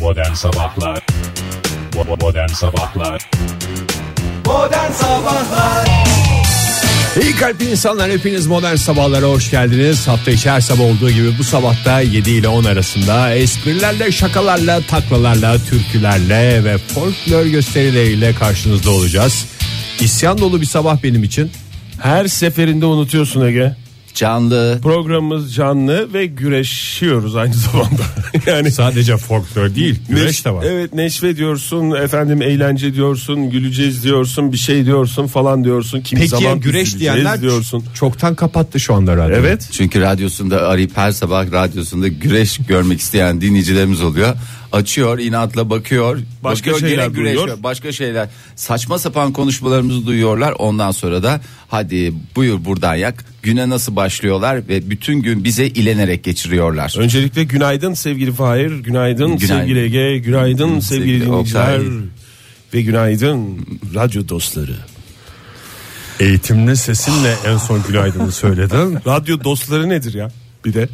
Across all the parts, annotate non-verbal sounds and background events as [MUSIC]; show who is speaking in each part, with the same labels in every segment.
Speaker 1: Modern Sabahlar Bo- Modern Sabahlar
Speaker 2: Modern Sabahlar
Speaker 3: İyi kalpli insanlar hepiniz modern sabahlara hoş geldiniz. Hafta içi her sabah olduğu gibi bu sabahta 7 ile 10 arasında esprilerle, şakalarla, taklalarla, türkülerle ve folklor gösterileriyle karşınızda olacağız. İsyan dolu bir sabah benim için.
Speaker 4: Her seferinde unutuyorsun Ege.
Speaker 2: Canlı
Speaker 4: Programımız canlı ve güreşiyoruz aynı [LAUGHS] zamanda. [LAUGHS] yani
Speaker 3: Sadece folklor değil, güreş de var.
Speaker 4: Evet neşvediyorsun, efendim eğlence diyorsun, güleceğiz diyorsun, bir şey diyorsun falan diyorsun. Kimi
Speaker 3: Peki
Speaker 4: zaman
Speaker 3: güreş
Speaker 4: üzüleceğiz
Speaker 3: diyenler
Speaker 4: diyorsun.
Speaker 3: çoktan kapattı şu anda radyo.
Speaker 4: Evet.
Speaker 2: Çünkü radyosunda arayıp her sabah radyosunda güreş görmek isteyen dinleyicilerimiz oluyor. Açıyor inatla bakıyor.
Speaker 4: Başka
Speaker 2: bakıyor,
Speaker 4: şeyler
Speaker 2: gene güreş
Speaker 4: duyuyor.
Speaker 2: gör- Başka şeyler. Saçma sapan konuşmalarımızı duyuyorlar. Ondan sonra da hadi buyur buradan yak. Güne nasıl başlıyorlar ve bütün gün bize ilenerek geçiriyorlar.
Speaker 4: Öncelikle günaydın sevgili Fahir, günaydın,
Speaker 2: Günaydın.
Speaker 4: sevgili Ege, günaydın sevgili,
Speaker 2: sevgili
Speaker 4: dinleyiciler
Speaker 2: Oktay.
Speaker 4: ve günaydın radyo dostları.
Speaker 3: Eğitimli sesinle en son günaydını söyledin.
Speaker 4: Radyo dostları nedir ya? Bir de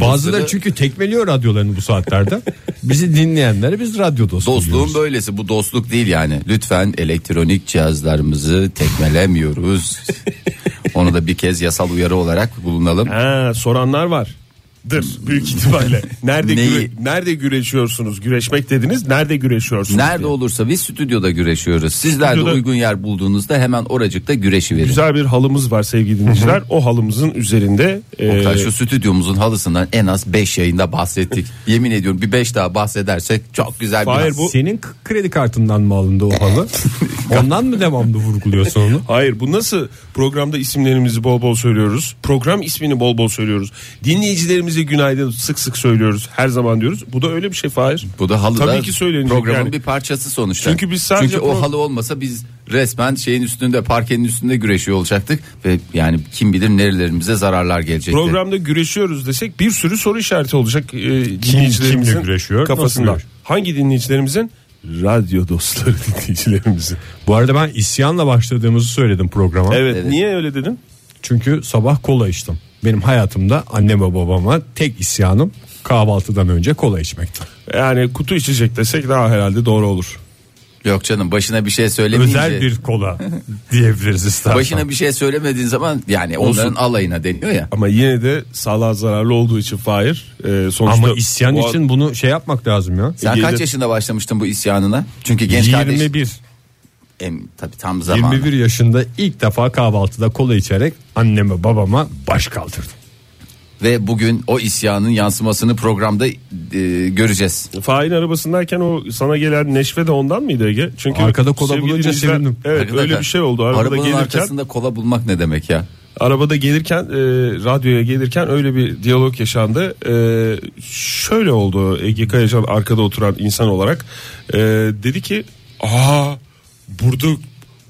Speaker 3: [LAUGHS] Bazıları
Speaker 2: dostları-
Speaker 3: çünkü tekmeliyor radyolarını bu saatlerde. Bizi dinleyenlere biz radyo dostu diyoruz.
Speaker 2: Dostluğun böylesi bu dostluk değil yani. Lütfen elektronik cihazlarımızı
Speaker 4: [LAUGHS]
Speaker 2: tekmelemiyoruz. Onu da bir kez yasal uyarı olarak bulunalım.
Speaker 4: Ha, soranlar var. Dır büyük ihtimalle. Nerede
Speaker 2: Neyi?
Speaker 4: güre- nerede güreşiyorsunuz? Güreşmek dediniz. Nerede güreşiyorsunuz?
Speaker 2: Nerede
Speaker 4: diye.
Speaker 2: olursa biz stüdyoda güreşiyoruz. Sizler de
Speaker 4: Stüdyoda-
Speaker 2: uygun yer bulduğunuzda hemen oracıkta güreşi verin.
Speaker 4: Güzel bir halımız var sevgili dinleyiciler. o halımızın üzerinde e,
Speaker 2: Oktay, şu stüdyomuzun halısından en az 5 yayında
Speaker 4: [LAUGHS]
Speaker 2: bahsettik. Yemin ediyorum bir 5 daha bahsedersek çok güzel bir
Speaker 4: Hayır, bu-
Speaker 3: Senin k- kredi kartından mı alındı
Speaker 2: [LAUGHS]
Speaker 3: o halı? Ondan mı devamlı vurguluyorsun onu?
Speaker 4: Hayır bu nasıl programda isimlerimizi bol bol söylüyoruz. Program ismini bol bol söylüyoruz. Dinleyicilerimize günaydın sık sık söylüyoruz. Her zaman diyoruz. Bu da öyle bir şey Fahir.
Speaker 2: Bu da halı
Speaker 4: Tabii
Speaker 2: da
Speaker 4: ki söylenecek
Speaker 2: programın
Speaker 4: yani.
Speaker 2: bir parçası sonuçta.
Speaker 4: Çünkü biz sadece
Speaker 2: Çünkü o
Speaker 4: pro-
Speaker 2: halı olmasa biz resmen şeyin üstünde parkenin üstünde güreşiyor olacaktık ve yani kim bilir nerelerimize zararlar gelecekti.
Speaker 4: Programda güreşiyoruz desek bir sürü soru işareti olacak e, dinleyicilerimizin
Speaker 3: kimle güreşiyor,
Speaker 4: kafasında.
Speaker 3: nasıl güreş-
Speaker 4: Hangi dinleyicilerimizin?
Speaker 3: [LAUGHS]
Speaker 4: Radyo dostları dinleyicilerimizin.
Speaker 3: Bu arada ben isyanla başladığımızı söyledim programa.
Speaker 4: Evet,
Speaker 2: Evet.
Speaker 4: niye öyle dedin?
Speaker 3: Çünkü sabah kola içtim. Benim hayatımda anneme babama tek isyanım kahvaltıdan önce kola içmekti.
Speaker 4: Yani kutu içecek desek daha herhalde doğru olur.
Speaker 2: Yok canım başına bir şey söylemeyince.
Speaker 3: Özel bir kola diyebiliriz istersen.
Speaker 2: Başına bir şey söylemediğin zaman yani onların
Speaker 4: Olsun.
Speaker 2: alayına deniyor ya.
Speaker 4: Ama yine de sağlığa zararlı olduğu için Fahir e, sonuçta...
Speaker 3: Ama isyan
Speaker 4: o-
Speaker 3: için bunu şey yapmak lazım ya.
Speaker 2: Sen
Speaker 4: Ege'de-
Speaker 2: kaç yaşında başlamıştın bu isyanına? Çünkü genç kardeş
Speaker 3: 21
Speaker 2: em, tabii tam zamanı.
Speaker 3: 21 yaşında ilk defa kahvaltıda kola içerek anneme babama baş kaldırdım.
Speaker 2: Ve bugün o isyanın yansımasını programda e, göreceğiz.
Speaker 4: Fahir'in arabasındayken o sana gelen neşve de ondan mıydı Ege? Çünkü
Speaker 3: Arkada kola
Speaker 4: sevgili
Speaker 3: bulunca
Speaker 4: dinleyiciler-
Speaker 3: sevindim.
Speaker 4: Evet
Speaker 2: Arkadaşlar,
Speaker 4: öyle bir şey oldu. Arabada
Speaker 2: arabanın
Speaker 4: gelirken
Speaker 2: arkasında kola bulmak ne demek ya?
Speaker 4: arabada gelirken e, radyoya gelirken öyle bir diyalog yaşandı. E, şöyle oldu Ege Kayacan arkada oturan insan olarak E, dedi ki aa burada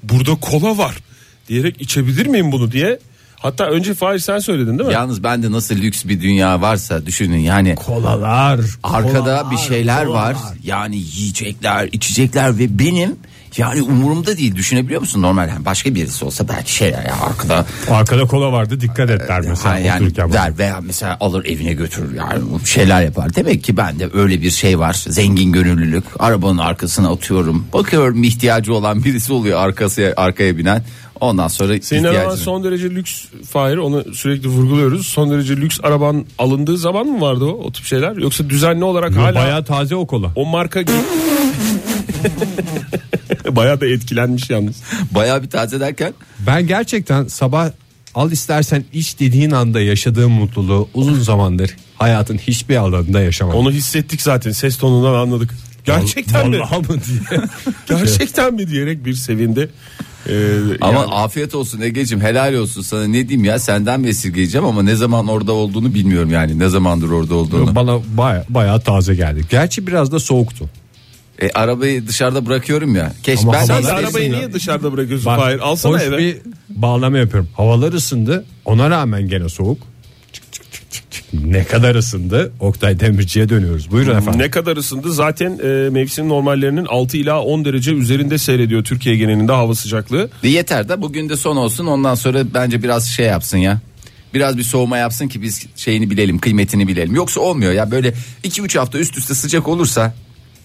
Speaker 4: burada kola var diyerek içebilir miyim bunu diye. Hatta önce Fahir sen söyledin değil mi?
Speaker 2: Yalnız bende nasıl lüks bir dünya varsa düşünün yani.
Speaker 3: Kolalar.
Speaker 2: Arkada
Speaker 3: kolalar,
Speaker 2: bir şeyler var.
Speaker 3: kolalar.
Speaker 2: Yani yiyecekler, içecekler ve benim yani umurumda değil. Düşünebiliyor musun normal? Yani başka birisi olsa belki şey ya arkada
Speaker 3: Arkada kola vardı dikkat et der mesela
Speaker 2: Ee, Ha, yani
Speaker 3: otururken.
Speaker 2: der veya mesela alır evine götürür yani bu şeyler yapar. Demek ki bende öyle bir şey var. Zengin gönüllülük. Arabanın arkasına atıyorum. Bakıyorum ihtiyacı olan birisi oluyor arkası arkaya binen. Ondan sonra
Speaker 4: Senin araban
Speaker 2: ihtiyacını-
Speaker 4: son derece lüks Fahir onu sürekli vurguluyoruz. Son derece lüks araban alındığı zaman mı vardı o, o tip şeyler? Yoksa düzenli olarak
Speaker 3: Yo,
Speaker 4: hala
Speaker 3: Bayağı taze o kola.
Speaker 4: o marka [LAUGHS] Bayağı da etkilenmiş yalnız.
Speaker 2: bayağı bir taze derken
Speaker 3: Ben gerçekten sabah al istersen iç dediğin anda yaşadığım mutluluğu uzun zamandır hayatın hiçbir alanında yaşamadım.
Speaker 4: Onu hissettik zaten ses tonundan anladık. Gerçekten mi?
Speaker 3: Vallahi mı diye.
Speaker 4: Gerçekten mi diyerek bir sevindi. Ee,
Speaker 2: ama
Speaker 4: yani
Speaker 2: afiyet olsun Ege'cim helal olsun sana ne diyeyim ya senden esirgeyeceğim ama ne zaman orada olduğunu bilmiyorum yani ne zamandır orada
Speaker 3: [LAUGHS]
Speaker 2: olduğunu.
Speaker 3: Bana baya, bayağı taze geldi. Gerçi biraz da soğuktu.
Speaker 2: E, arabayı dışarıda bırakıyorum ya. Keş
Speaker 3: Ama
Speaker 2: ben
Speaker 3: havalar
Speaker 4: sen de
Speaker 3: Bak-
Speaker 4: arabayı
Speaker 2: istedim.
Speaker 4: niye dışarıda bırakıyorsun
Speaker 3: Bak,
Speaker 4: Fahir? Alsana
Speaker 3: hoş
Speaker 4: eve.
Speaker 3: bir bağlama yapıyorum. Havalar ısındı. Ona rağmen gene soğuk. Çık, çık, çık, çık, çık. Ne kadar ısındı? Oktay Demirci'ye dönüyoruz. Buyurun efendim.
Speaker 4: Hmm, Ne kadar ısındı? Zaten e, mevsim normallerinin 6 ila 10 derece üzerinde seyrediyor Türkiye genelinde hava sıcaklığı.
Speaker 2: Yeter de bugün de son olsun ondan sonra bence biraz şey yapsın ya. Biraz bir soğuma yapsın ki biz şeyini bilelim, kıymetini bilelim. Yoksa olmuyor ya böyle 2-3 hafta üst üste sıcak olursa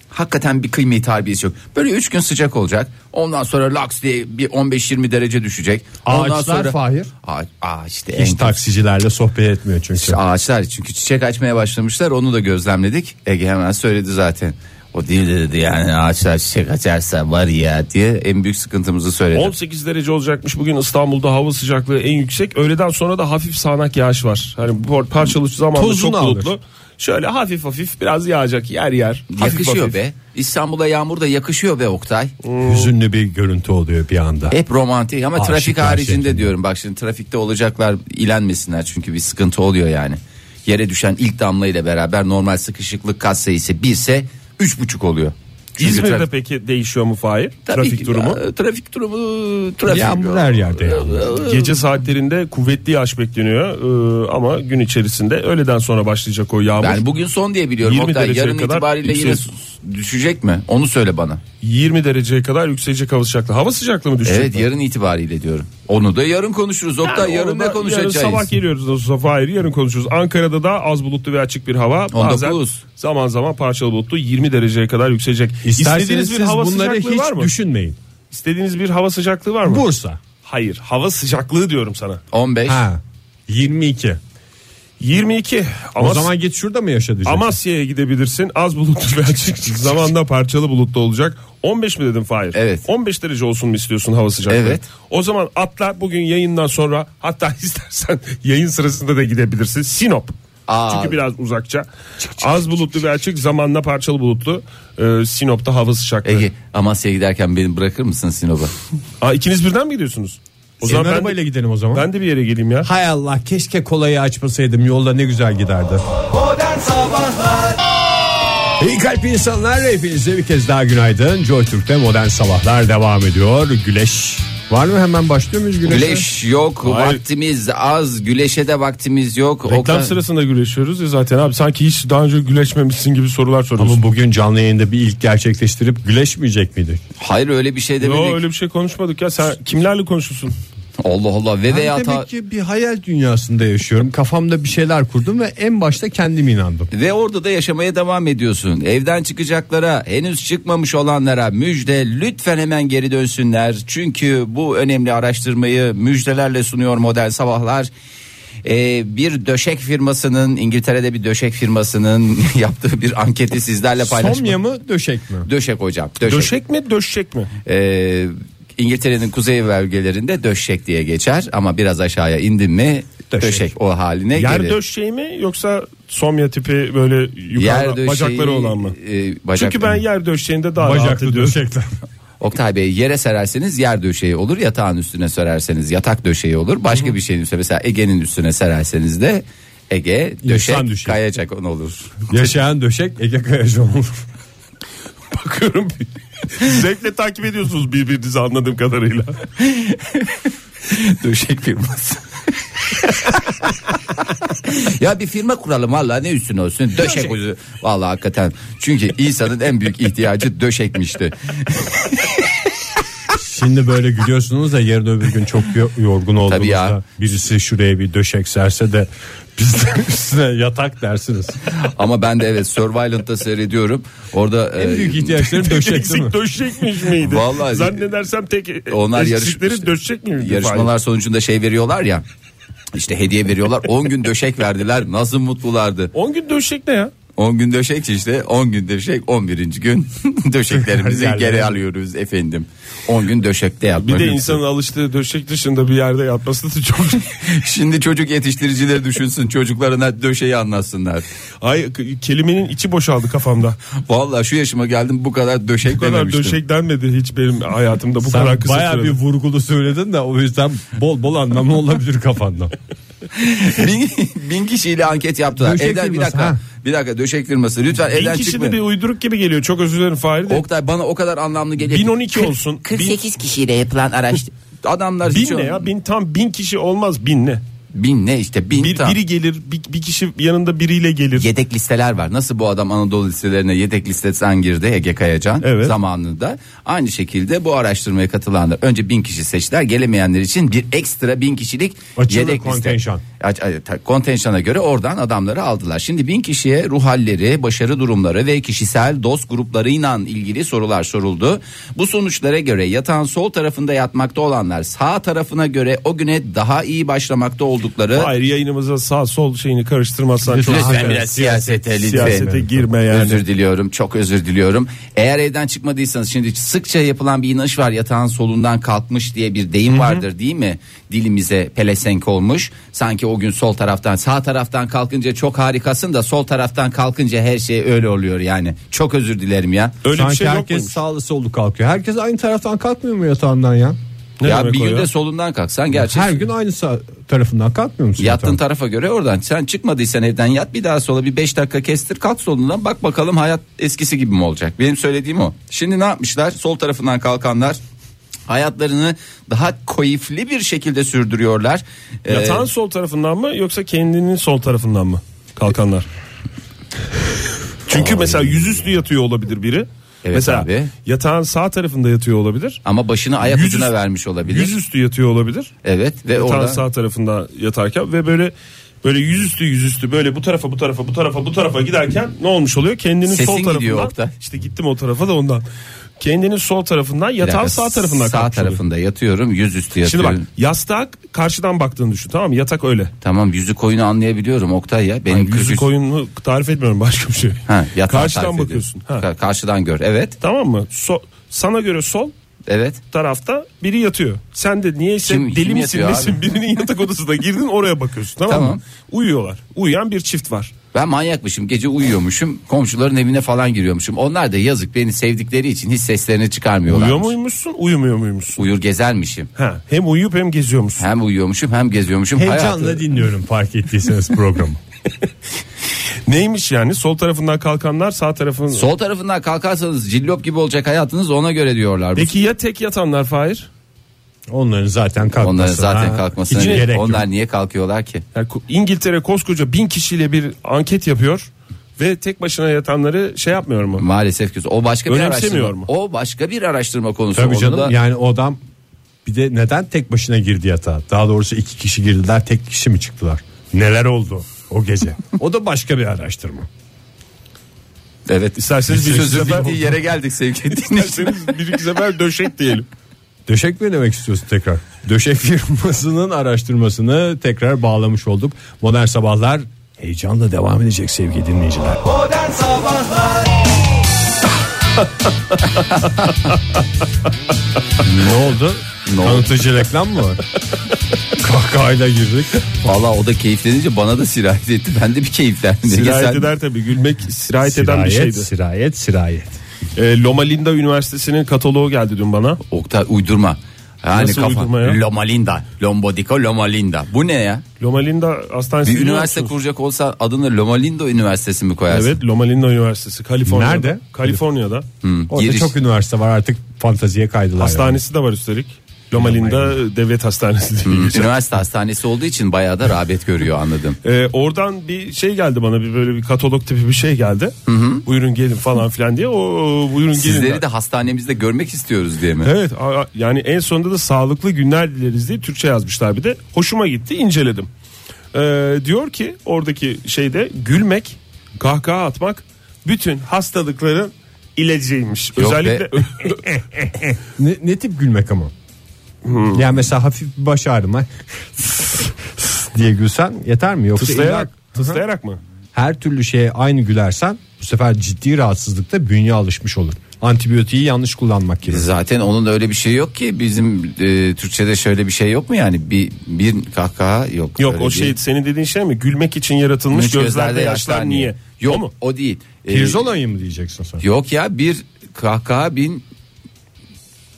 Speaker 2: hakikaten bir kıymeti harbiyesi yok. Böyle 3 gün sıcak olacak. Ondan sonra laks diye bir 15-20 derece düşecek. Ondan
Speaker 3: Ağaçlar Fahir?
Speaker 2: Ağa- ağaç işte
Speaker 3: Hiç
Speaker 2: en-
Speaker 3: taksicilerle sohbet etmiyor çünkü.
Speaker 2: ağaçlar çünkü çiçek açmaya başlamışlar onu da gözlemledik. Ege hemen söyledi zaten. O değil de dedi yani ağaçlar çiçek açarsa var ya diye en büyük sıkıntımızı söyledi.
Speaker 4: 18 derece olacakmış bugün İstanbul'da hava sıcaklığı en yüksek. Öğleden sonra da hafif sağanak yağış var. Hani bu parçalı zamanda
Speaker 3: Tozunu
Speaker 4: çok
Speaker 3: alır.
Speaker 4: bulutlu. Şöyle hafif hafif biraz yağacak yer yer. Hafif
Speaker 2: yakışıyor
Speaker 4: hafif. Hmm.
Speaker 2: be. İstanbul'a yağmur da yakışıyor be Oktay.
Speaker 3: Hüzünlü bir görüntü oluyor bir anda.
Speaker 2: Hep romantik ama
Speaker 3: Aşık
Speaker 2: trafik
Speaker 3: her
Speaker 2: haricinde
Speaker 3: şeklinde.
Speaker 2: diyorum. Bak şimdi trafikte olacaklar ilenmesinler çünkü bir sıkıntı oluyor yani. Yere düşen ilk damla ile beraber normal sıkışıklık kat sayısı birse üç buçuk oluyor. Çünkü
Speaker 4: İzmir'de
Speaker 2: trafik-
Speaker 4: peki değişiyor mu Fahir?
Speaker 2: Tabii
Speaker 4: Trafik
Speaker 2: ki-
Speaker 4: durumu.
Speaker 2: Trafik durumu e, trafik.
Speaker 3: Yağmur her yerde yağmur.
Speaker 4: Gece saatlerinde kuvvetli yağış bekleniyor Ee, ama gün içerisinde öğleden sonra başlayacak o yağmur.
Speaker 2: Yani bugün son diye biliyorum.
Speaker 4: 20
Speaker 2: Oktay.
Speaker 4: dereceye
Speaker 2: yarın
Speaker 4: kadar
Speaker 2: itibariyle yine
Speaker 4: yüksek.
Speaker 2: s- düşecek mi? Onu söyle bana.
Speaker 4: 20 dereceye kadar yükselecek hava sıcaklığı. Hava sıcaklığı mı düşecek?
Speaker 2: Evet yarın itibariyle diyorum. Onu da yarın konuşuruz. Oktay
Speaker 4: Yani
Speaker 2: yarın
Speaker 4: onu da
Speaker 2: ne konuşacağız?
Speaker 4: Yarın sabah geliyoruz o zaman. Hayır yarın konuşuruz. Ankara'da da az bulutlu ve açık bir hava.
Speaker 2: 19.
Speaker 4: zaman zaman parçalı bulutlu 20 dereceye kadar yükselecek.
Speaker 3: İsterseniz siz bunları
Speaker 4: sıcaklığı
Speaker 3: hiç
Speaker 4: var mı?
Speaker 3: düşünmeyin.
Speaker 4: İstediğiniz bir hava sıcaklığı var mı?
Speaker 3: Bursa.
Speaker 4: Hayır hava sıcaklığı diyorum sana.
Speaker 2: 15.
Speaker 3: Ha. 22.
Speaker 4: 22.
Speaker 3: O
Speaker 4: Ama
Speaker 3: zaman git şurada mı yaşa diyeceksin?
Speaker 4: Amasya'ya gidebilirsin. Az bulutlu ve açık. Zamanla parçalı bulutlu olacak. 15 mi dedin Fahir?
Speaker 2: Evet.
Speaker 4: 15 derece olsun mu istiyorsun hava sıcaklığı?
Speaker 2: Evet.
Speaker 4: O zaman atla bugün yayından sonra hatta [LAUGHS] istersen yayın sırasında da gidebilirsin. Sinop.
Speaker 2: Aa.
Speaker 4: Çünkü biraz uzakça. Az bulutlu ve açık zamanla parçalı bulutlu. Ee, Sinop'ta hava sıcaklığı.
Speaker 2: Ege Amasya'ya giderken beni bırakır mısın Sinop'a?
Speaker 4: Aa, ikiniz birden mi gidiyorsunuz? O
Speaker 3: Senin
Speaker 4: zaman ben de,
Speaker 3: arabayla gidelim o zaman.
Speaker 4: ben de bir yere geleyim ya.
Speaker 3: Hay Allah keşke kolayı açmasaydım yolda ne güzel giderdi. İyi kalp insanlar hepinize bir kez daha günaydın. Joy Türk'te modern sabahlar devam ediyor. Güleş var mı hemen başlıyor muyuz güleşe?
Speaker 2: Güleş yok
Speaker 4: Hayır.
Speaker 2: vaktimiz az. Güleşe de vaktimiz yok.
Speaker 4: Reklam
Speaker 2: Oktay-
Speaker 4: sırasında güreşiyoruz ya zaten abi sanki hiç daha önce güleşmemişsin gibi sorular soruyorsun.
Speaker 3: Ama bugün canlı yayında bir ilk gerçekleştirip güleşmeyecek miydik?
Speaker 2: Hayır öyle bir şey demedik.
Speaker 4: Yo öyle bir şey konuşmadık ya. Sen kimlerle konuşuyorsun?
Speaker 2: Allah Allah ve veya ta-
Speaker 3: ki bir hayal dünyasında yaşıyorum. Kafamda bir şeyler kurdum ve en başta kendim inandım.
Speaker 2: Ve orada da yaşamaya devam ediyorsun. Evden çıkacaklara, henüz çıkmamış olanlara müjde lütfen hemen geri dönsünler. Çünkü bu önemli araştırmayı müjdelerle sunuyor Model Sabahlar. Ee, bir döşek firmasının İngiltere'de bir döşek firmasının [LAUGHS] yaptığı bir anketi sizlerle paylaşmak.
Speaker 3: Somya mı döşek mi?
Speaker 2: Döşek hocam. Döşek.
Speaker 4: Döşek mi döşek mi?
Speaker 2: Ee, İngiltere'nin kuzey bölgelerinde döşek diye geçer ama biraz aşağıya indin mi döşek,
Speaker 3: Döşek.
Speaker 2: o haline
Speaker 4: Yer
Speaker 2: gelir.
Speaker 4: döşeği mi yoksa somya tipi böyle yukarıda
Speaker 2: döşeği,
Speaker 4: bacakları olan mı?
Speaker 2: e, bacak-
Speaker 4: Çünkü ben yer döşeğinde daha rahat
Speaker 3: Bacaklı
Speaker 4: ediyorum.
Speaker 3: döşekler.
Speaker 2: Oktay Bey yere sererseniz yer döşeği olur yatağın üstüne sererseniz yatak döşeği olur başka bir şeyin üstüne mesela Ege'nin üstüne sererseniz de Ege döşek,
Speaker 3: düşeği.
Speaker 2: kayacak onu olur.
Speaker 3: Yaşayan döşek Ege Kayacan olur.
Speaker 4: Bakıyorum [LAUGHS] zevkle takip ediyorsunuz birbirinizi anladığım kadarıyla.
Speaker 2: döşek firması. [LAUGHS] ya bir firma kuralım vallahi ne üstüne olsun döşek ucu. Vallahi hakikaten çünkü insanın en büyük ihtiyacı döşekmişti.
Speaker 3: Şimdi böyle gülüyorsunuz da yarın öbür gün çok yo- yorgun olduğunuzda
Speaker 2: ya.
Speaker 3: birisi şuraya bir döşek serse de biz de [LAUGHS] üstüne yatak dersiniz.
Speaker 2: Ama ben de evet Survivalent'ta seyrediyorum. Orada
Speaker 3: En
Speaker 2: e,
Speaker 3: büyük [LAUGHS] ihtiyaçların Ee, döşek değil mi?
Speaker 4: [LAUGHS] Eksik döşekmiş miydi?
Speaker 2: Vallahi-
Speaker 4: Zannedersem tek
Speaker 2: Onlar
Speaker 4: onlar
Speaker 2: yarışmış-
Speaker 4: eksikleri döşek miydi?
Speaker 2: yarışmalar sonucunda şey veriyorlar ya. İşte hediye veriyorlar. 10 gün döşek verdiler. Nasıl mutlulardı.
Speaker 4: 10 gün döşek ne ya?
Speaker 2: 10 gün döşek işte 10 gün döşek 11. gün [LAUGHS] döşeklerimizi
Speaker 3: Yerlere.
Speaker 2: geri alıyoruz efendim. 10 gün döşekte
Speaker 4: Bir şey.
Speaker 2: yatmak.
Speaker 4: de insanın alıştığı döşek dışında bir yerde yatması da çok [LAUGHS]
Speaker 2: [LAUGHS] Şimdi çocuk yetiştiricileri düşünsün çocuklarına döşeyi anlatsınlar.
Speaker 4: Ay k- kelimenin içi boşaldı kafamda.
Speaker 2: Vallahi şu yaşıma geldim bu kadar döşek
Speaker 4: Bu kadar
Speaker 2: dememiştim.
Speaker 4: döşek denmedi hiç benim hayatımda bu kadar
Speaker 3: Sen
Speaker 4: kısa
Speaker 3: bayağı
Speaker 4: sürede.
Speaker 3: bir vurgulu söyledin de o yüzden bol bol anlamı olabilir kafanda.
Speaker 2: [LAUGHS] bin, bin kişiyle anket yaptılar.
Speaker 3: Döşek
Speaker 2: Evden bir
Speaker 3: firması,
Speaker 2: dakika.
Speaker 3: ha.
Speaker 2: Bir dakika döşek firması lütfen
Speaker 4: Bin
Speaker 2: evden
Speaker 4: kişi
Speaker 2: çıkmayın.
Speaker 4: de bir uyduruk gibi geliyor. Çok özür dilerim Fahir de.
Speaker 2: Oktay bana o kadar anlamlı geliyor.
Speaker 4: 1012 olsun.
Speaker 2: 48 kişiyle yapılan araştırma. Adamlar hiç
Speaker 4: Bin ne ya? Bin tam bin kişi olmaz bin ne?
Speaker 2: Bin ne işte bin
Speaker 4: Bir,
Speaker 2: tam.
Speaker 4: biri gelir bir, bir kişi yanında biriyle gelir.
Speaker 2: Yedek listeler var. Nasıl bu adam Anadolu listelerine yedek listesinden girdi Ege Kayacan
Speaker 4: Evet.
Speaker 2: zamanında. Aynı şekilde bu araştırmaya katılanlar önce bin kişi seçtiler. Gelemeyenler için bir ekstra bin kişilik
Speaker 3: Açılı
Speaker 2: yedek
Speaker 3: kontenjan.
Speaker 2: liste. Aç- ay- ta- Kontenjana göre oradan adamları aldılar. Şimdi bin kişiye ruh halleri, başarı durumları ve kişisel dost gruplarıyla ilgili sorular soruldu. Bu sonuçlara göre yatağın sol tarafında yatmakta olanlar sağ tarafına göre o güne daha iyi başlamakta oldukları
Speaker 4: Hayır yayınımıza sağ sol şeyini karıştırmazsan çok
Speaker 2: Lütfen
Speaker 4: üzülürüm.
Speaker 2: biraz siyasete lütfen.
Speaker 4: Siyasete girme yani.
Speaker 2: Özür diliyorum çok özür diliyorum. Eğer evden çıkmadıysanız şimdi sıkça yapılan bir inanış var yatağın solundan kalkmış diye bir deyim vardır değil mi? Dilimize pelesenk olmuş. Sanki o gün sol taraftan sağ taraftan kalkınca çok harikasın da sol taraftan kalkınca her şey öyle oluyor yani. Çok özür dilerim ya.
Speaker 4: Öyle
Speaker 3: Sanki
Speaker 4: bir şey yok
Speaker 3: herkes
Speaker 4: muymuş?
Speaker 3: sağlı sollu kalkıyor. Herkes aynı taraftan kalkmıyor mu yatağından ya?
Speaker 4: Ne
Speaker 2: ya
Speaker 4: demek
Speaker 2: bir
Speaker 4: o
Speaker 2: günde
Speaker 4: ya?
Speaker 2: solundan kalksan gerçek.
Speaker 3: Her gün aynı sağ tarafından kalkmıyor musun?
Speaker 2: Yattığın
Speaker 3: yatağından?
Speaker 2: tarafa göre oradan sen çıkmadıysan evden yat bir daha sola bir 5 dakika kestir kalk solundan bak bakalım hayat eskisi gibi mi olacak benim söylediğim o şimdi ne yapmışlar sol tarafından kalkanlar hayatlarını daha koyifli bir şekilde sürdürüyorlar Ee,
Speaker 4: Yatağın sol tarafından mı yoksa kendinin sol tarafından mı kalkanlar? Çünkü mesela yüzüstü yatıyor olabilir biri.
Speaker 2: Evet
Speaker 4: mesela
Speaker 2: abi.
Speaker 4: yatağın sağ tarafında yatıyor olabilir.
Speaker 2: ama başını ayak
Speaker 4: Yüzüstü-
Speaker 2: ucuna vermiş olabilir
Speaker 4: Yüzüstü yatıyor olabilir.
Speaker 2: evet ve
Speaker 4: Yatağın
Speaker 2: E, orada
Speaker 4: sağ tarafında yatarken ve böyle böyle yüzüstü yüzüstü böyle bu tarafa bu tarafa bu tarafa bu tarafa giderken ne olmuş oluyor? Kendinin
Speaker 2: Sesin
Speaker 4: sol tarafından.
Speaker 2: gidiyor Oktay.
Speaker 4: İşte gittim o tarafa da ondan. Kendinin sol tarafından
Speaker 2: Bir dakika,
Speaker 4: yatağın sağ tarafından
Speaker 2: sağ
Speaker 4: kalkmış oluyor.
Speaker 2: tarafında yatıyorum yüzüstü
Speaker 4: Şimdi
Speaker 2: yatıyorum
Speaker 4: bak yastığa karşıdan baktığını düşün tamam mı? Yatak öyle.
Speaker 2: tamam yüzü koyunu anlayabiliyorum Oktay ya benim
Speaker 4: Yani
Speaker 2: kırk
Speaker 4: yüzü
Speaker 2: üç-
Speaker 4: koyunu tarif etmiyorum başka bir şey.
Speaker 2: Ha, yatağı tarif
Speaker 4: Karşıdan
Speaker 2: ediyorum.
Speaker 4: bakıyorsun. Ha.
Speaker 2: Ka- karşıdan gör evet
Speaker 4: Tamam mı? So- sana göre sol
Speaker 2: evet
Speaker 4: tarafta biri yatıyor. Sen de niyeyse
Speaker 2: Kim-
Speaker 4: deli
Speaker 2: kim
Speaker 4: misin
Speaker 2: yatıyor
Speaker 4: nesin
Speaker 2: abi?
Speaker 4: birinin yatak odasına girdin oraya bakıyorsun tamam,
Speaker 2: Tamam.
Speaker 4: mı? Uyuyorlar. Uyuyan bir çift var.
Speaker 2: Ben manyakmışım gece uyuyormuşum komşuların evine falan giriyormuşum. Onlar da yazık beni sevdikleri için hiç seslerini çıkarmıyorlar.
Speaker 4: Uyuyor muymuşsun uyumuyor muymuşsun?
Speaker 2: Uyur gezermişim.
Speaker 4: Ha, hem uyuyup hem geziyormuşsun.
Speaker 2: Hem uyuyormuşum hem geziyormuşum.
Speaker 3: Heyecanla
Speaker 2: Hayatı-
Speaker 3: dinliyorum fark ettiyseniz programı.
Speaker 4: Neymiş yani sol tarafından kalkanlar sağ tarafın...
Speaker 2: Sol tarafından kalkarsanız cillop gibi olacak hayatınız ona göre diyorlar. Bu-
Speaker 4: Peki ya tek yatanlar Fahir?
Speaker 3: Onların zaten kalkması.
Speaker 2: Onların zaten
Speaker 3: Ha,
Speaker 2: kalkmasına
Speaker 3: hiç gerek yok.
Speaker 2: onlar niye kalkıyorlar ki?
Speaker 4: Yani ko- İngiltere koskoca bin kişiyle bir anket yapıyor ve tek başına yatanları şey yapmıyor mu?
Speaker 2: Maalesef ki o başka bir
Speaker 4: Önemsemiyor
Speaker 2: araştırma.
Speaker 4: mu?
Speaker 2: O başka bir araştırma konusu.
Speaker 3: Tabii
Speaker 2: Onu
Speaker 3: canım
Speaker 2: da-
Speaker 3: yani o adam bir de neden tek başına girdi yatağa? Daha doğrusu iki kişi girdiler tek kişi mi çıktılar? Neler oldu o gece? o da başka bir araştırma.
Speaker 2: Evet.
Speaker 4: İsterseniz bir
Speaker 2: Sözün
Speaker 4: sefer-
Speaker 2: bittiği yere geldik
Speaker 4: [LAUGHS]
Speaker 2: sevgili dinleyiciler.
Speaker 4: İsterseniz bir iki sefer döşek diyelim.
Speaker 3: Döşek mi demek istiyorsun tekrar? Döşek firmasının araştırmasını tekrar bağlamış olduk. Modern Sabahlar heyecanla devam edecek sevgili dinleyiciler. [LAUGHS] ne oldu?
Speaker 2: Ne oldu?
Speaker 3: Kanıtıcı reklam mı var?
Speaker 2: [LAUGHS]
Speaker 3: Kahkahayla girdik.
Speaker 2: Valla o da keyiflenince bana da sirayet etti. Ben de bir keyiflendim.
Speaker 4: Sirayet
Speaker 2: Sen-
Speaker 4: eder tabii gülmek sirayet, eden bir şeydi.
Speaker 3: sirayet, sirayet.
Speaker 4: Ee, Loma Linda Üniversitesi'nin kataloğu geldi dün bana.
Speaker 2: Oktay uydurma. Yani
Speaker 4: Nasıl
Speaker 2: kafa.
Speaker 4: uydurma ya?
Speaker 2: Loma Linda. Lombodico Loma Linda. Bu ne ya?
Speaker 4: Loma Linda Hastanesi.
Speaker 2: Bir
Speaker 4: biliyor
Speaker 2: üniversite
Speaker 4: musunuz?
Speaker 2: kuracak olsa adını Loma Linda Üniversitesi mi koyarsın?
Speaker 4: Evet Loma Linda Üniversitesi Kaliforniya'da.
Speaker 3: Nerede?
Speaker 4: Kaliforniya'da.
Speaker 3: Orada
Speaker 2: Giriş.
Speaker 3: çok üniversite var artık fantaziye kaydılar.
Speaker 4: Hastanesi de var üstelik. Loma Linda Devlet Hastanesi
Speaker 2: Hmm.
Speaker 4: diye geçer.
Speaker 2: Üniversite hastanesi olduğu için bayağı da rağbet görüyor anladım.
Speaker 4: Ee, oradan bir şey geldi bana bir böyle bir katalog tipi bir şey geldi. Buyurun gelin falan filan diye. O buyurun gelin.
Speaker 2: Sizleri de hastanemizde görmek istiyoruz diye mi?
Speaker 4: Evet a- a- yani en sonunda da sağlıklı günler dileriz diye Türkçe yazmışlar bir de. Hoşuma gitti inceledim. Ee, diyor ki oradaki şeyde gülmek, kahkaha atmak bütün hastalıkların ilacıymış.
Speaker 2: Yok
Speaker 4: Özellikle
Speaker 3: Ne, ne tip gülmek ama? Yani mesela hafif bir baş ağrıma diye gülsen yeter mi? Yoksa
Speaker 4: tıslayarak,
Speaker 3: illa-
Speaker 4: tıslayarak mı?
Speaker 3: her türlü şeye aynı gülersen bu sefer ciddi rahatsızlıkta bünye alışmış olur. Antibiyotiği yanlış kullanmak gibi.
Speaker 2: Zaten onun öyle bir şey yok ki bizim e, Türkçe'de şöyle bir şey yok mu yani bir bir kahkaha yok.
Speaker 4: Yok
Speaker 2: Öyle
Speaker 4: o
Speaker 2: bir-
Speaker 4: şey senin dediğin şey mi? Gülmek için yaratılmış
Speaker 2: Üç
Speaker 4: gözlerde, yaşlar niye?
Speaker 2: Yok
Speaker 4: O
Speaker 2: o,
Speaker 4: mu?
Speaker 2: değil. E,
Speaker 3: Pirzolayı mı diyeceksin sen?
Speaker 2: yok ya bir kahkaha bin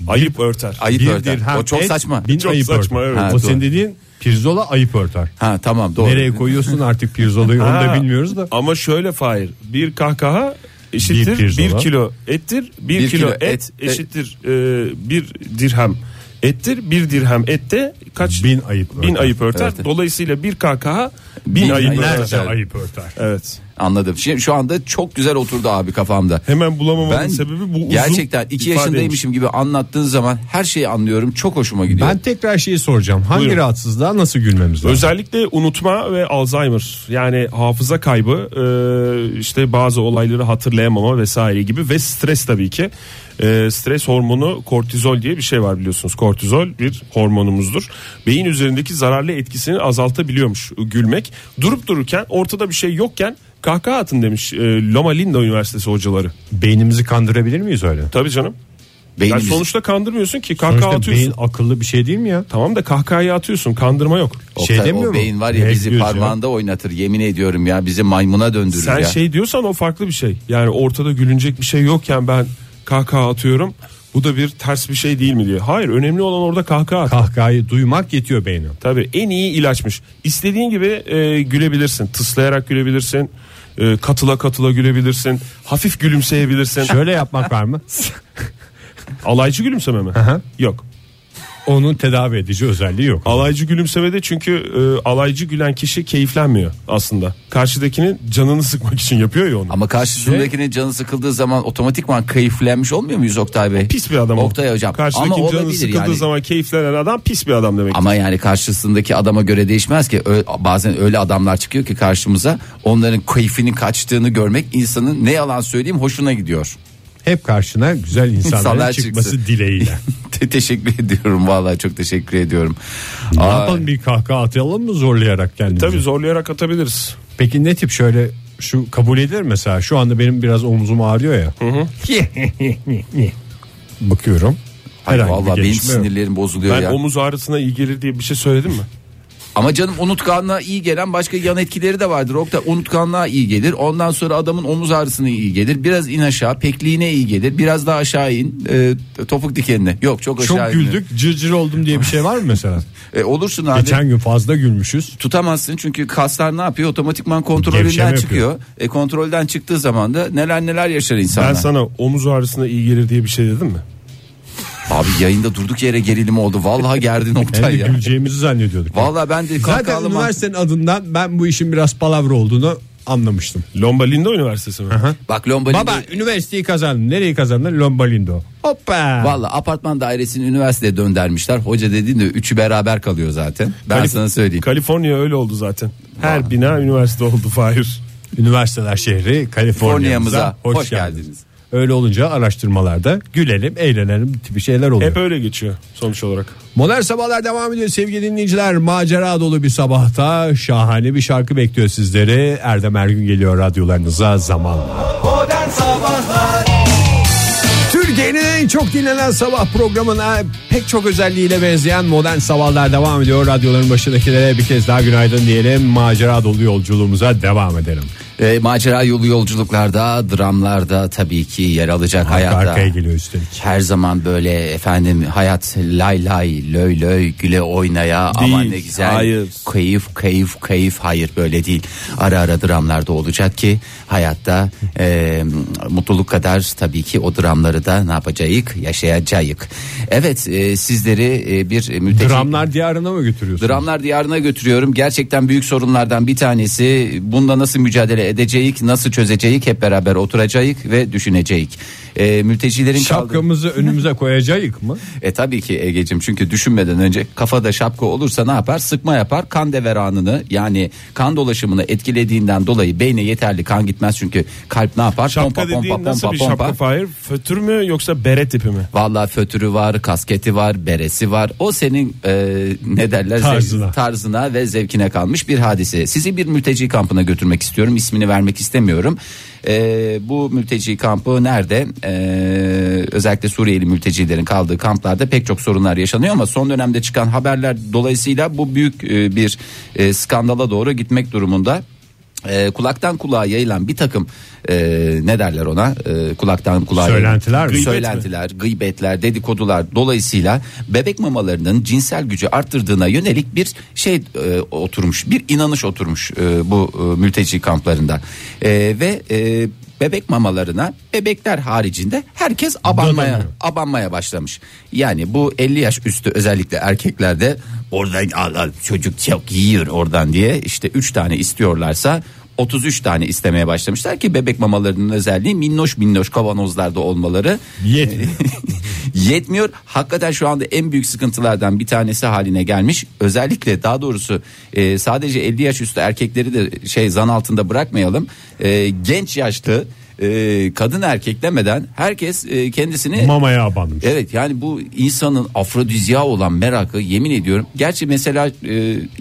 Speaker 4: Ayıp örter.
Speaker 2: ayıp
Speaker 3: Bir
Speaker 2: örter.
Speaker 3: dirhem
Speaker 2: O çok
Speaker 3: et,
Speaker 2: saçma.
Speaker 3: bin
Speaker 4: Çok
Speaker 3: ayıp
Speaker 4: saçma,
Speaker 3: örter.
Speaker 4: evet.
Speaker 2: Ha,
Speaker 3: o
Speaker 2: doğru.
Speaker 3: senin dediğin pirzola ayıp örter.
Speaker 2: Ha tamam doğru.
Speaker 3: Nereye koyuyorsun artık pirzolayı onu da
Speaker 4: Ha,
Speaker 3: bilmiyoruz da.
Speaker 4: Ama şöyle Fahir bir kahkaha eşittir
Speaker 3: Bir pirzola.
Speaker 4: bir kilo ettir bir, kilo, et, eşittir e, bir e, dirhem ettir bir dirhem ette kaç
Speaker 3: Bin ayıp
Speaker 4: bin
Speaker 3: örter.
Speaker 4: ayıp örter.
Speaker 2: Evet.
Speaker 4: Dolayısıyla bir kahkaha bin,
Speaker 2: Bin
Speaker 4: ayıp
Speaker 2: ayıp
Speaker 4: örter.
Speaker 2: örter.
Speaker 3: Ayıp örter.
Speaker 4: Evet.
Speaker 2: Anladım. Şimdi şu anda çok güzel oturdu abi kafamda.
Speaker 4: Hemen bulamamamın
Speaker 2: Ben
Speaker 4: sebebi bu uzun
Speaker 2: gerçekten iki
Speaker 4: ifadeymiş.
Speaker 2: yaşındaymışım gibi anlattığın zaman her şeyi anlıyorum. Çok hoşuma gidiyor.
Speaker 3: Ben tekrar şeyi soracağım. Hangi
Speaker 4: Buyurun.
Speaker 3: rahatsızlığa nasıl gülmemiz lazım?
Speaker 4: Özellikle unutma ve Alzheimer yani hafıza kaybı e, işte bazı olayları hatırlayamama vesaire gibi ve stres tabii ki. E, Stres hormonu kortizol diye bir şey var biliyorsunuz. Kortizol bir hormonumuzdur. Beyin üzerindeki zararlı etkisini azaltabiliyormuş e, gülmek. Durup dururken ortada bir şey yokken kahkaha atın demiş e, Loma Linda Üniversitesi hocaları.
Speaker 3: Beynimizi kandırabilir miyiz öyle?
Speaker 4: Tabii canım. Yani
Speaker 2: Beynimiz-
Speaker 4: sonuçta kandırmıyorsun ki kahkaha
Speaker 3: Sonuçta
Speaker 4: atıyorsun.
Speaker 3: beyin akıllı bir şey değil mi ya?
Speaker 4: Tamam da kahkahayı atıyorsun kandırma yok.
Speaker 2: Oktay,
Speaker 3: şey demiyor
Speaker 2: o
Speaker 3: mu?
Speaker 2: beyin var ya
Speaker 3: Ne
Speaker 2: bizi
Speaker 3: diyorsun ya?
Speaker 2: parmağında oynatır. Yemin ediyorum ya bizi maymuna döndürür
Speaker 4: Sen
Speaker 2: ya.
Speaker 4: şey diyorsan o farklı bir şey. Yani ortada gülünecek bir şey yokken ben kahkaha atıyorum. Bu da bir ters bir şey değil mi diye. Hayır önemli olan orada kahkaha. atmak.
Speaker 3: Kahkahayı duymak yetiyor beyne.
Speaker 4: Tabii en iyi ilaçmış. İstediğin gibi e, gülebilirsin. Tıslayarak gülebilirsin. E, katıla katıla gülebilirsin. Hafif gülümseyebilirsin.
Speaker 3: Şöyle yapmak var [LAUGHS] mı?
Speaker 4: Alaycı gülümseme mi?
Speaker 3: hı.
Speaker 4: Yok.
Speaker 3: Onun tedavi edici özelliği yok.
Speaker 4: Alaycı gülümsemede çünkü e, alaycı gülen kişi keyiflenmiyor aslında. Karşıdakinin canını sıkmak için yapıyor ya onu.
Speaker 2: Ama karşısındakinin canı sıkıldığı zaman otomatikman keyiflenmiş olmuyor muyuz Oktay Bey?
Speaker 4: Pis bir adam o.
Speaker 2: Oktay hocam.
Speaker 4: Karşıdakinin
Speaker 2: Ama
Speaker 4: canı
Speaker 2: olabilir
Speaker 4: sıkıldığı
Speaker 2: yani.
Speaker 4: zaman keyiflenen adam pis bir adam demek.
Speaker 2: Ama yani karşısındaki adama göre değişmez ki. Ö- bazen öyle adamlar çıkıyor ki karşımıza onların keyfinin kaçtığını görmek insanın ne yalan söyleyeyim hoşuna gidiyor.
Speaker 3: Hep karşına güzel insanların
Speaker 2: İnsanlar
Speaker 3: çıkması
Speaker 2: çıksın.
Speaker 3: dileğiyle.
Speaker 2: [LAUGHS] Te- teşekkür ediyorum vallahi çok teşekkür ediyorum.
Speaker 3: ne
Speaker 2: Aa,
Speaker 3: yapalım bir kahkaha atalım mı zorlayarak kendimizi?
Speaker 4: Tabii zorlayarak atabiliriz.
Speaker 3: Peki ne tip şöyle şu kabul edilir mesela şu anda benim biraz omzum ağrıyor ya. Bakıyorum. Herhangi bir
Speaker 2: vallahi benim
Speaker 3: gelişme yok.
Speaker 2: sinirlerim bozuluyor
Speaker 4: Ben
Speaker 2: ya.
Speaker 4: omuz ağrısına iyi gelir diye bir şey söyledim mi?
Speaker 2: Ama canım unutkanlığa iyi gelen başka yan etkileri de vardır. Oktay unutkanlığa iyi gelir. Ondan sonra adamın omuz ağrısına iyi gelir. Biraz in aşağı pekliğine iyi gelir. Biraz daha aşağı in e, topuk dikenine. Yok çok aşağı
Speaker 3: Çok
Speaker 2: inmiyor.
Speaker 3: güldük cırcır oldum diye bir şey var mı
Speaker 2: [LAUGHS]
Speaker 3: mesela?
Speaker 2: E, olursun abi.
Speaker 3: Geçen gün fazla gülmüşüz.
Speaker 2: tutamazsın çünkü kaslar ne yapıyor otomatikman kontrolünden
Speaker 3: Gevşeme
Speaker 2: çıkıyor. E, kontrolden çıktığı zaman da neler neler yaşar insanlar.
Speaker 4: Ben sana omuz ağrısına iyi gelir diye bir şey dedim mi?
Speaker 2: Abi yayında durduk yere gerilim oldu.
Speaker 3: [LAUGHS]
Speaker 2: Vallahi gerdin
Speaker 3: Hem de
Speaker 2: Oktay ya.
Speaker 3: güleceğimizi zannediyorduk.
Speaker 2: Vallahi ben de
Speaker 3: Zaten
Speaker 2: kahkahalı
Speaker 3: üniversitenin adından ben bu işin biraz palavra olduğunu anlamıştım.
Speaker 4: Lomba Linda Üniversitesi mi?
Speaker 2: Bak Lombardi.
Speaker 3: Baba üniversiteyi kazandım. Nereyi kazandın? Lombalindo. Hoppa.
Speaker 2: Valla apartman dairesini üniversiteye döndermişler. Hoca dediğinde üçü beraber kalıyor zaten. Ben
Speaker 4: Kalif-
Speaker 2: sana söyleyeyim.
Speaker 4: Kaliforniya öyle oldu zaten. Her bina üniversite oldu Fahir.
Speaker 3: Üniversiteler şehri Kaliforniya'mıza
Speaker 2: Kaliforniya'mıza
Speaker 3: hoş,
Speaker 2: hoş
Speaker 3: geldiniz.
Speaker 2: geldiniz.
Speaker 3: Öyle olunca araştırmalarda gülelim, eğlenelim tipi şeyler oluyor.
Speaker 4: Hep öyle geçiyor sonuç olarak.
Speaker 3: Modern sabahlar devam ediyor sevgili dinleyiciler. Macera dolu bir sabahta şahane bir şarkı bekliyor sizleri. Erdem Ergün geliyor radyolarınıza zamanla. Türkiye'nin en çok dinlenen sabah programına pek çok özelliğiyle benzeyen modern sabahlar devam ediyor. Radyoların başındakilere bir kez daha günaydın diyelim. Macera dolu yolculuğumuza devam edelim.
Speaker 2: E, macera yolu yolculuklarda, dramlarda tabii ki yer alacak
Speaker 3: Arka
Speaker 2: hayatta.
Speaker 3: arkaya geliyor üstelik.
Speaker 2: Her zaman böyle efendim hayat lay lay löy löy güle oynaya ama
Speaker 4: Değil,
Speaker 2: ne güzel
Speaker 4: hayır.
Speaker 2: keyif keyif keyif hayır böyle değil ara ara dramlarda olacak ki hayatta e, mutluluk kadar tabii ki o dramları da ne yapacağız yaşayacağız evet e, sizleri e, bir müteşekkir
Speaker 3: Dramlar diyarına mı götürüyorsun?
Speaker 2: Dramlar diyarına götürüyorum. Gerçekten büyük sorunlardan bir tanesi. Bunda nasıl mücadele edeceğiz, nasıl çözeceğiz hep beraber oturacağız ve düşüneceğiz. E, mültecilerin kaldığı-
Speaker 3: Şapkamızı önümüze koyacağız mı?
Speaker 2: e tabii ki Ege'cim çünkü düşünmeden önce kafada şapka olursa ne yapar? Sıkma yapar. Kan deveranını yani kan dolaşımını etkilediğinden dolayı beyne yeterli kan gitmez çünkü kalp ne yapar?
Speaker 4: Şapka dediğin nasıl bir şapka Fahir? Fötür mü yoksa bere tipi mi?
Speaker 2: Valla fötürü var, kasketi var, beresi var. O senin e, ne derler zevk-
Speaker 3: Tarzına.
Speaker 2: tarzına ve zevkine kalmış bir hadise. Sizi bir mülteci kampına götürmek istiyorum. İsmini vermek istemiyorum. E, bu mülteci kampı nerede? E, özellikle Suriyeli mültecilerin kaldığı kamplarda pek çok sorunlar yaşanıyor ama son dönemde çıkan haberler dolayısıyla bu büyük e, bir e, skandala doğru gitmek durumunda. E, kulaktan kulağa yayılan bir takım e, ne derler ona E, kulaktan kulağa
Speaker 3: Söylentiler mi?
Speaker 2: yayılan- söylentiler, gıybetler, dedikodular dolayısıyla bebek mamalarının cinsel gücü arttırdığına yönelik bir şey e, oturmuş, bir inanış oturmuş e, bu e, mülteci kamplarında E, ve e, bebek mamalarına bebekler haricinde herkes abanmaya abanmaya başlamış. Yani bu 50 yaş üstü özellikle erkeklerde oradan al, al, çocuk çok yiyor oradan diye işte 3 tane istiyorlarsa 33 tane istemeye başlamışlar ki bebek mamalarının özelliği minnoş minnoş kavanozlarda olmaları
Speaker 3: Yetmiyor.
Speaker 2: [LAUGHS] yetmiyor. Hakikaten şu anda en büyük sıkıntılardan bir tanesi haline gelmiş. Özellikle daha doğrusu e, sadece 50 yaş üstü erkekleri de şey zan altında bırakmayalım. E, genç yaşlı e, kadın erkek demeden herkes e, kendisini
Speaker 3: Mamaya abanmış.
Speaker 2: Evet yani bu insanın afrodizya olan merakı yemin ediyorum. Gerçi mesela e,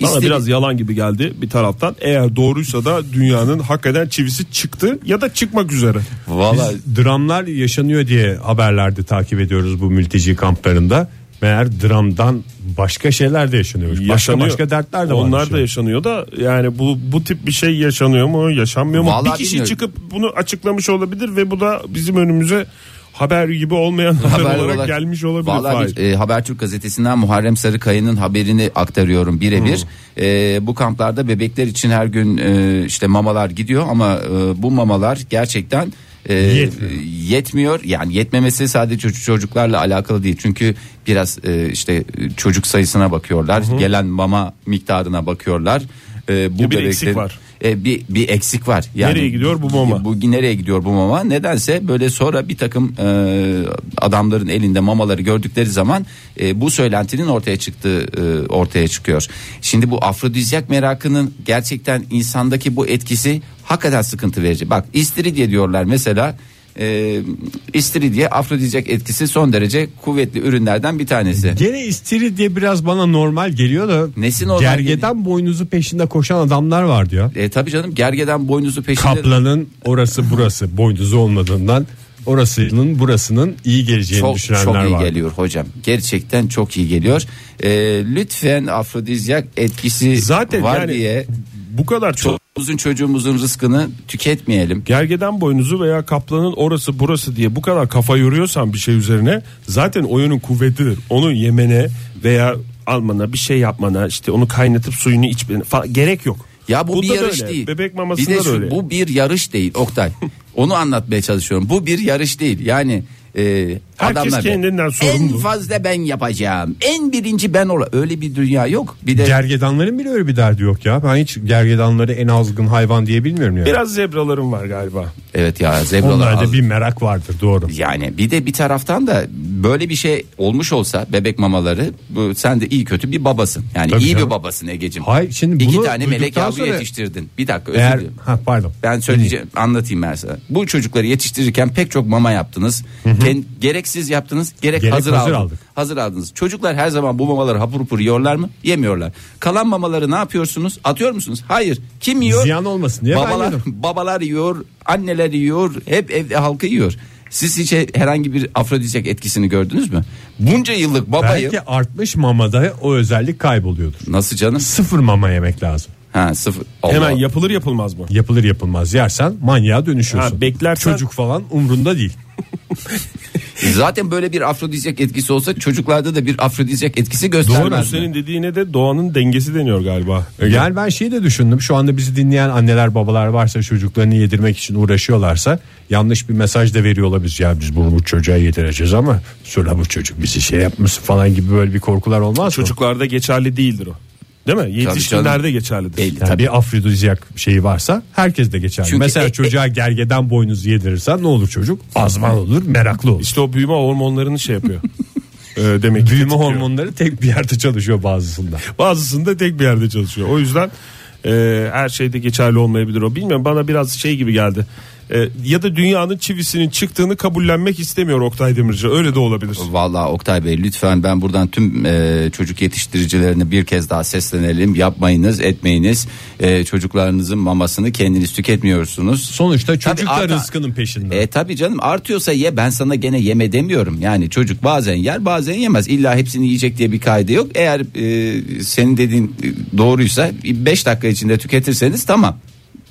Speaker 4: Bana
Speaker 2: istedi-
Speaker 4: biraz yalan gibi geldi bir taraftan. Eğer doğruysa da dünyanın hakikaten çivisi çıktı ya da çıkmak üzere.
Speaker 2: Vallahi
Speaker 3: Biz dramlar yaşanıyor diye haberlerde takip ediyoruz bu mülteci kamplarında. Meğer dramdan başka şeyler de yaşanıyor. Başka
Speaker 4: Yaşanıyor.
Speaker 3: başka dertler de var.
Speaker 4: Onlar da yaşanıyor da yani bu bu tip bir şey yaşanıyor mu, yaşanmıyor mu?
Speaker 2: Vallahi
Speaker 4: bir kişi
Speaker 2: bilmiyorum.
Speaker 4: çıkıp bunu açıklamış olabilir ve bu da bizim önümüze haber gibi olmayan haber, olarak, gelmiş olabilir.
Speaker 2: Vallahi biz,
Speaker 4: Fahir.
Speaker 2: e, Habertürk gazetesinden Muharrem Sarıkaya'nın haberini aktarıyorum birebir.
Speaker 4: Hmm.
Speaker 2: E, bu kamplarda bebekler için her gün e, işte mamalar gidiyor ama e, bu mamalar gerçekten e,
Speaker 3: Yetmiyor.
Speaker 2: yetmiyor. Yani yetmemesi sadece çocuk- çocuklarla alakalı değil. Çünkü biraz e, işte e, çocuk sayısına bakıyorlar. Gelen mama miktarına bakıyorlar. E, bu
Speaker 4: Ya bir
Speaker 2: bebeklerin-
Speaker 4: eksik var.
Speaker 2: E, bir bir eksik var.
Speaker 4: Nereye gidiyor bu mama?
Speaker 2: Bu nereye gidiyor bu mama? Nedense böyle sonra bir takım e, adamların elinde mamaları gördükleri zaman e, bu söylentinin ortaya çıktığı e, ortaya çıkıyor. Şimdi bu afrodizyak merakının gerçekten insandaki bu etkisi hakikaten sıkıntı verici. Bak istiridye diyorlar mesela. E, istiridye afrodizyak etkisi son derece kuvvetli ürünlerden bir tanesi.
Speaker 3: Gene istiri diye biraz bana normal geliyor da.
Speaker 2: Nesi normal
Speaker 3: Gergeden boynuzu peşinde koşan adamlar vardı ya.
Speaker 2: E, tabii canım gergeden boynuzu peşinde.
Speaker 3: Kaplanın orası burası boynuzu olmadığından orasının burasının iyi geleceğini
Speaker 2: çok,
Speaker 3: düşünenler
Speaker 2: çok iyi
Speaker 3: vardı.
Speaker 2: geliyor hocam. Gerçekten çok iyi geliyor. Ee, lütfen afrodizyak etkisi
Speaker 4: Zaten
Speaker 2: var
Speaker 4: yani
Speaker 2: diye
Speaker 4: bu kadar çok
Speaker 2: çocuğumuzun çocuğumuzun rızkını tüketmeyelim.
Speaker 4: gergeden boynuzu veya kaplanın orası burası diye bu kadar kafa yoruyorsan bir şey üzerine zaten oyunun kuvvetidir. Onu yemene veya almana bir şey yapmana işte onu kaynatıp suyunu içmene falan gerek yok.
Speaker 2: Ya bu
Speaker 4: Bunda
Speaker 2: bir
Speaker 4: da
Speaker 2: yarış
Speaker 4: öyle.
Speaker 2: değil.
Speaker 4: Bebek
Speaker 2: bir
Speaker 4: mamasında
Speaker 2: de
Speaker 4: da
Speaker 2: şu,
Speaker 4: öyle.
Speaker 2: bu bir yarış değil
Speaker 4: [LAUGHS]
Speaker 2: Oktay. Onu anlatmaya çalışıyorum. Bu bir yarış değil. Yani e,
Speaker 4: Herkes
Speaker 2: adamlar
Speaker 4: kendinden
Speaker 2: en
Speaker 4: sorumlu.
Speaker 2: fazla ben yapacağım. En birinci ben ola. Öyle bir dünya yok. Bir de
Speaker 3: Gergedanların bile öyle bir derdi yok ya. Ben hiç gergedanları en azgın hayvan diye bilmiyorum ya.
Speaker 4: Biraz zebralarım var galiba.
Speaker 2: evet ya zebralar az-
Speaker 3: Onlarda bir merak vardır doğru.
Speaker 2: Yani bir de bir taraftan da böyle bir şey olmuş olsa bebek mamaları bu sen de iyi kötü bir babasın. Yani
Speaker 3: Tabii
Speaker 2: iyi
Speaker 3: canım.
Speaker 2: bir babasın Egeciğim.
Speaker 3: Hayır, şimdi
Speaker 2: İki
Speaker 3: bunu
Speaker 2: tane melek
Speaker 3: duyduktan
Speaker 2: yavru
Speaker 3: sonra-
Speaker 2: yetiştirdin. Bir dakika özür
Speaker 3: Eğer
Speaker 2: dilerim.
Speaker 3: ha pardon.
Speaker 2: Ben söyleyeceğim anlatayım ben sana. Bu çocukları yetiştirirken pek çok mama yaptınız. Gen- gereksiz yaptınız, gerek,
Speaker 3: Gerek
Speaker 2: hazır,
Speaker 3: hazır
Speaker 2: aldınız.
Speaker 3: aldık.
Speaker 2: Hazır aldınız. Çocuklar her zaman bu mamaları hapur hapur yiyorlar mı? Yemiyorlar. Kalan mamaları ne yapıyorsunuz? Atıyor musunuz? Hayır. Kim yiyor?
Speaker 3: Ziyan olmasın diye ben
Speaker 2: babalar,
Speaker 3: yedim.
Speaker 2: [LAUGHS] babalar yiyor, anneler yiyor, hep evde halkı yiyor. Siz hiç herhangi bir afrodizyak etkisini gördünüz mü? Bunca yıllık babayı
Speaker 3: Belki artmış mamada o özellik kayboluyordur.
Speaker 2: nasıl canım?
Speaker 3: Sıfır mama yemek lazım.
Speaker 2: Ha sıfır. Allah.
Speaker 4: Hemen yapılır yapılmaz mı?
Speaker 3: Yapılır yapılmaz yersen manyağa dönüşüyorsun.
Speaker 4: Ha, beklersen-
Speaker 3: Çocuk falan umrunda değil.
Speaker 2: Zaten böyle bir afrodizyak etkisi olsa çocuklarda da bir afrodizyak etkisi göstermez.
Speaker 4: Doğru
Speaker 2: mi?
Speaker 4: senin dediğine de doğanın dengesi deniyor galiba.
Speaker 3: Yani ben şeyi de düşündüm. Şu anda bizi dinleyen anneler babalar varsa çocuklarını yedirmek için uğraşıyorlarsa yanlış bir mesaj da veriyor olabilir. Ya biz bunu bu çocuğa yedireceğiz ama sonra bu çocuk bizi şey yapmasın falan gibi böyle bir korkular olmaz mı?
Speaker 4: Çocuklarda geçerli değildir o. Değil mi? Yetişkinlerde
Speaker 2: canım.
Speaker 4: geçerlidir.
Speaker 2: Değil.
Speaker 3: Yani
Speaker 2: Tabii.
Speaker 3: bir afrodizyak şeyi varsa herkes de geçer.
Speaker 2: Çünkü
Speaker 3: Mesela
Speaker 2: e- e-
Speaker 3: çocuğa gergeden boynuzu yedirirsen ne olur çocuk? Azman olur, meraklı olur.
Speaker 4: İşte o büyüme hormonlarını
Speaker 2: [LAUGHS]
Speaker 4: şey yapıyor.
Speaker 2: e,
Speaker 4: Ee, demek ki
Speaker 3: Büyüme
Speaker 4: tetikliyor.
Speaker 3: hormonları tek bir yerde çalışıyor bazısında.
Speaker 4: Bazısında tek bir yerde çalışıyor. O yüzden e, her şeyde geçerli olmayabilir o. Bilmiyorum bana biraz şey gibi geldi. E, ya da dünyanın çivisinin çıktığını kabullenmek istemiyor Oktay Demirci. Öyle de olabilir.
Speaker 2: Vallahi Oktay Bey lütfen ben buradan tüm e, çocuk yetiştiricilerine bir kez daha seslenelim. Yapmayınız, etmeyiniz. E, çocuklarınızın mamasını kendiniz tüketmiyorsunuz.
Speaker 3: Sonuçta
Speaker 2: Tabii
Speaker 3: çocuk da
Speaker 2: artan-
Speaker 3: rızkının peşinde.
Speaker 2: E tabi canım artıyorsa ye ben sana gene yeme demiyorum. Yani çocuk bazen yer bazen yemez. İlla hepsini yiyecek diye bir kaydı yok. Eğer e, senin dediğin e, doğruysa 5 dakika içinde tüketirseniz tamam.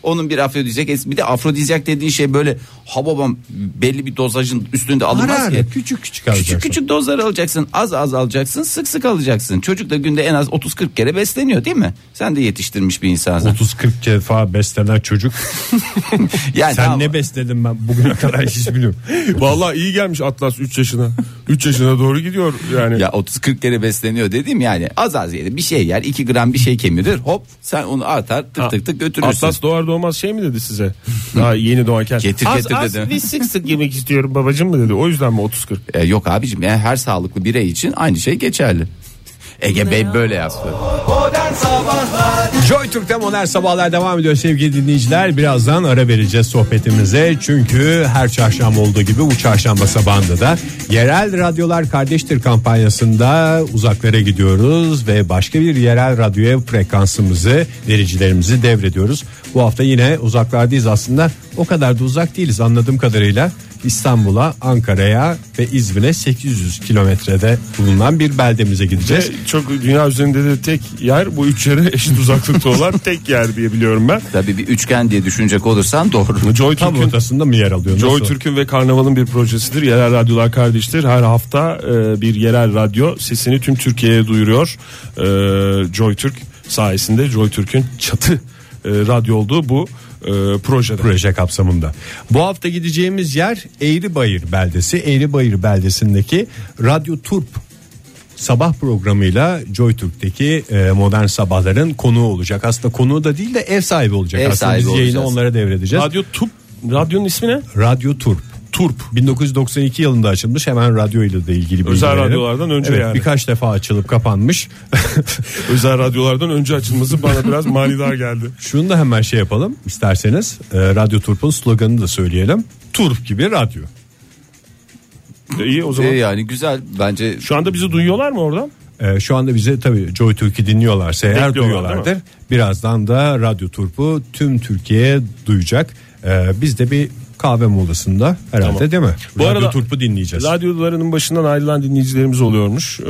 Speaker 2: Onun bir afrodizyak etkisi. Bir de afrodizyak dediğin şey böyle hababam belli bir dozajın üstünde alınmaz
Speaker 3: Ara ara,
Speaker 2: ki.
Speaker 3: küçük küçük alacaksın.
Speaker 2: Küçük küçük dozlar alacaksın. Az az alacaksın. Sık sık alacaksın. Çocuk da günde en az 30-40 kere besleniyor değil mi? Sen de yetiştirmiş bir insansın.
Speaker 3: 30-40 defa beslenen çocuk.
Speaker 2: Yani
Speaker 3: Sen
Speaker 2: tamam.
Speaker 3: ne besledin ben bugüne kadar hiç bilmiyorum.
Speaker 2: [LAUGHS]
Speaker 4: Vallahi iyi gelmiş Atlas 3 yaşına. 3 yaşına doğru gidiyor yani.
Speaker 2: Ya 30-40 kere besleniyor dedim yani az az yedi bir şey yer 2 gram bir şey kemirir hop sen onu atar tık tık tık götürürsün.
Speaker 4: Atlas doğar doğmaz şey mi dedi size? Daha yeni doğarken.
Speaker 2: Getir,
Speaker 4: az
Speaker 2: getir
Speaker 4: az
Speaker 2: dedi.
Speaker 4: bir sık sık yemek istiyorum babacım mı dedi. O yüzden mi 30-40?
Speaker 2: E, yok abicim yani her sağlıklı birey için aynı şey geçerli. Ege Bey böyle yaptı.
Speaker 3: Joy Türk'te modern sabahlar devam ediyor sevgili dinleyiciler. Birazdan ara vereceğiz sohbetimize. Çünkü her çarşamba olduğu gibi bu çarşamba sabahında da yerel radyolar kardeştir kampanyasında uzaklara gidiyoruz ve başka bir yerel radyoya frekansımızı vericilerimizi devrediyoruz. Bu hafta yine uzaklardayız aslında o kadar da uzak değiliz anladığım kadarıyla. İstanbul'a, Ankara'ya ve İzmir'e 800 kilometrede bulunan bir beldemize
Speaker 4: Ve
Speaker 3: gideceğiz.
Speaker 4: çok dünya üzerinde de tek yer bu üç yere eşit uzaklıkta olan tek yer diye biliyorum ben.
Speaker 2: Tabii bir üçgen diye düşünecek olursan doğru.
Speaker 4: [LAUGHS] Joy
Speaker 3: Tam
Speaker 4: Türk'ün
Speaker 3: ortasında mı yer alıyor?
Speaker 4: Joy
Speaker 3: Nasıl?
Speaker 4: Türk'ün ve Karnaval'ın bir projesidir. Yerel radyolar kardeştir. Her hafta e, bir yerel radyo sesini tüm Türkiye'ye duyuruyor. E, Joy Türk sayesinde Joy Türk'ün çatı e, radyo olduğu bu e,
Speaker 3: [LAUGHS]
Speaker 4: projede.
Speaker 3: proje kapsamında. Bu hafta gideceğimiz yer Eğribayır beldesi. Eğribayır beldesindeki Radyo Turp sabah programıyla JoyTürk'teki e, modern sabahların konuğu olacak. Aslında konuğu da değil de ev sahibi olacak.
Speaker 2: Ev
Speaker 3: Aslında
Speaker 2: sahibi
Speaker 3: biz yayını
Speaker 2: olacağız.
Speaker 3: onlara devredeceğiz. Radyo,
Speaker 4: Radyo Tup radyonun ismi ne?
Speaker 3: Turp. Turp 1992 yılında açılmış hemen radyo ile de ilgili bilgi
Speaker 4: Özel
Speaker 3: verelim.
Speaker 4: radyolardan önce
Speaker 3: evet,
Speaker 4: yani.
Speaker 3: Birkaç defa açılıp kapanmış. [LAUGHS]
Speaker 4: Özel radyolardan önce açılması bana biraz manidar geldi.
Speaker 2: [LAUGHS]
Speaker 3: Şunu da hemen şey yapalım isterseniz e, Radyo Turp'un sloganını da söyleyelim. Turp gibi radyo.
Speaker 4: E, İyi o
Speaker 2: E,
Speaker 4: zaman.
Speaker 2: yani güzel bence
Speaker 4: Şu anda bizi duyuyorlar mı oradan?
Speaker 3: Ee, şu anda bize tabii Joy Türk'ü dinliyorlarsa eğer
Speaker 4: Bekliyorlar,
Speaker 3: duyuyorlardır.
Speaker 4: değil
Speaker 3: Birazdan da Radyo Turpu tüm Türkiye'ye duyacak. Ee, biz de bir kahve molasında herhalde
Speaker 4: Tamam.
Speaker 3: değil mi?
Speaker 4: Bu
Speaker 3: Radyo
Speaker 4: arada-
Speaker 3: Turpu dinleyeceğiz.
Speaker 4: Radyolarının başından ayrılan dinleyicilerimiz oluyormuş. Ee,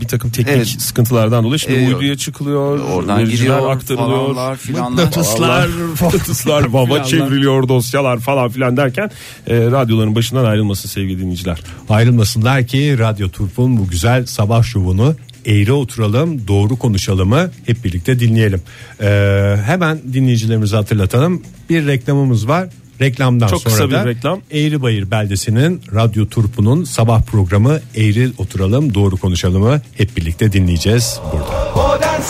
Speaker 4: bir takım teknik
Speaker 2: Evet.
Speaker 4: sıkıntılardan dolayı. Şimdi
Speaker 2: Evet.
Speaker 4: uyduya çıkılıyor.
Speaker 2: oradan
Speaker 4: vericiler
Speaker 2: gidiyor
Speaker 4: aktarılıyor.
Speaker 2: falanlar filanlar.
Speaker 4: Mıknatıslar, [LAUGHS] mıknatıslar baba çevriliyor dosyalar falan filan derken e, radyoların başından ayrılmasın sevgili dinleyiciler.
Speaker 3: Ayrılmasınlar ki Radyo Turp'un bu güzel sabah şovunu eğri oturalım doğru konuşalımı hep birlikte dinleyelim. Ee, hemen dinleyicilerimizi hatırlatalım. Bir reklamımız var. Reklamdan
Speaker 4: Çok
Speaker 3: sonra
Speaker 4: kısa
Speaker 3: da
Speaker 4: bir reklam.
Speaker 3: Eğri Bayır beldesinin Radyo Turpu'nun sabah programı Eğri Oturalım Doğru Konuşalım'ı hep birlikte dinleyeceğiz burada.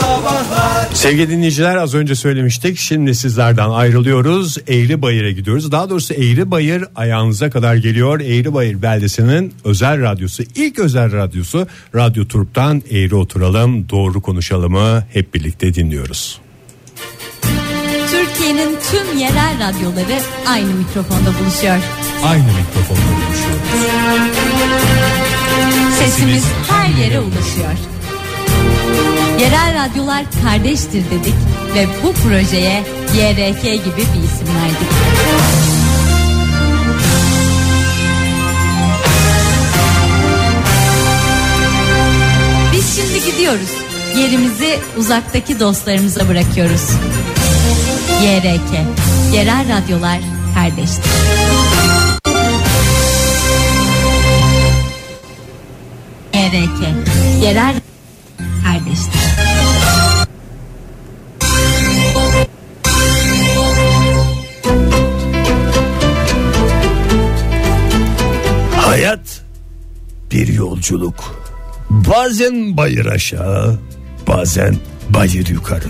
Speaker 3: Sevgili dinleyiciler az önce söylemiştik şimdi sizlerden ayrılıyoruz Eğri Bayır'a gidiyoruz daha doğrusu Eğri Bayır ayağınıza kadar geliyor Eğri Bayır beldesinin özel radyosu ilk özel radyosu Radyo Turp'tan Eğri Oturalım Doğru Konuşalım'ı hep birlikte dinliyoruz.
Speaker 5: Türkiye'nin tüm yerel radyoları aynı mikrofonda buluşuyor.
Speaker 3: Aynı mikrofonla konuşuyoruz.
Speaker 5: Sesimiz her yere ulaşıyor. Yerel radyolar kardeştir dedik ve bu projeye YRK gibi bir isim verdik. Biz şimdi gidiyoruz. Yerimizi uzaktaki dostlarımıza bırakıyoruz. YRK, Yerel Radyolar Kardeştir. YRK, Yerel Kardeştir.
Speaker 6: Hayat bir yolculuk. Bazen bayır aşağı, bazen bayır yukarı.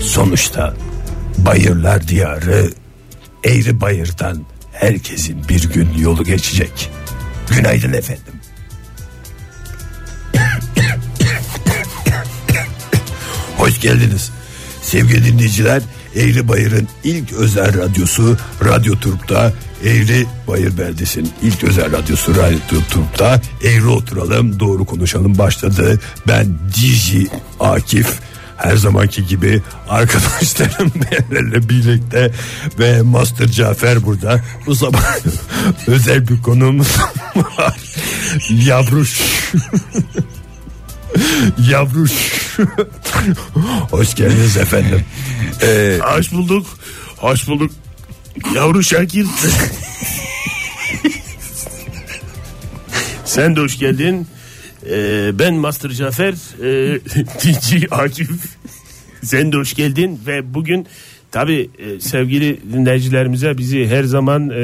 Speaker 6: Sonuçta bayırlar diyarı eğri bayırdan herkesin bir gün yolu geçecek. Günaydın efendim. Hoş geldiniz. Sevgili dinleyiciler, Eğri Bayır'ın ilk özel radyosu Radyo Turp'ta Eğri Bayır Beldesi'nin ilk özel radyosu Radyo Turp'ta Eğri Oturalım Doğru Konuşalım başladı. Ben DJ Akif her zamanki gibi arkadaşlarım [LAUGHS] benlerle birlikte ve Master Cafer burada. Bu sabah [LAUGHS] özel bir konuğumuz [LAUGHS] var. Yavruş. [LAUGHS] Yavruş. Hoş geldiniz efendim. Ee, Hoş bulduk.
Speaker 4: Hoş bulduk. Yavru Şakir. Sen de hoş geldin. Ee, ben Master Cafer. Ee, [LAUGHS] DJ Akif. Sen de hoş geldin ve bugün tabi sevgili dinleyicilerimize bizi her zaman e,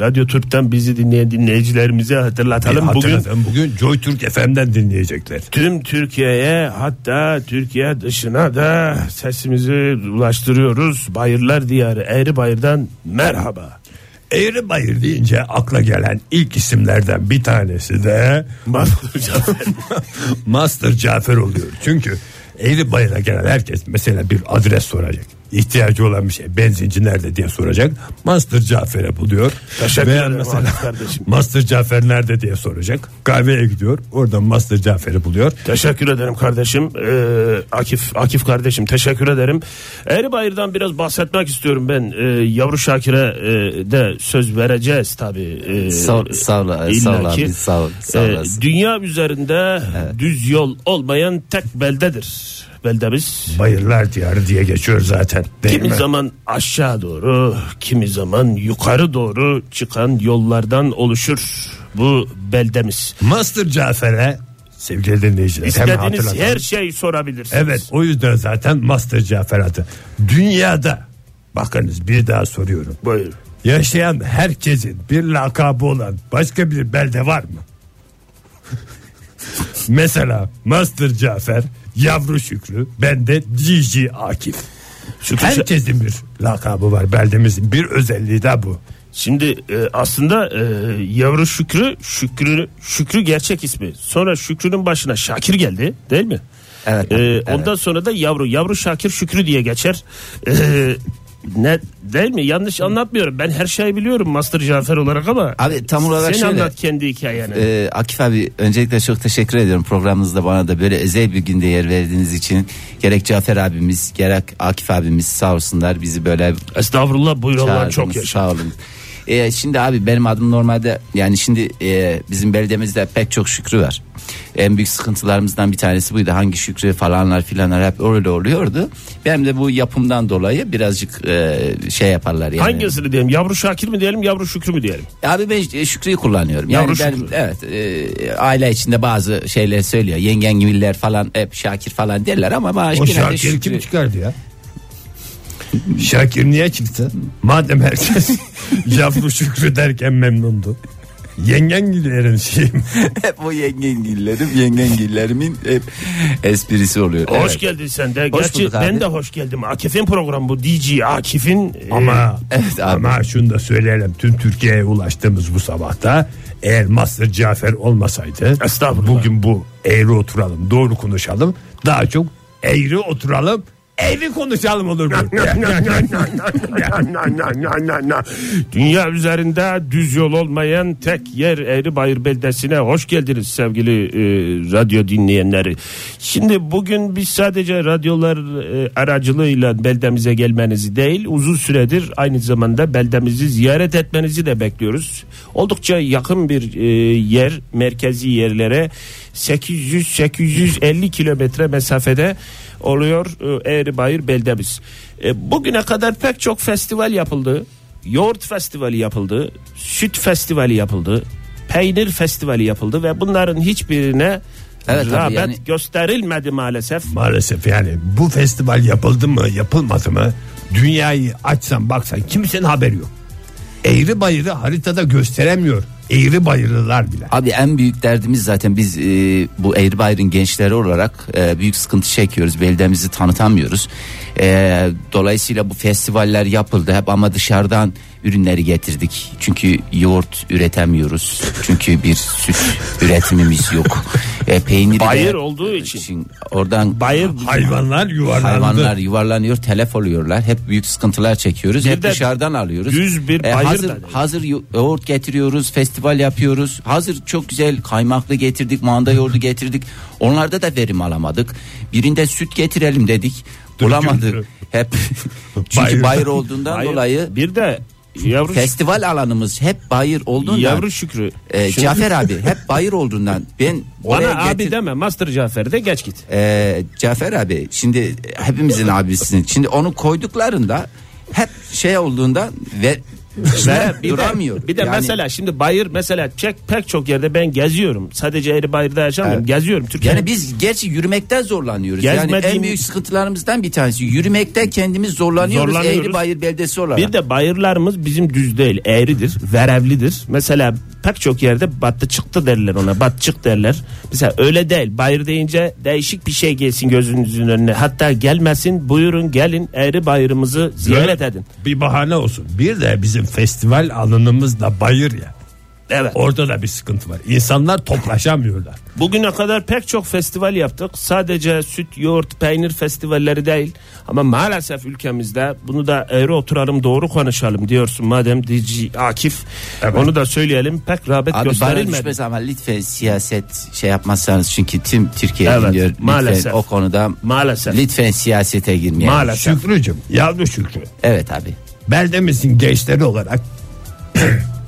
Speaker 4: Radyo Türk'ten bizi dinleyen dinleyicilerimize hatırlatalım. Bugün
Speaker 6: E, Hatırlatalım. Bugün Joy Türk FM'den dinleyecekler.
Speaker 4: tüm Türkiye'ye hatta Türkiye dışına da sesimizi ulaştırıyoruz. Bayırlar diyarı Eğri Bayır'dan merhaba.
Speaker 6: Eğri bayır deyince akla gelen ilk isimlerden bir tanesi de [LAUGHS]
Speaker 4: Master Cafer.
Speaker 6: Master Cafer oluyor. Çünkü Eğri bayıra gelen herkes mesela bir adres soracak. İhtiyacı olan bir şey benzinci nerede diye soracak. Master Cafer'e buluyor.
Speaker 4: Teşekkür
Speaker 6: Veya
Speaker 4: ederim
Speaker 6: mesela
Speaker 4: Arif kardeşim.
Speaker 6: Master Cafer nerede diye soracak. Kahveye gidiyor. Oradan Master Cafer'i buluyor.
Speaker 4: Teşekkür ederim kardeşim. Ee, Akif Akif kardeşim teşekkür ederim. Eribayır'dan biraz bahsetmek istiyorum ben. Ee, Yavru Şakir'e e, de söz vereceğiz tabii. Ee,
Speaker 2: Sağ- sağ ol,
Speaker 4: illaki.
Speaker 2: sağ ol abi, sağ ol, sağ
Speaker 4: Ee,
Speaker 2: olasın.
Speaker 4: dünya üzerinde düz yol olmayan tek beldedir beldemiz.
Speaker 6: Bayırlar diyarı diye geçiyor zaten. Değil
Speaker 4: Kimi
Speaker 6: mi?
Speaker 4: zaman aşağı doğru, kimi zaman yukarı doğru çıkan yollardan oluşur bu beldemiz.
Speaker 6: Master Cafer'e sevgili dinleyiciler. hemen
Speaker 4: İstediğiniz
Speaker 6: hatırlatalım.
Speaker 4: her şeyi sorabilirsiniz.
Speaker 6: Evet o yüzden zaten Master Cafer adı. Dünyada bakınız bir daha soruyorum.
Speaker 4: Buyurun.
Speaker 6: Yaşayan herkesin bir lakabı olan başka bir belde var mı? [LAUGHS] Mesela Master Cafer, Yavru Şükrü, ben de DJ Akif.
Speaker 4: Şükrü Şa-
Speaker 6: Herkesin bir lakabı var beldemizin bir özelliği de bu.
Speaker 4: Şimdi e, aslında e, yavru Şükrü, Şükrü Şükrü gerçek ismi. Sonra Şükrü'nün başına Şakir geldi, değil mi?
Speaker 2: Evet,
Speaker 4: E,
Speaker 2: evet.
Speaker 4: Ondan sonra da yavru, yavru Şakir Şükrü diye geçer. E, ne değil mi? Yanlış anlatmıyorum. Ben her şeyi biliyorum Master Cafer olarak ama.
Speaker 2: Abi tam olarak
Speaker 4: sen
Speaker 2: şöyle.
Speaker 4: anlat kendi hikayeni.
Speaker 2: Ee, Akif abi öncelikle çok teşekkür ediyorum programınızda bana da böyle özel bir günde yer verdiğiniz için. Gerek Cafer abimiz gerek Akif abimiz sağ olsunlar bizi böyle
Speaker 4: Estağfurullah buyur Allah
Speaker 2: çağırdınız.
Speaker 4: çok yaşa.
Speaker 2: Sağ olun. Ee, şimdi abi benim adım normalde yani şimdi e, bizim beldemizde pek çok şükrü var. En büyük sıkıntılarımızdan bir tanesi buydu. Hangi şükrü falanlar filanlar hep öyle oluyordu. Benim de bu yapımdan dolayı birazcık e, şey yaparlar yani.
Speaker 4: Hangisini diyelim? Yavru Şakir mi diyelim, yavru Şükrü mü diyelim?
Speaker 2: Abi ben e, Şükrü'yü kullanıyorum. Yani
Speaker 4: Yavru
Speaker 2: ben
Speaker 4: Şükrü.
Speaker 2: evet e, aile içinde bazı şeyler söylüyor. Yengen gibiler falan hep Şakir falan derler ama bana
Speaker 6: O
Speaker 2: genelde
Speaker 6: Şakir kim çıkardı ya? Şakir niye çıktı? Madem herkes Yavru Şükrü derken memnundu. Yengengillerin şeyi mi?
Speaker 2: [LAUGHS] hep o yengengillerim, yengengillerimin hep esprisi oluyor.
Speaker 4: Hoş
Speaker 2: Evet.
Speaker 4: geldin sen de.
Speaker 2: Hoş
Speaker 4: Gerçi
Speaker 2: bulduk abi.
Speaker 4: ben de hoş geldim. Akif'in programı bu. DJ Akif'in. e,
Speaker 6: Ama
Speaker 2: Evet abi.
Speaker 6: ama şunu da söyleyelim tüm Türkiye'ye ulaştığımız bu sabahta eğer Master Cafer olmasaydı
Speaker 4: Estağfurullah.
Speaker 6: bugün bu eğri oturalım doğru konuşalım daha çok eğri oturalım eğri konuşalım olur mu?
Speaker 4: [LAUGHS] Dünya üzerinde düz yol olmayan tek yer Eğribayır beldesine hoş geldiniz sevgili e, radyo dinleyenleri. Şimdi bugün biz sadece radyolar e, aracılığıyla beldemize gelmenizi değil uzun süredir aynı zamanda beldemizi ziyaret etmenizi de bekliyoruz. Oldukça yakın bir e, yer merkezi yerlere 800-850 kilometre mesafede oluyor e, Eğribayır beldemiz. E, bugüne kadar pek çok festival yapıldı. Yoğurt festivali yapıldı. Süt festivali yapıldı. Peynir festivali yapıldı ve bunların hiçbirine
Speaker 2: Evet abi,
Speaker 4: rağbet
Speaker 2: yani-
Speaker 4: gösterilmedi maalesef.
Speaker 6: Maalesef yani bu festival yapıldı mı yapılmadı mı dünyayı açsan baksan kimsenin haberi yok. Eğri bayırı haritada gösteremiyor. Eğri bayırlılar bile.
Speaker 2: Abi en büyük derdimiz zaten biz e, bu Eğribayır'ın gençleri olarak e, büyük sıkıntı çekiyoruz. Beldemizi tanıtamıyoruz. E, dolayısıyla bu festivaller yapıldı hep ama dışarıdan ürünleri getirdik. Çünkü yoğurt üretemiyoruz. Çünkü bir süt üretimimiz yok. E, peyniri de-
Speaker 4: Bayır olduğu için.
Speaker 2: Oradan
Speaker 4: Bayır
Speaker 6: Hayvanlar yuvarlandı.
Speaker 2: hayvanlar yuvarlanıyor, telef oluyorlar. Hep büyük sıkıntılar çekiyoruz.
Speaker 4: Bir
Speaker 2: Hep
Speaker 4: de
Speaker 2: dışarıdan alıyoruz. E,
Speaker 4: düz bir bayır
Speaker 2: hazır
Speaker 4: da-
Speaker 2: hazır yo- yoğurt getiriyoruz, festival yapıyoruz. Hazır çok güzel kaymaklı getirdik, manda yoğurdu getirdik. Onlarda da verim alamadık. Birinde süt getirelim dedik. Bulamadık. Hep
Speaker 4: [LAUGHS]
Speaker 2: çünkü
Speaker 6: Bayır.
Speaker 2: bayır, olduğundan
Speaker 4: Bayır.
Speaker 2: dolayı
Speaker 4: bir de yavru
Speaker 2: festival alanımız hep bayır olduğundan.
Speaker 4: yavru Şükrü.
Speaker 2: Ee,
Speaker 4: Şimdi
Speaker 2: Cafer abi hep bayır olduğundan ben oraya
Speaker 4: bana abi
Speaker 2: getir-
Speaker 4: deme Master Cafer de geç git.
Speaker 2: ee, Cafer abi şimdi hepimizin abisinin şimdi onu koyduklarında hep şey olduğunda ve
Speaker 4: bir
Speaker 2: duramıyor.
Speaker 4: De, bir de
Speaker 2: Yani-
Speaker 4: mesela şimdi bayır mesela çek pek çok yerde ben geziyorum. Sadece Eğri Bayır'da yaşamıyorum.
Speaker 2: Evet.
Speaker 4: Geziyorum Türkiye'nin
Speaker 2: Yani biz gerçi yürümekten zorlanıyoruz. Yani en
Speaker 4: Gezmediğim-
Speaker 2: büyük sıkıntılarımızdan bir tanesi yürümekte kendimiz zorlanıyoruz.
Speaker 4: Zorlanıyoruz.
Speaker 2: Eğri bayır beldesi olarak.
Speaker 4: Bir de bayırlarımız bizim düz değil eğridir verevlidir. Mesela pek çok yerde battı çıktı derler ona batçık derler. Mesela öyle değil bayır deyince değişik bir şey gelsin gözünüzün önüne. Hatta gelmesin buyurun gelin eğri bayırımızı ziyaret edin.
Speaker 6: Bir bahane olsun. Bir de bizim festival alanımız da bayır ya.
Speaker 4: Evet.
Speaker 6: Orada da bir sıkıntı var. İnsanlar toplaşamıyorlar.
Speaker 4: Bugüne kadar pek çok festival yaptık. Sadece süt, yoğurt, peynir festivalleri değil. Ama maalesef ülkemizde bunu da eğri oturalım doğru konuşalım diyorsun madem DJ Akif. Onu da söyleyelim pek rağbet
Speaker 2: Abi bana
Speaker 4: gösterilmedi.
Speaker 2: düşmez ama lütfen siyaset şey yapmazsanız çünkü tüm Türkiye
Speaker 4: Evet,
Speaker 2: dinliyor. Lütfen
Speaker 4: maalesef.
Speaker 2: o konuda
Speaker 4: Maalesef.
Speaker 2: lütfen siyasete girmeyelim.
Speaker 4: Maalesef.
Speaker 6: [LAUGHS] Şükrücüm, yavru Şükrü.
Speaker 2: Evet abi.
Speaker 6: Beldemizin gençleri olarak [CLEARS THROAT]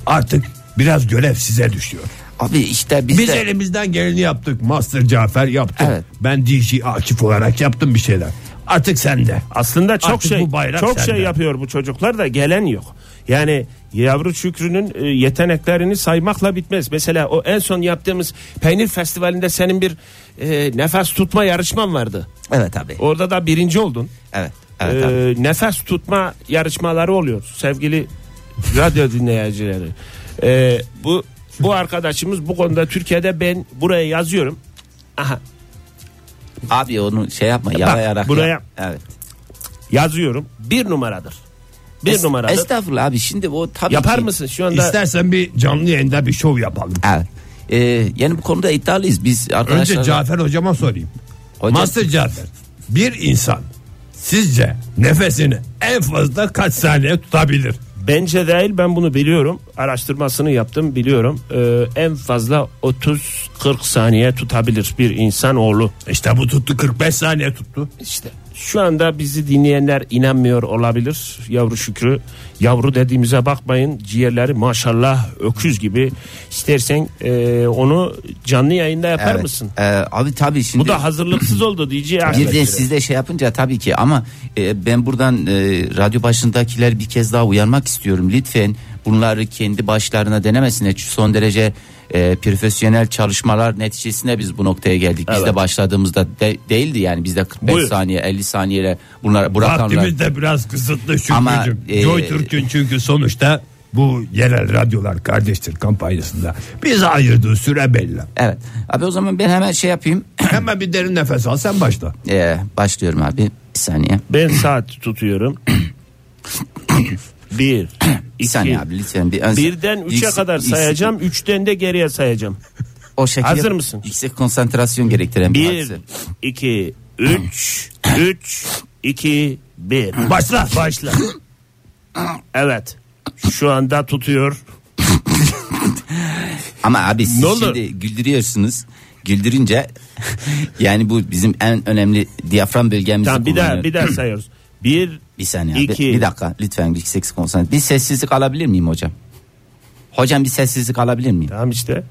Speaker 6: artık biraz görev size düşüyor.
Speaker 2: Abi işte biz,
Speaker 6: Biz
Speaker 2: de
Speaker 6: elimizden geleni yaptık. Master Cafer yaptı.
Speaker 2: Evet.
Speaker 6: Ben DJ Akif olarak yaptım bir şeyler. Artık sen de.
Speaker 4: Aslında çok
Speaker 6: Artık
Speaker 4: şey
Speaker 6: bu bayrak
Speaker 4: çok
Speaker 6: sende.
Speaker 4: şey yapıyor bu çocuklar da gelen yok. Yani yavru Şükrü'nün e, yeteneklerini saymakla bitmez. Mesela o en son yaptığımız peynir festivalinde senin bir e, nefes tutma yarışman vardı.
Speaker 2: Evet abi.
Speaker 4: Orada da birinci oldun.
Speaker 2: Evet. Evet abi.
Speaker 4: Ee, nefes tutma yarışmaları oluyor sevgili radyo dinleyicileri. Ee, bu bu arkadaşımız bu konuda Türkiye'de ben buraya yazıyorum. Aha
Speaker 2: Abi onu şey yapma yalayarak.
Speaker 4: buraya-
Speaker 2: yap. Evet.
Speaker 4: yazıyorum. Bir numaradır. Bir
Speaker 2: Es-
Speaker 4: numaradır.
Speaker 2: Estağfurullah abi şimdi o tabii
Speaker 4: Yapar
Speaker 2: ki-
Speaker 4: mısın şu anda?
Speaker 6: İstersen bir canlı yayında bir şov yapalım.
Speaker 2: Evet. Ee, yani bu konuda iddialıyız biz arkadaşlar.
Speaker 6: Önce Cafer hocama sorayım.
Speaker 2: Hocam-
Speaker 6: Master Cafer bir insan sizce nefesini en fazla kaç saniye tutabilir?
Speaker 4: Bence değil ben bunu biliyorum. Araştırmasını yaptım biliyorum. Ee, en fazla 30-40 saniye tutabilir bir insan oğlu.
Speaker 6: İşte bu tuttu 45 saniye tuttu.
Speaker 4: İşte şu anda bizi dinleyenler inanmıyor olabilir. Yavru Şükrü. Yavru dediğimize bakmayın. Ciğerleri maşallah öküz gibi. İstersen e, onu canlı yayında yapar
Speaker 2: Evet.
Speaker 4: mısın?
Speaker 2: Ee, abi tabii şimdi.
Speaker 4: Bu da hazırlıksız oldu diyeceği.
Speaker 2: Bir de siz de şey yapınca tabii ki ama e, ben buradan e, radyo başındakiler bir kez daha uyarmak istiyorum. Lütfen bunları kendi başlarına denemesinler. Çünkü son derece e, profesyonel çalışmalar neticesinde biz bu noktaya geldik. Biz de başladığımızda de- değildi yani bizde 45
Speaker 4: Buyur.
Speaker 2: saniye 50 saniye bunlar bu rakamlar.
Speaker 6: Vaktimiz de biraz kısıtlı
Speaker 2: Ama,
Speaker 6: Şükrücüm.
Speaker 2: e,
Speaker 6: Joy Türk'ün çünkü sonuçta bu yerel radyolar kardeştir kampanyasında bize ayırdığı
Speaker 2: [CLEARS THROAT]
Speaker 6: süre belli.
Speaker 2: Evet. Abi o zaman ben hemen şey yapayım. [CLEARS THROAT]
Speaker 6: Hemen bir derin nefes al sen başla.
Speaker 2: E, başlıyorum abi. Bir saniye.
Speaker 4: Ben
Speaker 2: [COUGHS]
Speaker 4: saat tutuyorum. bir,
Speaker 2: Bir
Speaker 4: iki,
Speaker 2: saniye abi lütfen. Bir,
Speaker 4: Birden üçe
Speaker 2: Yüksek-
Speaker 4: kadar
Speaker 2: yüksek-
Speaker 4: sayacağım. Üçten de geriye sayacağım.
Speaker 2: O şekilde
Speaker 4: Hazır mısın?
Speaker 2: Yüksek konsantrasyon gerektiren bir
Speaker 4: Bir,
Speaker 2: hadise.
Speaker 4: iki, üç, üç, iki, bir.
Speaker 6: Başla.
Speaker 4: Başla. Evet. Şu anda tutuyor.
Speaker 2: Ama abi siz
Speaker 4: Ne olur?
Speaker 2: şimdi güldürüyorsunuz. Güldürünce yani bu bizim en önemli diyafram bölgemizi
Speaker 4: Tamam bir daha
Speaker 2: kullanıyor.
Speaker 4: bir daha sayıyoruz. Bir,
Speaker 2: Bir saniye abi.
Speaker 4: İki.
Speaker 2: Bir dakika lütfen yüksek konsantre. Bir sessizlik alabilir miyim hocam? Hocam bir sessizlik alabilir miyim?
Speaker 4: Tamam işte.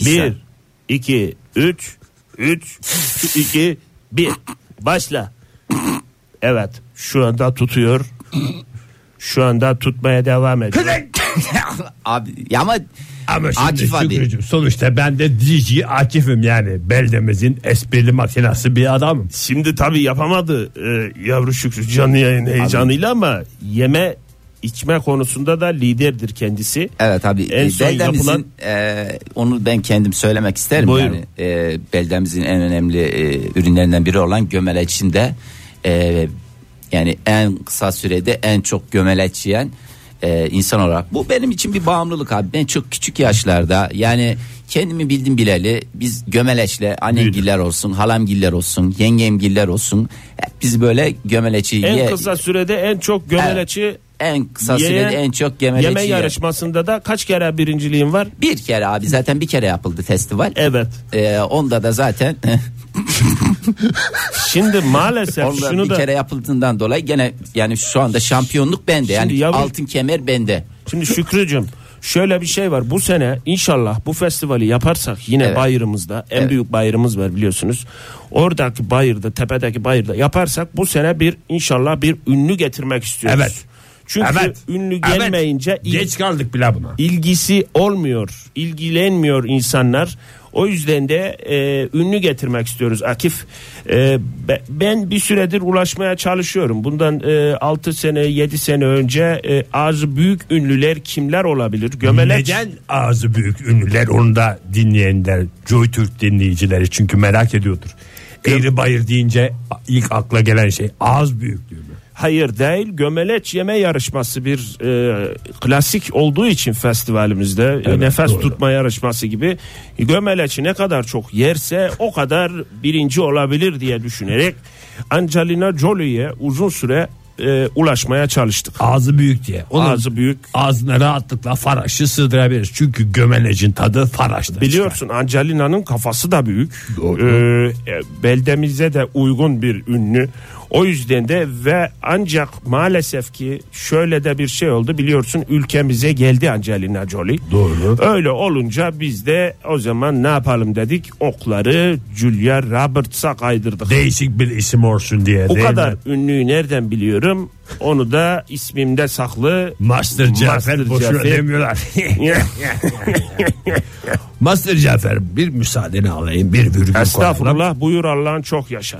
Speaker 2: Bir
Speaker 4: Bir,
Speaker 2: saniye. [LAUGHS]
Speaker 4: iki, üç, üç, iki, bir. Başla. Evet. Şu anda tutuyor. Şu anda tutmaya devam ediyor.
Speaker 2: abi ya ama
Speaker 6: Ama şimdi
Speaker 2: Akif abi.
Speaker 6: Şükrücüm, sonuçta ben de DJ Akif'im yani beldemizin esprili makinası bir adamım.
Speaker 4: Şimdi tabii yapamadı e, yavru Şükrü canlı yayın heyecanıyla ama yeme içme konusunda da liderdir kendisi.
Speaker 2: Evet abi
Speaker 4: En
Speaker 2: e,
Speaker 4: son
Speaker 2: beldemizin
Speaker 4: yapılan-
Speaker 2: e, onu ben kendim söylemek isterim
Speaker 4: Buyurun.
Speaker 2: yani E, beldemizin en önemli e, ürünlerinden biri olan gömeleçinde e, yani en kısa sürede en çok gömeleç yiyen e, insan olarak bu benim için bir bağımlılık abi ben çok küçük yaşlarda yani kendimi bildim bileli biz gömeleçle annemgiller olsun halamgiller olsun yengemgiller olsun hep biz böyle gömeleçi
Speaker 4: En
Speaker 2: ye-
Speaker 4: kısa sürede en çok gömeleçi
Speaker 2: en kısa
Speaker 4: yeyen
Speaker 2: sürede en çok gömeleçi
Speaker 4: yeme
Speaker 2: yiyen.
Speaker 4: yarışmasında da kaç kere birinciliğin var?
Speaker 2: Bir kere abi zaten bir kere yapıldı festival.
Speaker 4: Evet.
Speaker 2: Ee, onda da zaten [LAUGHS]
Speaker 4: Şimdi maalesef
Speaker 2: onda
Speaker 4: şunu
Speaker 2: bir
Speaker 4: da
Speaker 2: kere yapıldığından dolayı gene yani şu anda şampiyonluk bende. Yani
Speaker 4: Şimdi yavrum-
Speaker 2: altın kemer bende.
Speaker 4: şimdi Şükrücüm Şöyle bir şey var. Bu sene inşallah bu festivali yaparsak yine
Speaker 2: Evet.
Speaker 4: bayırımızda en büyük bayırımız var biliyorsunuz. Oradaki bayırda, tepedeki bayırda yaparsak bu sene bir inşallah bir ünlü getirmek istiyoruz.
Speaker 6: Evet.
Speaker 4: Çünkü
Speaker 6: Evet.
Speaker 4: ünlü
Speaker 6: Evet.
Speaker 4: gelmeyince il-
Speaker 6: Geç kaldık bile buna.
Speaker 4: ilgisi olmuyor. ilgilenmiyor insanlar. O yüzden de e, ünlü getirmek istiyoruz Akif. E, be- ben bir süredir ulaşmaya çalışıyorum. Bundan e, 6 sene 7 sene önce e, ağzı büyük ünlüler kimler olabilir? Gömelek.
Speaker 6: Neden ağzı büyük ünlüler onu da dinleyenler Joy Türk dinleyicileri çünkü merak ediyordur. Eğri bayır deyince ilk akla gelen şey ağız büyüklüğü mü?
Speaker 4: Hayır değil. Gömeleç yeme yarışması bir e, klasik olduğu için festivalimizde e, nefes tutma yarışması gibi gömeleçi ne kadar çok yerse o kadar birinci olabilir diye düşünerek Angelina Jolie'ye uzun süre e, ulaşmaya çalıştık.
Speaker 6: Ağzı büyük diye. Onun
Speaker 4: Ağzı büyük.
Speaker 6: Ağzına rahatlıkla faraşı sığdırabiliriz. Çünkü gömelecin tadı faraşta.
Speaker 4: Biliyorsun Angelina'nın kafası da büyük.
Speaker 6: Doğru.
Speaker 4: Ee, e, beldemize de uygun bir ünlü. O yüzden de ve ancak maalesef ki şöyle de bir şey oldu biliyorsun ülkemize geldi Angelina Jolie.
Speaker 6: Doğru.
Speaker 4: Öyle olunca biz de o zaman ne yapalım dedik okları Julia Roberts'a kaydırdık.
Speaker 6: Değişik bir isim olsun diye.
Speaker 4: Bu
Speaker 6: değil
Speaker 4: kadar
Speaker 6: mi?
Speaker 4: ünlüyü nereden biliyorum onu da ismimde
Speaker 6: [LAUGHS]
Speaker 4: saklı.
Speaker 6: Master Cafer
Speaker 4: Master
Speaker 6: boşuna
Speaker 4: Cafer. [LAUGHS]
Speaker 6: demiyorlar. Master Cafer bir müsaadeni alayım bir virgül koyalım.
Speaker 4: Estağfurullah buyur Allah'ın çok yaşa.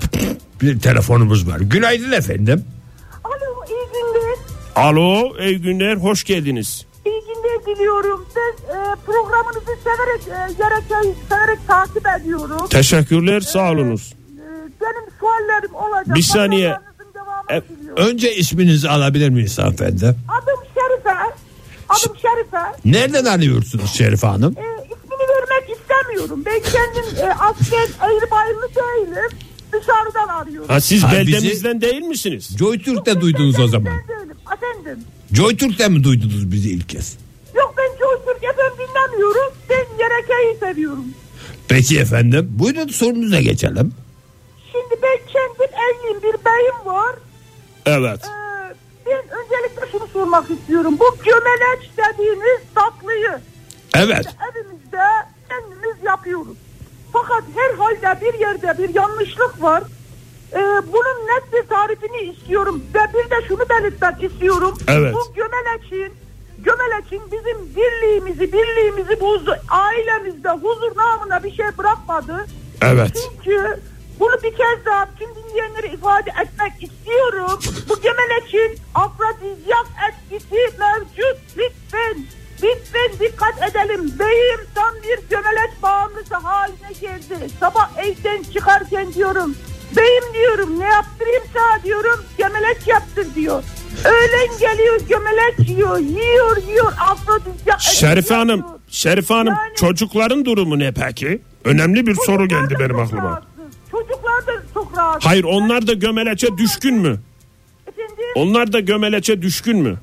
Speaker 6: Bir telefonumuz var. Günaydın efendim.
Speaker 7: Alo iyi günler.
Speaker 4: Alo iyi günler hoş geldiniz.
Speaker 7: İyi günler diliyorum. Ben e, programınızı severek, e, yerek, severek takip ediyorum.
Speaker 4: Teşekkürler sağ olunuz.
Speaker 7: E, benim suallerim olacak.
Speaker 4: Bir saniye.
Speaker 7: Programlarınızın devamını
Speaker 4: E,
Speaker 7: diliyorum.
Speaker 6: Önce isminizi alabilir miyiz hanımefendi?
Speaker 7: Adım Şerife. Adım Şerife.
Speaker 6: Nereden arıyorsunuz Şerife Hanım?
Speaker 7: E, ismini vermek istemiyorum. Ben kendim e, asker eğribayırlı değilim. Dışarıdan arıyorum.
Speaker 4: Ha siz
Speaker 6: Ha,
Speaker 4: beldemizden değil misiniz?
Speaker 6: Joytürk'te duydunuz o zaman.
Speaker 7: Ben değilim. Efendim.
Speaker 6: Joytürk'te mi duydunuz bizi ilk kez?
Speaker 7: Yok ben Joy Türk efendim dinlemiyorum. Ben Yereke'yi seviyorum.
Speaker 6: Peki efendim. Buyurun sorunuza geçelim.
Speaker 7: Şimdi ben kendim evliyim. Bir beyim var.
Speaker 4: Evet.
Speaker 7: Ee, ben öncelikle şunu sormak istiyorum. Bu gömeleç dediğiniz tatlıyı
Speaker 6: Evet.
Speaker 7: evimizde kendimiz yapıyoruz. Fakat herhalde bir yerde bir yanlışlık var. Ee, bunun net bir tarifini istiyorum ve bir de şunu belirtmek istiyorum.
Speaker 6: Evet.
Speaker 7: Bu gömeleçin gömeleçin bizim birliğimizi birliğimizi bozdu. Ailemizde huzur namına bir şey bırakmadı.
Speaker 6: Evet.
Speaker 7: Çünkü bunu bir kez daha tüm dinleyenlere ifade etmek istiyorum. Bu gömeleçin afrodizyak etkisi mevcut. Lütfen, lütfen dikkat edelim. Beyim tam bir gömeleç bağımlısı haline geldi. Sabah evden çıkarken diyorum. Beyim diyorum ne yaptırayım sana diyorum. Gömeleç yaptır diyor. Öğlen geliyor gömeleç yiyor. Yiyor yiyor afrodizyak etkisi
Speaker 4: Şerife Hanım,
Speaker 7: yapıyor.
Speaker 4: Şerife Hanım
Speaker 7: Yani-
Speaker 4: çocukların durumu ne peki? Önemli bir soru
Speaker 7: Çocuklar
Speaker 4: geldi
Speaker 7: da
Speaker 4: benim
Speaker 7: çok
Speaker 4: aklıma.
Speaker 7: rahatsız. Çocuklar da çok rahatsız.
Speaker 4: Hayır onlar da gömeleçe düşkün mü?
Speaker 7: Efendim?
Speaker 4: Onlar da gömeleçe düşkün mü?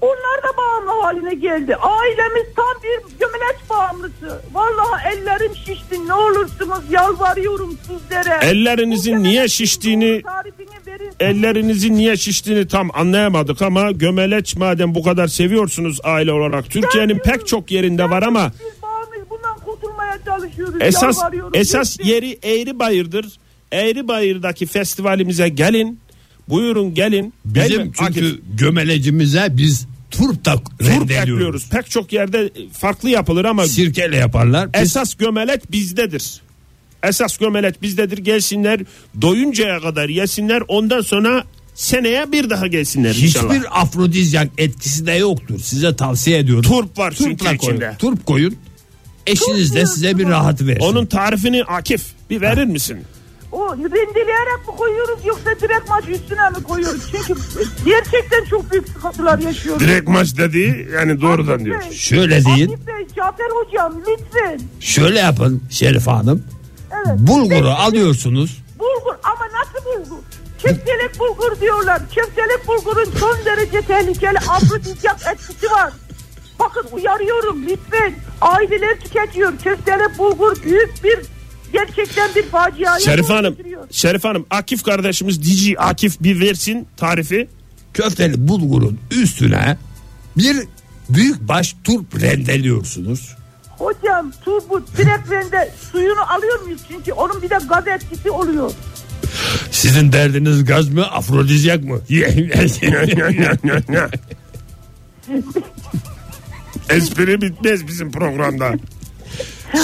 Speaker 7: Onlar da bağımlı haline geldi. Ailemiz tam bir gömeleç bağımlısı. Vallahi ellerim şişti. Ne olursunuz yalvarıyorum sizlere.
Speaker 4: Ellerinizin
Speaker 7: Bu
Speaker 4: niye
Speaker 7: gömeleçin
Speaker 4: şiştiğini-
Speaker 7: tarifini verin.
Speaker 4: Ellerinizin niye şiştiğini tam anlayamadık ama gömeleç madem bu kadar seviyorsunuz aile olarak Türkiye'nin pek çok yerinde var ama
Speaker 7: Biz bağımlıyız. Bundan kurtulmaya çalışıyoruz.
Speaker 4: Esas
Speaker 7: yalvarıyorum.
Speaker 4: esas
Speaker 7: Lütfen.
Speaker 4: yeri Eğri Bayır'dır. Eğri Bayır'daki festivalimize gelin. Buyurun gelin.
Speaker 6: Bizim
Speaker 4: Gelin. Akif.
Speaker 6: çünkü gömelecimize biz turp da
Speaker 4: Turp
Speaker 6: rendeliyoruz.
Speaker 4: ekliyoruz. Pek çok yerde farklı yapılır ama
Speaker 6: Sirkeyle yaparlar. Biz
Speaker 4: esas gömelek bizdedir. Esas gömelek bizdedir. Gelsinler doyuncaya kadar yesinler. Ondan sonra seneye bir daha gelsinler inşallah.
Speaker 6: Hiçbir afrodizyak etkisi de yoktur. Size tavsiye ediyorum.
Speaker 4: Turp var çünkü
Speaker 6: Turpla koyun.
Speaker 4: içinde.
Speaker 6: Turp koyun. Eşiniz de size bir rahat versin.
Speaker 4: Onun tarifini Akif bir verir misin?
Speaker 7: O rendeleyerek mi koyuyoruz yoksa direkt maç üstüne mi koyuyoruz? Çünkü gerçekten çok büyük sıkıntılar yaşıyoruz.
Speaker 8: Direkt maç dediği yani doğrudan diyor.
Speaker 7: Bey,
Speaker 6: şöyle deyin.
Speaker 7: Akif Bey, Cafer Hocam lütfen.
Speaker 6: Şöyle yapın Şerif Hanım.
Speaker 7: Evet.
Speaker 6: Bulguru alıyorsunuz.
Speaker 7: Bulgur ama nasıl bulgur? Köftelik bulgur diyorlar. Köftelik bulgurun son derece tehlikeli afrodizyak etkisi var. Bakın uyarıyorum lütfen. Aileler tüketiyor. Köftelik bulgur büyük bir gerçekten bir faciaya
Speaker 4: Şerif Hanım,
Speaker 7: dönüştürüyor.
Speaker 4: Şerif Hanım Akif kardeşimiz Dici Akif bir versin tarifi.
Speaker 6: Köfteli bulgurun üstüne bir büyük baş turp rendeliyorsunuz.
Speaker 7: Hocam turbu direklerinde suyunu alıyor muyuz? Çünkü onun bir de gaz etkisi oluyor.
Speaker 6: Sizin derdiniz gaz mı afrodizyak mı? [LAUGHS]
Speaker 4: Espri bitmez bizim programda.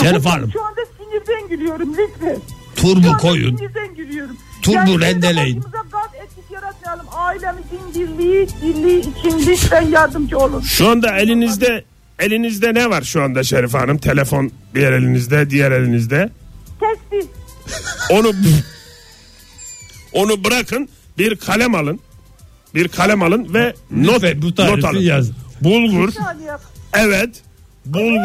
Speaker 6: Şerif Hanım
Speaker 7: Şu anda sinirden gülüyorum lütfen. Şu
Speaker 6: turbu
Speaker 7: anda
Speaker 6: koyun
Speaker 7: Sinirden gülüyorum.
Speaker 6: Turbu
Speaker 7: biz de
Speaker 6: rendeleyin.
Speaker 7: başımıza gaz etkisi yaratmayalım. Ailemizin birliği, birliği için lütfen yardımcı olun.
Speaker 4: Şu anda elinizde elinizde ne var şu anda Şerif Hanım? Telefon bir elinizde, diğer elinizde.
Speaker 7: Testi.
Speaker 4: Onu onu bırakın bir kalem alın. Bir kalem alın ve not,
Speaker 6: Lütfen bu tarifi
Speaker 4: not alın.
Speaker 6: yaz.
Speaker 4: Bulgur,
Speaker 7: Bir saniye. yap.
Speaker 4: evet, bulgur,
Speaker 7: Bir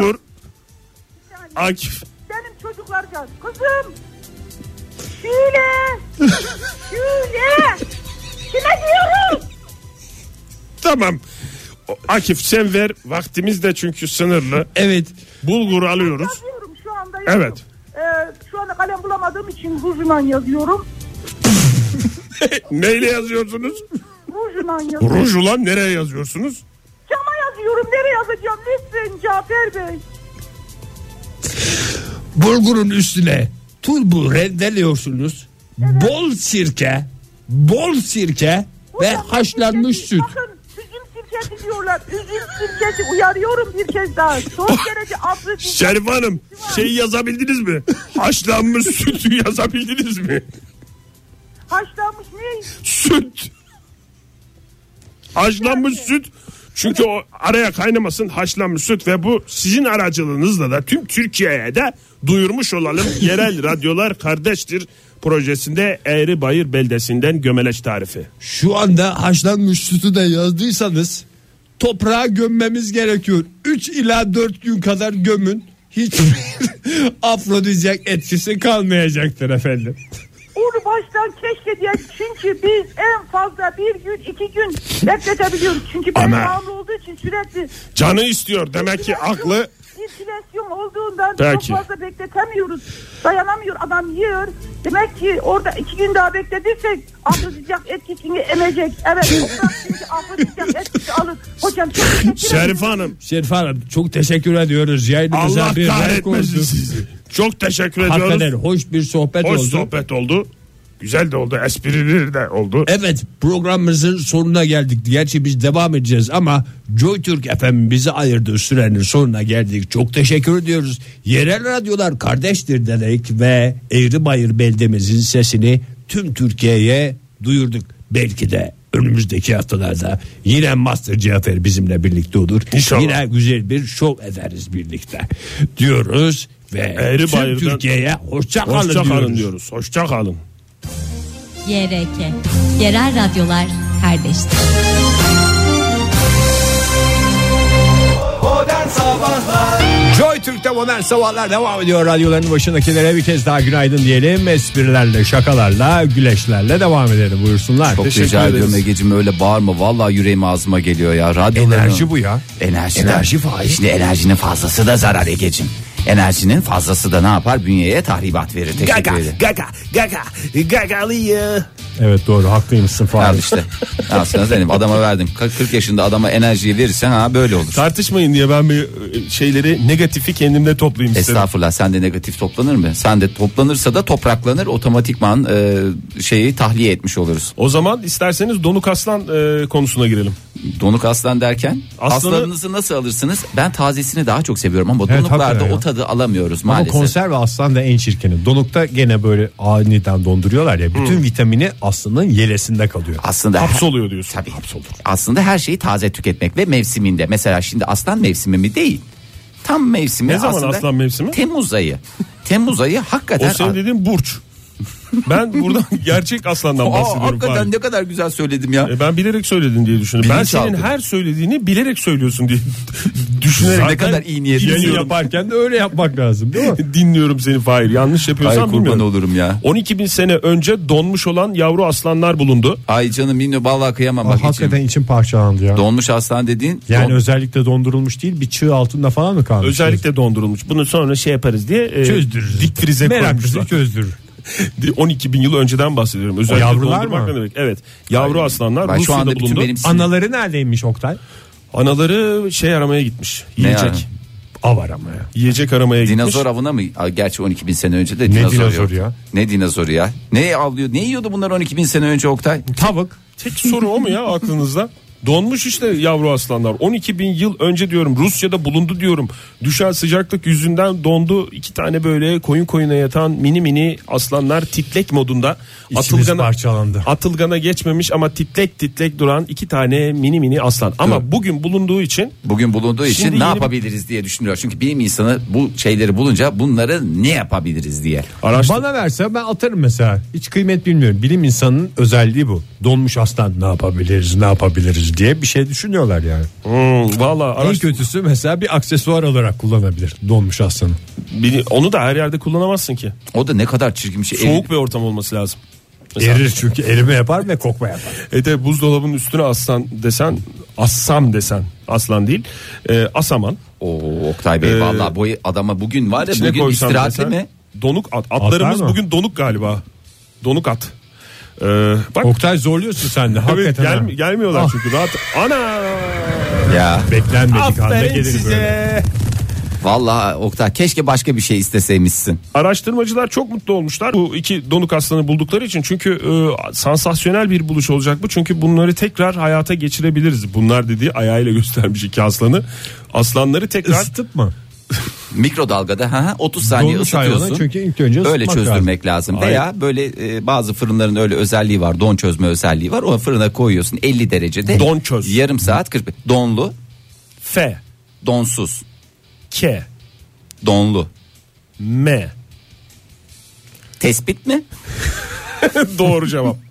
Speaker 7: saniye.
Speaker 4: Akif.
Speaker 7: Benim çocuklarca. Kızım.
Speaker 6: [LAUGHS]
Speaker 7: Şule. Şule. Kime diyorum?
Speaker 4: Tamam. O- Akif sen ver. Vaktimiz de çünkü sınırlı.
Speaker 6: evet
Speaker 4: Bulgur alıyoruz.
Speaker 7: Yazıyorum şu anda yazıyorum.
Speaker 4: Evet.
Speaker 7: Ee, şu anda kalem bulamadığım için rujla yazıyorum.
Speaker 4: Neyle yazıyorsunuz?
Speaker 7: Rujla yazıyorum.
Speaker 4: Ruj ulan nereye yazıyorsunuz?
Speaker 7: Cama yazıyorum. Nereye yazacağım? Lütfen Cafer Bey.
Speaker 6: bulgurun üstüne turbu rendeliyorsunuz. Bol sirke, bol sirke ve
Speaker 7: Hocam,
Speaker 6: haşlanmış
Speaker 7: sirkesi-
Speaker 6: süt.
Speaker 7: Bakın üzüm sirkesi diyorlar. Üzüm sirkesi uyarıyorum bir kez daha. Son
Speaker 4: Ah.
Speaker 7: derece afrodizyak.
Speaker 4: Şerif Hanım şey yazabildiniz mi? Haşlanmış sütü yazabildiniz mi?
Speaker 7: Haşlanmış ne?
Speaker 4: Süt. Haşlanmış süt. Çünkü o araya kaynamasın haşlanmış süt ve bu sizin aracılığınızla da tüm Türkiye'ye de duyurmuş olalım. Yerel radyolar kardeştir projesinde Eğri Bayır beldesinden gömeleç tarifi.
Speaker 6: Şu anda haşlanmış sütü de yazdıysanız toprağa gömmemiz gerekiyor. 3 ila 4 gün kadar gömün. Hiçbir [LAUGHS] afrodizyak etkisi kalmayacaktır efendim.
Speaker 7: Onu baştan keşke diye çünkü biz en fazla bir gün iki gün bekletebiliyoruz. Çünkü ben
Speaker 4: Ama-
Speaker 7: bağımlı olduğu için sürekli
Speaker 4: Canı istiyor demek ki aklı
Speaker 7: sirkülasyon olduğundan
Speaker 4: Peki.
Speaker 7: çok fazla bekletemiyoruz. Dayanamıyor adam yiyor. Demek ki orada iki gün daha bekletirsek afrodizyak etkisini emecek.
Speaker 4: [LAUGHS]
Speaker 7: Evet toprak çünkü afrodizyak etkisi alır. Hocam çok teşekkür ederim.
Speaker 4: Şerif Hanım
Speaker 6: Şerif Hanım çok teşekkür ediyoruz. Yayınımıza
Speaker 4: Allah
Speaker 6: bir renk
Speaker 4: kahretmesin
Speaker 6: oldu.
Speaker 4: sizi. Çok teşekkür
Speaker 6: Hakikaten
Speaker 4: ediyoruz.
Speaker 6: hoş bir sohbet
Speaker 4: Hoş
Speaker 6: oldu.
Speaker 4: sohbet oldu. Güzel de oldu. Esprileri de oldu.
Speaker 6: Evet programımızın sonuna geldik. Gerçi biz devam edeceğiz ama Joy Türk FM bizi ayırdığı sürenin sonuna geldik. Çok teşekkür ediyoruz. Yerel radyolar kardeştir dedik ve Eğri Bayır beldemizin sesini tüm Türkiye'ye duyurduk. Belki de önümüzdeki haftalarda yine Master Cafer bizimle birlikte olur.
Speaker 4: İnşallah.
Speaker 6: Yine güzel bir şov ederiz birlikte diyoruz ve
Speaker 4: Eğri
Speaker 6: tüm
Speaker 4: Bayır'dan
Speaker 6: Türkiye'ye hoşça kalın
Speaker 4: Hoşça kalın
Speaker 6: diyoruz.
Speaker 4: diyoruz. Hoşça kalın.
Speaker 5: YRK. Yerel radyolar kardeştir.
Speaker 3: Joy Türk'te modern sabahlar devam ediyor. Radyoların başındakilere bir kez daha günaydın diyelim. Esprilerle, şakalarla, güleşlerle devam edelim. Buyursunlar.
Speaker 2: Çok rica ediyorum Ege'cim öyle bağırma. Vallahi yüreğim ağzıma geliyor ya. Radyoların...
Speaker 3: Enerji bu ya.
Speaker 2: Enerji,
Speaker 6: Enerji faiz.
Speaker 2: Şimdi enerjinin fazlası da zarar Ege'cim. Enerjinin fazlası da ne yapar? Bünyeye tahribat verir. Gaga,
Speaker 9: gaga gaga gagalıyı.
Speaker 3: Evet doğru haklıymışsın Fahri.
Speaker 2: Al işte. Aslında senin adama verdim. 40 yaşında adama enerjiyi verirsen ha böyle olur.
Speaker 4: Tartışmayın diye ben bir e, şeyleri negatifi kendimde toplayayım istedim.
Speaker 2: Estağfurullah sen de negatif toplanır mı? Sen de toplanırsa da topraklanır otomatikman e, şeyi tahliye etmiş oluruz.
Speaker 4: O zaman isterseniz donuk aslan e, konusuna girelim.
Speaker 2: Donuk aslan derken
Speaker 4: Aslanı-
Speaker 2: aslanınızı nasıl alırsınız? Ben tazesini daha çok seviyorum ama
Speaker 3: Evet,
Speaker 2: donuklarda
Speaker 3: hakikaten ya.
Speaker 2: o tadı alamıyoruz
Speaker 3: Ama
Speaker 2: maalesef.
Speaker 3: konserve aslan da en çirkini. Donukta gene böyle aniden donduruyorlar ya.
Speaker 4: Hmm.
Speaker 3: Bütün vitamini aslanın yelesinde kalıyor.
Speaker 2: Aslında
Speaker 4: Hapsoluyor diyorsun.
Speaker 2: Tabii. Aslında her şeyi taze tüketmek ve mevsiminde. Mesela şimdi aslan mevsimi mi değil. Tam mevsimi
Speaker 4: Ne zaman
Speaker 2: aslında
Speaker 4: aslan mevsimi?
Speaker 2: Temmuz ayı. Temmuz ayı hakikaten
Speaker 4: [LAUGHS] O senin dediğin burç. Ben
Speaker 2: [LAUGHS]
Speaker 4: buradan gerçek aslandan
Speaker 2: Aa,
Speaker 4: bahsediyorum.
Speaker 2: hakikaten
Speaker 4: Fahri.
Speaker 2: ne kadar güzel söyledim ya.
Speaker 4: E, ben bilerek söyledin diye düşündüm. Ben
Speaker 2: Bilinç
Speaker 4: senin
Speaker 2: aldım.
Speaker 4: her söylediğini bilerek söylüyorsun diye [LAUGHS] düşünerek.
Speaker 2: ne kadar iyi niyetli.
Speaker 4: Yayını
Speaker 3: Yayın
Speaker 4: yap-
Speaker 3: yaparken de öyle yapmak lazım değil mi?
Speaker 4: dinliyorum seni Fahir. Yanlış
Speaker 2: Ay
Speaker 4: yapıyorsan
Speaker 2: kurban
Speaker 4: bilmiyorum.
Speaker 2: olurum ya.
Speaker 4: 12 bin sene önce donmuş olan yavru aslanlar bulundu.
Speaker 2: Ay canım minno vallahi kıyamam
Speaker 3: Aa,
Speaker 2: bak içim.
Speaker 3: hakikaten içim parçalandı ya.
Speaker 2: Donmuş aslan dediğin
Speaker 3: yani
Speaker 2: don-
Speaker 3: özellikle dondurulmuş değil bir çığ altında falan mı kalmış?
Speaker 4: Özellikle dondurulmuş. Bunu
Speaker 9: Bunu sonra şey yaparız diye e,
Speaker 3: çözdürürüz.
Speaker 4: dik frize
Speaker 3: Meraklısı
Speaker 4: koymuşlar.
Speaker 3: çözdürür.
Speaker 4: [LAUGHS] 12 bin yıl önceden bahsediyorum. Özellikle
Speaker 3: yavrular
Speaker 4: dondurmak
Speaker 3: mı?
Speaker 4: Ne demek? Evet. Yavru aslanlar
Speaker 2: ben şu
Speaker 4: Rusya'da
Speaker 2: anda bütün
Speaker 4: bulundu.
Speaker 2: benim
Speaker 3: Anaları neredeymiş Oktay?
Speaker 4: Anaları şey aramaya gitmiş.
Speaker 2: Ne
Speaker 4: Yiyecek.
Speaker 2: yani?
Speaker 3: Av aramaya.
Speaker 4: Yiyecek aramaya gitmiş.
Speaker 2: Dinozor avına mı? Aa, Gerçi 12 bin sene önce de dinozor,
Speaker 3: dinozor
Speaker 2: yok.
Speaker 3: ya?
Speaker 2: Ne dinozoru ya? Ne avlıyor? Ne yiyordu bunlar 12 bin sene önce Oktay?
Speaker 3: Tavuk.
Speaker 4: Tek soru o mu
Speaker 2: [LAUGHS]
Speaker 4: ya aklınızda? Donmuş işte yavru aslanlar. 12 bin yıl önce diyorum Rusya'da bulundu diyorum. Düşen sıcaklık yüzünden dondu. iki tane böyle koyun koyuna yatan mini mini aslanlar titlek modunda.
Speaker 3: İçimiz parçalandı.
Speaker 4: Atılgana geçmemiş ama titlek titlek duran iki tane mini mini aslan. Ama
Speaker 2: Dur.
Speaker 4: bugün bulunduğu için
Speaker 2: Bugün bulunduğu için
Speaker 4: Şimdi
Speaker 2: ne
Speaker 4: yeni-
Speaker 2: yapabiliriz diye düşünüyor. Çünkü bilim insanı bu şeyleri bulunca bunları ne yapabiliriz diye.
Speaker 4: araştır.
Speaker 3: Bana verse ben atarım mesela. Hiç kıymet bilmiyorum. Bilim insanının özelliği bu. Donmuş aslan ne yapabiliriz ne yapabiliriz diye bir şey düşünüyorlar yani.
Speaker 4: Hmm, Valla
Speaker 3: En
Speaker 4: araştır.
Speaker 3: kötüsü mesela bir aksesuar olarak kullanabilir donmuş aslanı.
Speaker 4: Bili- Onu da her yerde kullanamazsın ki.
Speaker 2: O da ne kadar çirkin bir şey.
Speaker 4: Soğuk bir ortam olması lazım. Mesela-
Speaker 3: Erir çünkü erime yapar ve kokma yapar.
Speaker 4: E de buzdolabının üstüne aslan desen assam desen aslan değil e, asaman.
Speaker 2: Oo, Oktay Bey
Speaker 4: Ee,
Speaker 2: vallahi bu adama bugün var ya
Speaker 4: İçine
Speaker 2: bugün
Speaker 4: koysam
Speaker 2: istirahatli
Speaker 4: desen,
Speaker 2: mi?
Speaker 4: Donuk at. Atlarımız
Speaker 3: mı?
Speaker 4: bugün donuk galiba. Donuk at. E, bak
Speaker 3: Oktay zorluyorsun sen de
Speaker 4: evet,
Speaker 3: hakikaten.
Speaker 4: gel,
Speaker 3: ha.
Speaker 4: gelmiyorlar çünkü rahat. Ana!
Speaker 2: Ya
Speaker 3: Beklenmedik anda
Speaker 4: Aferin
Speaker 3: gelir
Speaker 4: size.
Speaker 3: böyle.
Speaker 2: vallahi Oktay keşke başka bir şey isteseymişsin.
Speaker 4: Araştırmacılar çok mutlu olmuşlar bu iki donuk aslanı buldukları için çünkü e, sansasyonel bir buluş olacak bu çünkü bunları tekrar hayata geçirebiliriz. Bunlar dediği ayağıyla [LAUGHS] göstermiş iki aslanı. Aslanları tekrar
Speaker 3: Isıtıp mı?
Speaker 2: Mikrodalgada ha ha, 30 saniye
Speaker 3: Donmuş
Speaker 2: ısıtıyorsun.
Speaker 3: hayvanı çünkü ilk önce
Speaker 2: öyle
Speaker 3: ısıtmak
Speaker 2: çözdürmek lazım. Veya böyle e, bazı fırınların öyle özelliği var. Don çözme özelliği var. O fırına koyuyorsun 50 derecede.
Speaker 4: Don çöz.
Speaker 2: Yarım saat 40 donlu,
Speaker 4: F,
Speaker 2: donsuz,
Speaker 4: K,
Speaker 2: donlu.
Speaker 4: M.
Speaker 2: Tespit mi?
Speaker 4: Doğru cevap. [LAUGHS]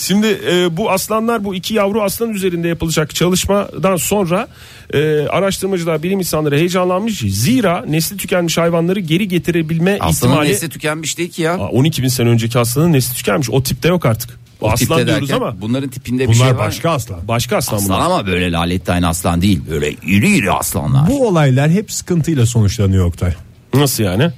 Speaker 4: Şimdi e, bu aslanlar bu iki yavru aslan üzerinde yapılacak çalışmadan sonra e, araştırmacılar bilim insanları heyecanlanmış. Zira nesli tükenmiş hayvanları geri getirebilme
Speaker 2: Aslanın
Speaker 4: ihtimali
Speaker 2: nesli tükenmiş değil ki ya.
Speaker 4: Aa, 12 bin sene önceki aslanın nesli tükenmiş. O tipte yok artık. O
Speaker 2: Tipte
Speaker 4: aslan diyoruz
Speaker 2: derken
Speaker 4: ama
Speaker 2: bunların tipinde bir
Speaker 3: Bunlar
Speaker 2: şey var.
Speaker 3: başka aslan.
Speaker 4: başka aslan,
Speaker 2: Aslan
Speaker 4: bunlar.
Speaker 2: ama böyle lalettayn aslan değil. Böyle iri iri aslanlar.
Speaker 3: Bu olaylar hep sıkıntıyla sonuçlanıyor Oktay.
Speaker 4: Nasıl yani?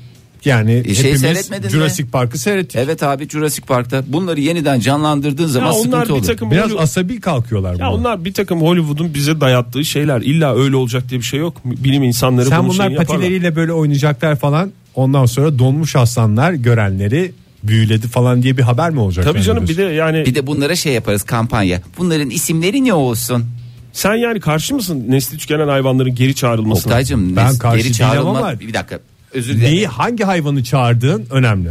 Speaker 3: Yani
Speaker 2: şey
Speaker 3: hepimiz
Speaker 2: seyretmedin mi?
Speaker 3: Jurassic Park'ı seyrettik.
Speaker 4: E,
Speaker 2: Evet abi Jurassic Park'ta bunları yeniden canlandırdığın zaman
Speaker 4: Ya onlar
Speaker 2: sıkıntı
Speaker 4: bir
Speaker 2: olur.
Speaker 4: takım
Speaker 3: Biraz
Speaker 4: Hollywood-
Speaker 3: asabi kalkıyorlar
Speaker 4: ya
Speaker 3: buna.
Speaker 4: onlar bir takım Hollywood'un bize dayattığı şeyler. İlla öyle olacak diye bir şey yok. Bilim insanları
Speaker 3: Sen
Speaker 4: bunun
Speaker 3: bunlar
Speaker 4: şeyini yaparlar.
Speaker 3: patileriyle böyle oynayacaklar falan. Ondan sonra donmuş aslanlar görenleri büyüledi falan diye bir haber mi olacak?
Speaker 4: Tabii
Speaker 3: yani
Speaker 4: canım bir de
Speaker 3: diyorsun?
Speaker 4: yani
Speaker 2: Bir de bunlara şey yaparız kampanya. Bunların isimleri ne olsun?
Speaker 4: sen yani karşı mısın nesli tükenen hayvanların geri çağrılmasına?
Speaker 2: Oktay'cım
Speaker 3: Ben
Speaker 2: nes-
Speaker 3: karşı
Speaker 2: geri
Speaker 3: değilim
Speaker 2: çağrılma.
Speaker 3: ama-
Speaker 2: Bir dakika. Özür dilerim.
Speaker 3: Neyi hangi hayvanı çağırdığın önemli.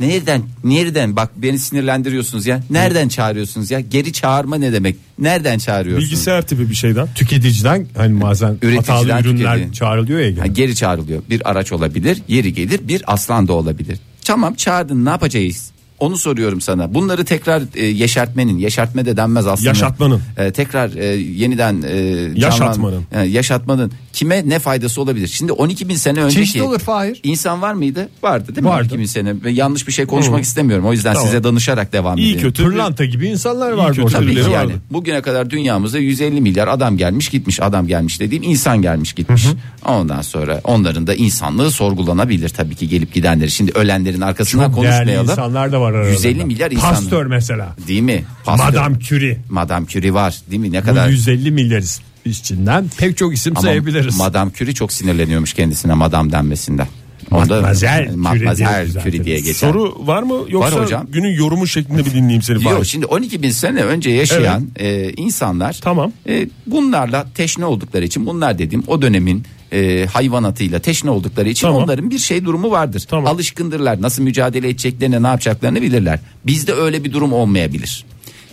Speaker 2: Nereden? Nereden? Bak beni sinirlendiriyorsunuz ya. Nereden çağırıyorsunuz ya? Geri çağırma ne demek? Nereden çağırıyorsunuz?
Speaker 4: Bilgisayar tipi bir şeyden.
Speaker 3: Tüketiciden hani bazen
Speaker 2: Üreticiden
Speaker 3: hatalı ürünler
Speaker 2: tüketici.
Speaker 3: çağrılıyor ya.
Speaker 2: Ha,
Speaker 3: gene.
Speaker 2: geri çağrılıyor. Bir araç olabilir, yeri gelir bir aslan da olabilir. Tamam çağırdın ne yapacağız? Onu soruyorum sana. Bunları tekrar e, yeşertmenin, yeşertme de denmez aslında.
Speaker 4: Yaşatmanın.
Speaker 2: E, tekrar e, yeniden e,
Speaker 4: Yaşatmanın.
Speaker 2: canlan- E, yaşatmanın kime ne faydası olabilir? Şimdi 12 bin sene önceki
Speaker 3: Çeşitli olur Fahir.
Speaker 2: insan var mıydı? Vardı değil mi?
Speaker 3: Vardı.
Speaker 2: 12 bin sene. Ve yanlış bir şey konuşmak istemiyorum. O yüzden
Speaker 4: Tamam.
Speaker 2: size danışarak devam
Speaker 4: İyi
Speaker 2: edeyim.
Speaker 4: kötü.
Speaker 3: Pırlanta gibi insanlar vardı
Speaker 4: kötü
Speaker 3: orada.
Speaker 2: Tabii ki
Speaker 4: Birileri
Speaker 2: yani
Speaker 4: vardı.
Speaker 2: bugüne kadar dünyamıza 150 milyar adam gelmiş gitmiş adam gelmiş dediğim insan gelmiş gitmiş. Ondan sonra onların da insanlığı sorgulanabilir tabii ki gelip gidenleri. Şimdi ölenlerin arkasından
Speaker 3: Değerli
Speaker 2: konuşmayalım.
Speaker 3: insanlar da var aralarında.
Speaker 2: 150 milyar insan.
Speaker 3: Pastör mesela.
Speaker 2: Değil mi? Pastör.
Speaker 3: Madame Curie.
Speaker 2: Madame Curie var değil mi? Ne
Speaker 3: Bu
Speaker 2: kadar
Speaker 3: 150 milyar içinden pek çok isim
Speaker 2: ama
Speaker 3: sayabiliriz.
Speaker 2: Madame Curie çok sinirleniyormuş kendisine madam denmesinden. Onda
Speaker 3: Mademoiselle Curie
Speaker 2: Mademoiselle
Speaker 3: diyoruz
Speaker 2: Curie diye
Speaker 3: zaten.
Speaker 2: geçer.
Speaker 4: Soru var mı yoksa
Speaker 2: Var hocam.
Speaker 4: günün yorumu şeklinde bir dinleyeyim seni.
Speaker 2: Yok
Speaker 4: Fahir.
Speaker 2: şimdi 12 bin sene önce yaşayan e, insanlar
Speaker 4: Tamam.
Speaker 2: e, bunlarla teşne oldukları için bunlar dediğim o dönemin e, hayvanatıyla teşne oldukları için
Speaker 4: Tamam.
Speaker 2: onların bir şey durumu vardır.
Speaker 4: Tamam.
Speaker 2: Alışkındırlar nasıl mücadele edeceklerini ne yapacaklarını bilirler. Bizde öyle bir durum olmayabilir.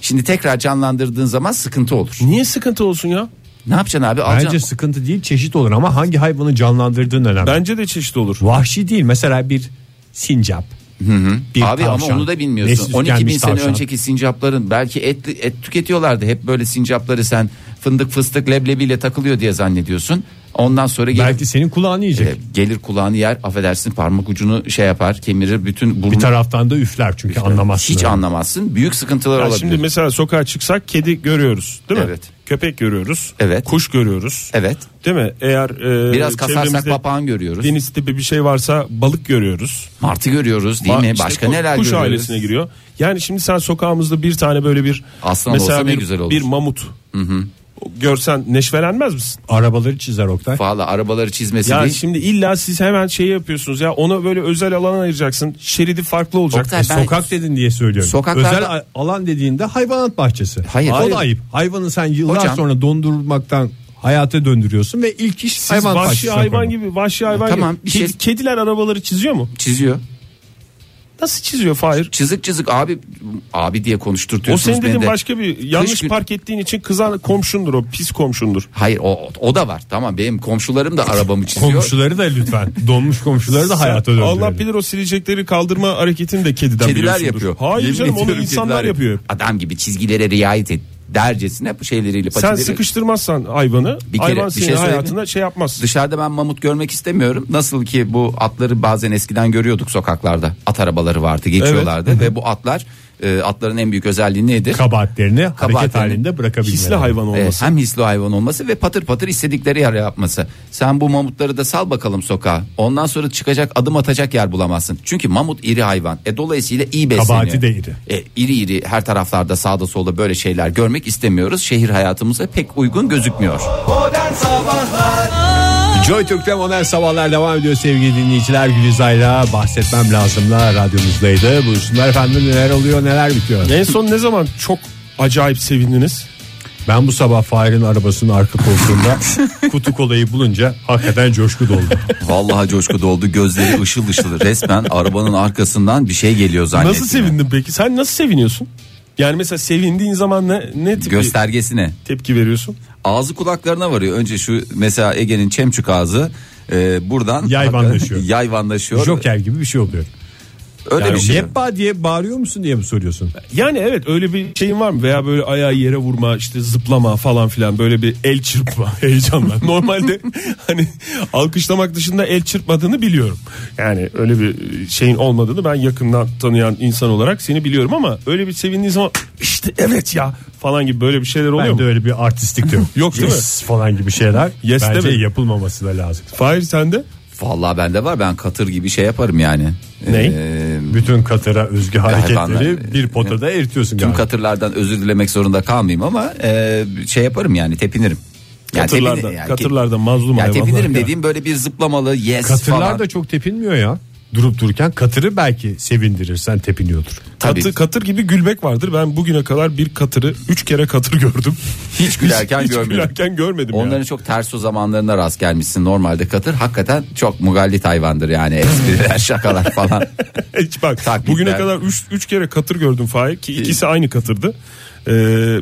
Speaker 2: Şimdi tekrar canlandırdığın zaman sıkıntı olur.
Speaker 4: Niye sıkıntı olsun ya?
Speaker 2: Ne yapacaksın abi?
Speaker 3: Bence
Speaker 2: Alacaksın.
Speaker 3: sıkıntı değil çeşit olur ama hangi hayvanı canlandırdığın önemli.
Speaker 4: Bence de çeşit olur.
Speaker 3: Vahşi değil mesela bir sincap. bir
Speaker 2: abi
Speaker 3: tavşan,
Speaker 2: ama onu da bilmiyorsun.
Speaker 3: nesli
Speaker 2: 12 bin
Speaker 3: tükenmiş
Speaker 2: sene
Speaker 3: tavşan.
Speaker 2: önceki sincapların belki et, et tüketiyorlardı. Hep böyle sincapları sen fındık fıstık leblebiyle takılıyor diye zannediyorsun. Ondan sonra gelip
Speaker 3: Belki senin kulağını yiyecek.
Speaker 2: E, gelir kulağını yer affedersin parmak ucunu şey yapar kemirir bütün burnu
Speaker 3: bir taraftan da üfler çünkü anlamazsın.
Speaker 2: hiç
Speaker 3: öyle.
Speaker 2: anlamazsın büyük sıkıntılar
Speaker 4: Ya
Speaker 2: olabilir.
Speaker 4: şimdi mesela sokağa çıksak kedi görüyoruz değil mi?
Speaker 2: Evet.
Speaker 4: Köpek görüyoruz.
Speaker 2: Evet.
Speaker 4: Kuş görüyoruz.
Speaker 2: Evet
Speaker 4: Değil mi? Eğer e,
Speaker 2: biraz kasarsak
Speaker 4: çevremizde
Speaker 2: papağan görüyoruz
Speaker 4: deniz tipi bir şey varsa balık görüyoruz.
Speaker 2: martı görüyoruz değil
Speaker 4: Ba-
Speaker 2: mi
Speaker 4: işte
Speaker 2: başka
Speaker 4: ku-
Speaker 2: neler
Speaker 4: kuş
Speaker 2: görüyoruz.
Speaker 4: ailesine giriyor. Yani şimdi sen sokağımızda bir tane böyle bir
Speaker 2: Aslan
Speaker 4: mesela
Speaker 2: olsa ne
Speaker 4: bir,
Speaker 2: güzel olur.
Speaker 4: bir mamut. görsen neşvelenmez misin?
Speaker 3: Arabaları çizer Oktay.
Speaker 2: Valla arabaları çizmesi
Speaker 4: Ya
Speaker 2: değil.
Speaker 4: şimdi illa siz hemen şey yapıyorsunuz ya ona böyle özel alan ayıracaksın. Şeridi farklı olacak.
Speaker 2: Oktay, ben-
Speaker 3: e, Sokak dedin diye söylüyorum.
Speaker 2: Sokaklarda-
Speaker 3: Özel a- alan dediğinde hayvanat bahçesi.
Speaker 2: Hayır.
Speaker 3: O
Speaker 2: Hayır.
Speaker 3: da ayıp. Hayvanı sen yıllar
Speaker 2: Hocam.
Speaker 3: sonra dondurmaktan hayata döndürüyorsun ve ilk iş
Speaker 4: Siz
Speaker 3: hayvanat bahçesi.
Speaker 4: vahşi hayvan
Speaker 3: yapıyorsun.
Speaker 4: gibi vahşi hayvan
Speaker 2: Tamam,
Speaker 4: gibi.
Speaker 2: bir şey-
Speaker 4: Kedi- Kediler arabaları çiziyor mu?
Speaker 2: Çiziyor.
Speaker 4: Nasıl çiziyor Fahir?
Speaker 2: Çizik çizik abi abi diye
Speaker 4: O
Speaker 2: konuşturtuyorsunuz
Speaker 4: senin dediğin
Speaker 2: beni de.
Speaker 4: başka bir yanlış
Speaker 2: Kış gün-
Speaker 4: park ettiğin için kızan komşundur o pis komşundur.
Speaker 2: Hayır o, o da var. Tamam benim komşularım da arabamı çiziyor.
Speaker 3: Komşuları da lütfen. Donmuş komşuları da hayata döndürelim.
Speaker 4: Allah bilir o silecekleri kaldırma hareketini de kediden
Speaker 2: Kediler
Speaker 4: biliyorsundur.
Speaker 2: yapıyor.
Speaker 4: Hayır
Speaker 2: Yemin
Speaker 4: canım onu
Speaker 2: ediyorum
Speaker 4: insanlar
Speaker 2: kediler
Speaker 4: yapıyor.
Speaker 2: Adam gibi çizgilere riayet et dercesine bu şeyleriyle
Speaker 4: Sen
Speaker 2: patileri-
Speaker 4: sıkıştırmazsan hayvanı
Speaker 2: Bir kere
Speaker 4: hayvan
Speaker 2: bir
Speaker 4: senin
Speaker 2: şey söyleyeyim mi?
Speaker 4: hayatında şey yapmaz.
Speaker 2: Dışarıda ben mamut görmek istemiyorum. Nasıl ki bu atları bazen eskiden görüyorduk sokaklarda. At arabaları vardı geçiyorlardı ve bu atlar e, atların en büyük özelliği nedir?
Speaker 3: Kabahatlerini hareket
Speaker 2: Kabahatlerini-
Speaker 3: halinde bırakabilmeleri.
Speaker 4: Hisli hayvan
Speaker 2: Evet,
Speaker 4: olması.
Speaker 2: hem hisli hayvan olması ve patır patır istedikleri yer yapması. Sen bu mamutları da sal bakalım sokağa. Ondan sonra çıkacak adım atacak yer bulamazsın. Çünkü mamut iri hayvan. E dolayısıyla iyi besleniyor.
Speaker 3: Kabahati de iri.
Speaker 2: E, iri iri her taraflarda sağda solda böyle şeyler görmek istemiyoruz. Şehir hayatımıza pek uygun gözükmüyor.
Speaker 3: Joy Türk'te modern sabahlar devam ediyor sevgili dinleyiciler. Gülizay'la bahsetmem lazımla radyomuzdaydı. Buyursunlar efendim neler oluyor neler bitiyor.
Speaker 4: En son ne zaman çok acayip sevindiniz?
Speaker 3: Ben bu sabah Fahir'in arabasının arka koltuğunda kutu kolayı bulunca hakikaten coşku doldu.
Speaker 2: Vallahi coşku doldu. Gözleri ışıl ışıl. Resmen arabanın arkasından bir şey geliyor zannettim.
Speaker 4: Nasıl sevindin peki? Sen nasıl seviniyorsun? Yani mesela sevindiğin zaman ne, ne tip bir
Speaker 2: Göstergesine.
Speaker 4: tepki veriyorsun?
Speaker 2: ağzı kulaklarına varıyor. Önce şu mesela Ege'nin çemçük ağzı e, buradan [LAUGHS]
Speaker 3: Yayvanlaşıyor. [LAUGHS]
Speaker 2: yayvanlaşıyor.
Speaker 3: Joker gibi bir şey oluyor.
Speaker 2: Öyle
Speaker 3: Yani
Speaker 2: bir şey.
Speaker 3: Yeppa diye bağırıyor musun diye mi soruyorsun?
Speaker 4: Yani evet öyle bir şeyin var mı? Veya böyle ayağı yere vurma işte zıplama falan filan böyle bir el çırpma [LAUGHS] heyecanla. Normalde [LAUGHS] hani alkışlamak dışında el çırpmadığını biliyorum. Yani öyle bir şeyin olmadığını ben yakından tanıyan insan olarak seni biliyorum ama öyle bir sevindiğin zaman işte evet ya falan gibi böyle bir şeyler oluyor
Speaker 3: Ben
Speaker 4: mu?
Speaker 3: de öyle bir artistlik de yok.
Speaker 4: Yok değil mi?
Speaker 3: Yes falan gibi şeyler.
Speaker 4: Yes
Speaker 3: bence
Speaker 4: değil mi?
Speaker 3: yapılmaması da lazım.
Speaker 4: Fahir sende?
Speaker 2: Vallahi bende var. Ben katır gibi şey yaparım yani.
Speaker 4: Ney?
Speaker 2: E,
Speaker 3: Bütün Katar'a özgü hareketleri
Speaker 4: e,
Speaker 2: hayvanlar-
Speaker 3: bir potada eritiyorsun
Speaker 2: tüm
Speaker 3: galiba.
Speaker 2: katırlardan özür dilemek zorunda kalmayayım ama e, şey yaparım yani tepinirim. Yani
Speaker 4: Katırlardan,
Speaker 2: tepini- yani-
Speaker 4: katırlardan mazlum
Speaker 2: Ya
Speaker 4: hayvanlar.
Speaker 2: tepinirim
Speaker 4: ya.
Speaker 2: dediğim böyle bir zıplamalı yes
Speaker 3: Katırlar
Speaker 2: falan.
Speaker 3: da çok tepinmiyor ya. Durup dururken katırı belki sevindirirsen tepiniyordur.
Speaker 2: Tabii.
Speaker 4: Katı, katır gibi gülmek vardır. Ben bugüne kadar bir katırı 3 kere katır gördüm.
Speaker 2: Hiç gülerken
Speaker 4: [LAUGHS] hiç
Speaker 2: görmedim.
Speaker 4: gülerken görmedim ya.
Speaker 2: Onların çok ters o zamanlarına rast gelmişsin. Normalde katır hakikaten çok mugallit hayvandır yani. Espriler, [LAUGHS] şakalar
Speaker 4: [LAUGHS]
Speaker 2: falan.
Speaker 4: Hiç E, bak
Speaker 2: Taklitler.
Speaker 4: bugüne kadar 3 3 kere katır gördüm Fahir ki ikisi aynı katırdı. Ee,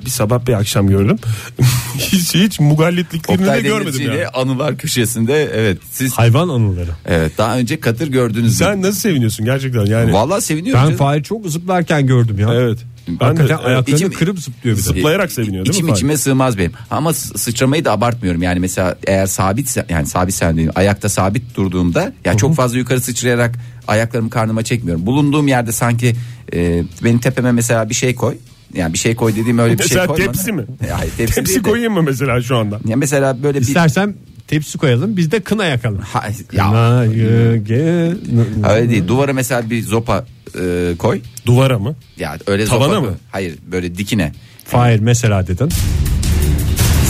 Speaker 4: bir sabah bir akşam gördüm. [LAUGHS] hiç hiç mugallitliklerini de
Speaker 2: Oktay
Speaker 4: görmedim
Speaker 2: Demirci ile
Speaker 4: ya.
Speaker 2: anılar köşesinde evet siz
Speaker 3: Hayvan anıları.
Speaker 4: E
Speaker 2: evet daha önce katır gördünüz mü?
Speaker 4: Sen nasıl seviniyorsun gerçekten yani?
Speaker 2: Vallahi seviniyorum.
Speaker 3: Ben
Speaker 2: canım.
Speaker 3: Fahir çok zıplarken gördüm ya.
Speaker 4: Evet. Ben de
Speaker 3: Hakikaten ayaklarını
Speaker 2: İçim-
Speaker 3: kırıp zıplıyor bir de.
Speaker 4: zıplayarak seviniyor değil mi
Speaker 2: İçim
Speaker 4: Fahir?
Speaker 2: içime sığmaz benim. Ama sı- sıçramayı da abartmıyorum. Yani mesela eğer sabit yani sabit sendeyim ayakta sabit durduğumda ya çok fazla yukarı sıçrayarak ayaklarımı karnıma çekmiyorum. Bulunduğum yerde sanki e, benim tepeme mesela bir şey koy. Yani bir şey koy dediğim öyle bir şey
Speaker 4: Mesela
Speaker 2: koyma.
Speaker 4: E, tepsi mi?
Speaker 2: Hayır tepsi,
Speaker 4: Hepsi
Speaker 2: değil de.
Speaker 4: koyayım mı mesela şu anda?
Speaker 2: Ya mesela böyle bir
Speaker 3: İstersen tepsi koyalım biz de kına yakalım.
Speaker 2: Ha- ya,
Speaker 3: Kına yege-
Speaker 2: öyle değil. Duvara mesela bir zopa e, koy.
Speaker 4: Duvara mı?
Speaker 2: Ya öyle
Speaker 4: Tavana
Speaker 2: zopa-
Speaker 4: mı?
Speaker 2: Hayır böyle dikine.
Speaker 3: Fahir mesela dedin.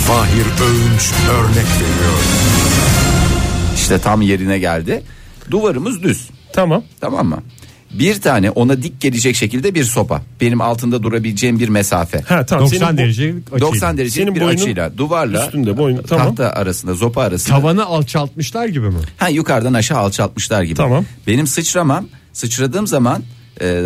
Speaker 6: Fahir Öğünç örnek veriyor.
Speaker 2: İşte tam yerine geldi. Duvarımız düz.
Speaker 4: Tamam.
Speaker 2: Tamam mı? Bir tane ona dik gelecek şekilde bir sopa. Benim altında durabileceğim bir mesafe.
Speaker 4: Ha tamam.
Speaker 3: 90
Speaker 4: senin bu-
Speaker 3: derecelik açıyla.
Speaker 2: 90 derecelik
Speaker 4: Senin
Speaker 2: bir
Speaker 4: boynun
Speaker 2: açıyla duvarla
Speaker 4: üstünde boynun, tamam.
Speaker 2: tahta arasında zopa arasında
Speaker 3: Tavanı alçaltmışlar gibi mi?
Speaker 2: ha, yukarıdan aşağı alçaltmışlar gibi.
Speaker 4: Tamam.
Speaker 2: Benim sıçramam sıçradığım zaman e,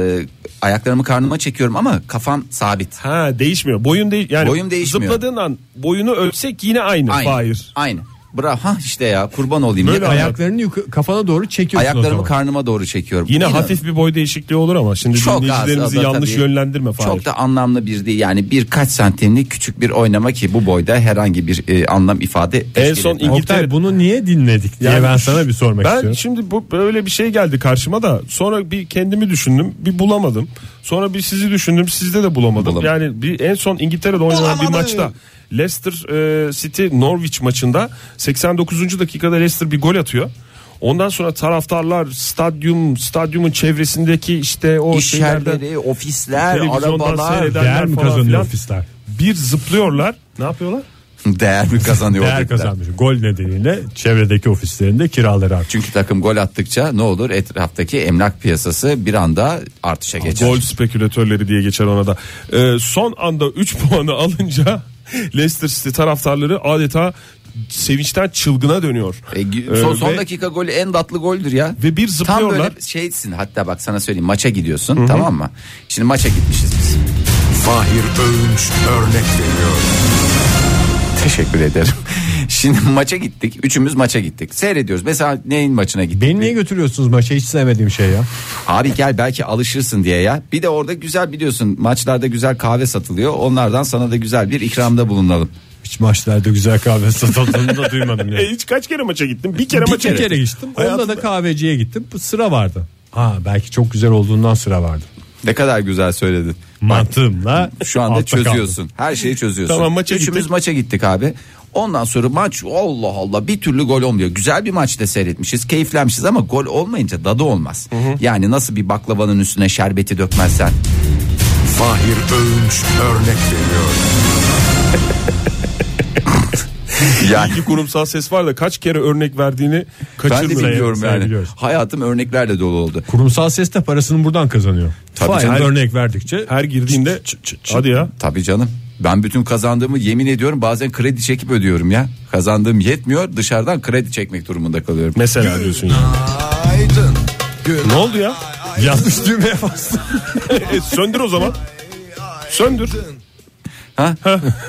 Speaker 2: ayaklarımı karnıma çekiyorum ama kafam sabit.
Speaker 4: Ha değişmiyor. Boyun değil yani
Speaker 2: Boyum değişmiyor.
Speaker 4: zıpladığın an boyunu ölçsek yine aynı,
Speaker 2: Aynı.
Speaker 4: Fahir.
Speaker 2: Aynı. Bravo ha işte ya kurban olayım.
Speaker 4: Böyle
Speaker 2: Ne kadar-
Speaker 3: Ayaklarını yuka- kafana doğru çekiyorsun o
Speaker 2: ayaklarımı
Speaker 3: zaman.
Speaker 2: karnıma doğru çekiyorum.
Speaker 4: Yine
Speaker 2: İnan-
Speaker 4: hafif bir boy değişikliği olur ama şimdi
Speaker 2: Çok az.
Speaker 4: dinleyicilerimizi
Speaker 2: o da
Speaker 4: yanlış
Speaker 2: tabii
Speaker 4: yönlendirme Fahir.
Speaker 2: Çok da anlamlı bir değil. Yani birkaç santimlik küçük bir oynama ki bu boyda herhangi bir e, anlam ifade teşkil
Speaker 4: son
Speaker 2: etmez.
Speaker 4: İngiltere-
Speaker 3: Oktay bunu niye dinledik diye
Speaker 4: Yani
Speaker 3: ben sana bir sormak
Speaker 4: ben
Speaker 3: istiyorum.
Speaker 4: şimdi bu böyle bir şey geldi karşıma da sonra bir kendimi düşündüm bir bulamadım. Sonra bir sizi düşündüm sizde de bulamadım.
Speaker 2: Bulamadım.
Speaker 4: Yani bir en son İngiltere'de oynanan bir maçta Leicester e, City Norwich maçında 89. dakikada Leicester bir gol atıyor. Ondan sonra taraftarlar stadyum stadyumun çevresindeki işte o
Speaker 2: İş
Speaker 4: şeylerden
Speaker 2: yerleri, ofisler,
Speaker 4: televizyondan
Speaker 2: arabalar.
Speaker 4: seyreden-
Speaker 3: Değer mi
Speaker 4: falan
Speaker 3: kazanıyor
Speaker 4: filan?
Speaker 3: ofisler?
Speaker 4: bir zıplıyorlar. Ne yapıyorlar?
Speaker 2: Değer mi kazanıyor?
Speaker 3: Değer
Speaker 2: oradakiler?
Speaker 3: kazanmış. Gol nedeniyle çevredeki ofislerinde kiraları artıyor.
Speaker 2: Çünkü takım gol attıkça ne olur etraftaki emlak piyasası bir anda artışa geçer.
Speaker 4: Gol spekülatörleri diye geçer ona da. Ee, son anda 3 [LAUGHS] puanı alınca Leicester City taraftarları adeta sevinçten çılgına dönüyor.
Speaker 2: E, gi-
Speaker 4: Ee,
Speaker 2: son, son
Speaker 4: ve-
Speaker 2: dakika golü en tatlı goldür ya.
Speaker 4: Ve bir
Speaker 2: Tam
Speaker 4: zıplıyorlar.
Speaker 2: böyle şeysin hatta bak sana söyleyeyim maça gidiyorsun tamam mı? Şimdi maça gitmişiz biz.
Speaker 6: Fahir Öğünç örnek veriyor.
Speaker 2: Teşekkür ederim. [LAUGHS] Şimdi maça gittik. Üçümüz maça gittik. Seyrediyoruz. Mesela neyin maçına gittik?
Speaker 3: Beni niye götürüyorsunuz maça hiç sevmediğim şey ya.
Speaker 2: Abi gel belki alışırsın diye ya. Bir de orada güzel biliyorsun maçlarda güzel kahve satılıyor. Onlardan sana da güzel bir ikramda bulunalım.
Speaker 3: Hiç maçlarda güzel kahve satıldığını da duymadım ya.
Speaker 4: [LAUGHS] E, hiç kaç kere maça gittim? Bir kere
Speaker 3: bir
Speaker 4: maça
Speaker 3: kere,
Speaker 4: gittim.
Speaker 3: gittim.
Speaker 4: Hayatımda-
Speaker 3: Onda
Speaker 4: [LAUGHS]
Speaker 3: da kahveciye gittim. Bu Sıra vardı. Ha belki çok güzel olduğundan sıra vardı.
Speaker 2: Ne kadar güzel söyledin.
Speaker 3: Mantığımla
Speaker 2: Şu anda
Speaker 3: altta kaldım.
Speaker 2: çözüyorsun. Her şeyi çözüyorsun.
Speaker 4: Tamam, maça
Speaker 2: Üçümüz
Speaker 4: gittik.
Speaker 2: maça gittik abi. Ondan sonra maç Allah Allah bir türlü gol olmuyor. Güzel bir maçta seyretmişiz, keyiflenmişiz ama gol olmayınca dadı olmaz. Yani nasıl bir baklavanın üstüne şerbeti dökmezsen.
Speaker 6: Fahir Öğünç örnek veriyor.
Speaker 2: [LAUGHS] Yani
Speaker 4: İki kurumsal ses var da kaç kere örnek verdiğini
Speaker 2: ben de
Speaker 4: kaçırmıyor.
Speaker 2: bilmiyorum
Speaker 3: sen
Speaker 2: yani.
Speaker 3: biliyorsun.
Speaker 2: Hayatım örneklerle dolu oldu.
Speaker 3: Kurumsal ses de parasını buradan kazanıyor.
Speaker 2: Tabii
Speaker 3: Fahir
Speaker 2: canım.
Speaker 3: örnek verdikçe
Speaker 4: Her girdiğinde hadi ya.
Speaker 2: Tabii canım. Ben bütün kazandığımı yemin ediyorum bazen kredi çekip ödüyorum ya. Kazandığım yetmiyor dışarıdan kredi çekmek durumunda kalıyorum.
Speaker 4: Mesela diyorsun ya.
Speaker 6: Aydın.
Speaker 4: Ne oldu ya?
Speaker 3: [LAUGHS] yanlış düğmeye bastı.
Speaker 4: E, söndür o zaman. Söndür.
Speaker 2: Ha?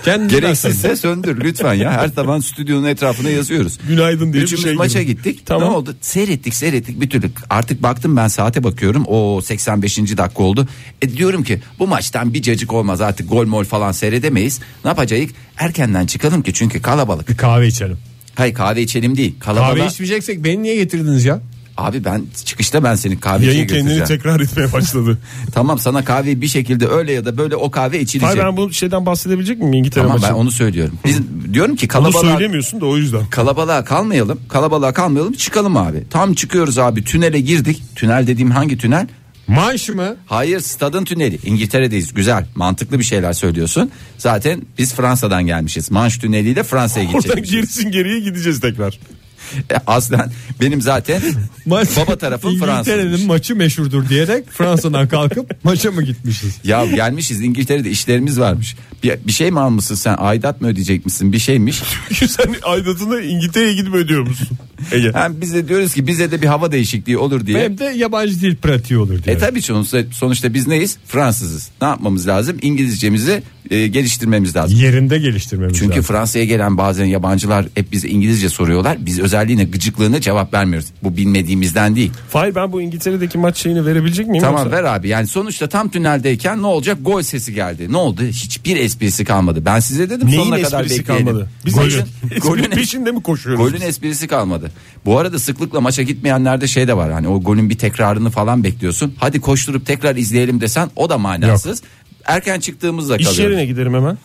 Speaker 3: Kendini
Speaker 2: Gereksizse söndür lütfen ya. Her zaman stüdyonun etrafına yazıyoruz.
Speaker 4: Günaydın diye bir
Speaker 2: Üçümüz
Speaker 4: şey
Speaker 2: maça
Speaker 4: girdi.
Speaker 2: gittik.
Speaker 4: Tamam.
Speaker 2: Ne oldu? Seyrettik seyrettik bir türlü. Artık baktım ben saate bakıyorum. O 85. dakika oldu. E diyorum ki bu maçtan bir cacık olmaz artık gol mol falan seyredemeyiz. Ne yapacağız? Erkenden çıkalım ki çünkü kalabalık.
Speaker 3: Bir kahve içelim.
Speaker 2: Hayır kahve içelim değil.
Speaker 3: Kahve
Speaker 2: Kalabalık.
Speaker 3: içmeyeceksek beni niye getirdiniz ya?
Speaker 2: Abi ben çıkışta ben seni kahveciye
Speaker 4: Yayın kendini
Speaker 2: götüreceğim.
Speaker 4: tekrar etmeye başladı.
Speaker 2: Tamam sana kahveyi bir şekilde öyle ya da böyle o kahve içilecek.
Speaker 4: Hayır ben bu şeyden bahsedebilecek miyim İngiltere
Speaker 2: Tamam
Speaker 4: maçı?
Speaker 2: ben onu söylüyorum. Biz diyorum ki
Speaker 4: Bunu
Speaker 2: kalabalığa
Speaker 4: söylemiyorsun da o yüzden.
Speaker 2: Kalabalığa kalmayalım. Kalabalığa kalmayalım. Çıkalım abi. Tam çıkıyoruz abi. Tünele girdik. Tünel dediğim hangi tünel?
Speaker 3: Manş mı?
Speaker 2: Hayır stadın tüneli. İngiltere'deyiz. Güzel. Mantıklı bir şeyler söylüyorsun. Zaten biz Fransa'dan gelmişiz. Manş tüneliyle Fransa'ya
Speaker 4: Oradan
Speaker 2: gideceğiz.
Speaker 4: gerisin geriye gideceğiz tekrar.
Speaker 2: E, Aslen benim zaten baba tarafım
Speaker 3: İngiltere'nin
Speaker 2: Fransa'ymış.
Speaker 3: maçı meşhurdur diyerek Fransa'dan
Speaker 4: [LAUGHS]
Speaker 3: kalkıp maça mı gitmişiz?
Speaker 2: Ya gelmişiz İngiltere'de işlerimiz varmış. Bir, bir şey mi almışsın sen? Aidat mı ödeyecek misin? Bir şeymiş.
Speaker 4: Çünkü sen aidatını İngiltere'ye gidip ödüyor musun? Ege.
Speaker 2: Hem biz de diyoruz ki bize de bir hava değişikliği olur diye.
Speaker 3: Hem de yabancı dil pratiği olur diye.
Speaker 2: E tabii sonuçta, sonuçta biz neyiz? Fransızız. Ne yapmamız lazım? İngilizcemizi e, geliştirmemiz lazım.
Speaker 3: Yerinde geliştirmemiz
Speaker 2: Çünkü
Speaker 3: lazım.
Speaker 2: Fransa'ya gelen bazen yabancılar hep bize İngilizce soruyorlar. Biz özelliğine gıcıklığına cevap vermiyoruz. Bu bilmediğimizden değil.
Speaker 4: Fahir ben bu İngiltere'deki maç şeyini verebilecek miyim?
Speaker 2: tamam
Speaker 4: yoksa?
Speaker 2: ver abi. Yani sonuçta tam tüneldeyken ne olacak? Gol sesi geldi. Ne oldu? Hiçbir esprisi kalmadı. Ben size dedim
Speaker 4: Neyin
Speaker 2: sonuna kadar
Speaker 4: esprisi
Speaker 2: bekleyelim.
Speaker 4: kalmadı? Biz
Speaker 2: golün,
Speaker 4: [LAUGHS] golün,
Speaker 2: golün,
Speaker 4: peşinde mi koşuyoruz?
Speaker 2: golün esprisi kalmadı. Bu arada sıklıkla maça gitmeyenlerde şey de var. Hani o golün bir tekrarını falan bekliyorsun. Hadi koşturup tekrar izleyelim desen o da manasız. Erken çıktığımızda
Speaker 4: İş
Speaker 2: kalıyoruz.
Speaker 4: yerine giderim hemen.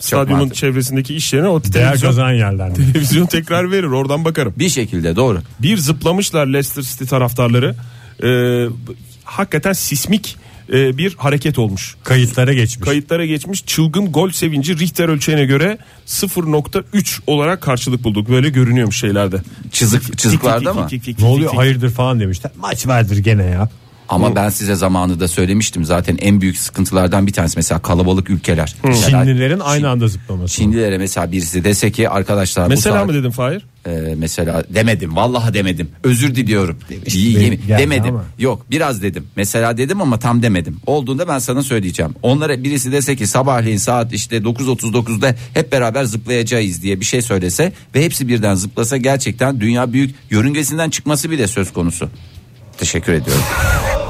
Speaker 4: Stadyumun
Speaker 2: mantıklı.
Speaker 4: çevresindeki iş yerine o
Speaker 3: Değer
Speaker 4: televizyon,
Speaker 3: kazanan yerlerde.
Speaker 4: [LAUGHS] televizyon tekrar verir oradan bakarım.
Speaker 2: Bir şekilde doğru.
Speaker 4: Bir zıplamışlar Leicester City taraftarları. Ee, b- hakikaten sismik e, bir hareket olmuş.
Speaker 3: Kayıtlara geçmiş.
Speaker 4: Kayıtlara geçmiş çılgın gol sevinci Richter ölçeğine göre 0.3 olarak karşılık bulduk. Böyle görünüyormuş şeylerde.
Speaker 2: Çizik çiziklarda mı?
Speaker 3: ne oluyor hayırdır falan demişler. Maç vardır gene ya.
Speaker 2: Ama ben size zamanı da söylemiştim zaten en büyük sıkıntılardan bir tanesi mesela kalabalık ülkeler. Mesela
Speaker 3: Hmm. Çinlilerin aynı anda zıplaması.
Speaker 2: Çinlilere mesela birisi dese ki arkadaşlar bu
Speaker 4: Mesela
Speaker 2: saat,
Speaker 4: mı dedim Fahir?
Speaker 2: e, mesela demedim vallahi demedim özür diliyorum İyi,
Speaker 3: benim
Speaker 2: yemin-
Speaker 3: geldi
Speaker 2: demedim
Speaker 3: ama.
Speaker 2: yok biraz dedim mesela dedim ama tam demedim olduğunda ben sana söyleyeceğim onlara birisi dese ki sabahleyin saat işte 9.39'da hep beraber zıplayacağız diye bir şey söylese ve hepsi birden zıplasa gerçekten dünya büyük yörüngesinden çıkması bile söz konusu teşekkür ediyorum
Speaker 3: [LAUGHS]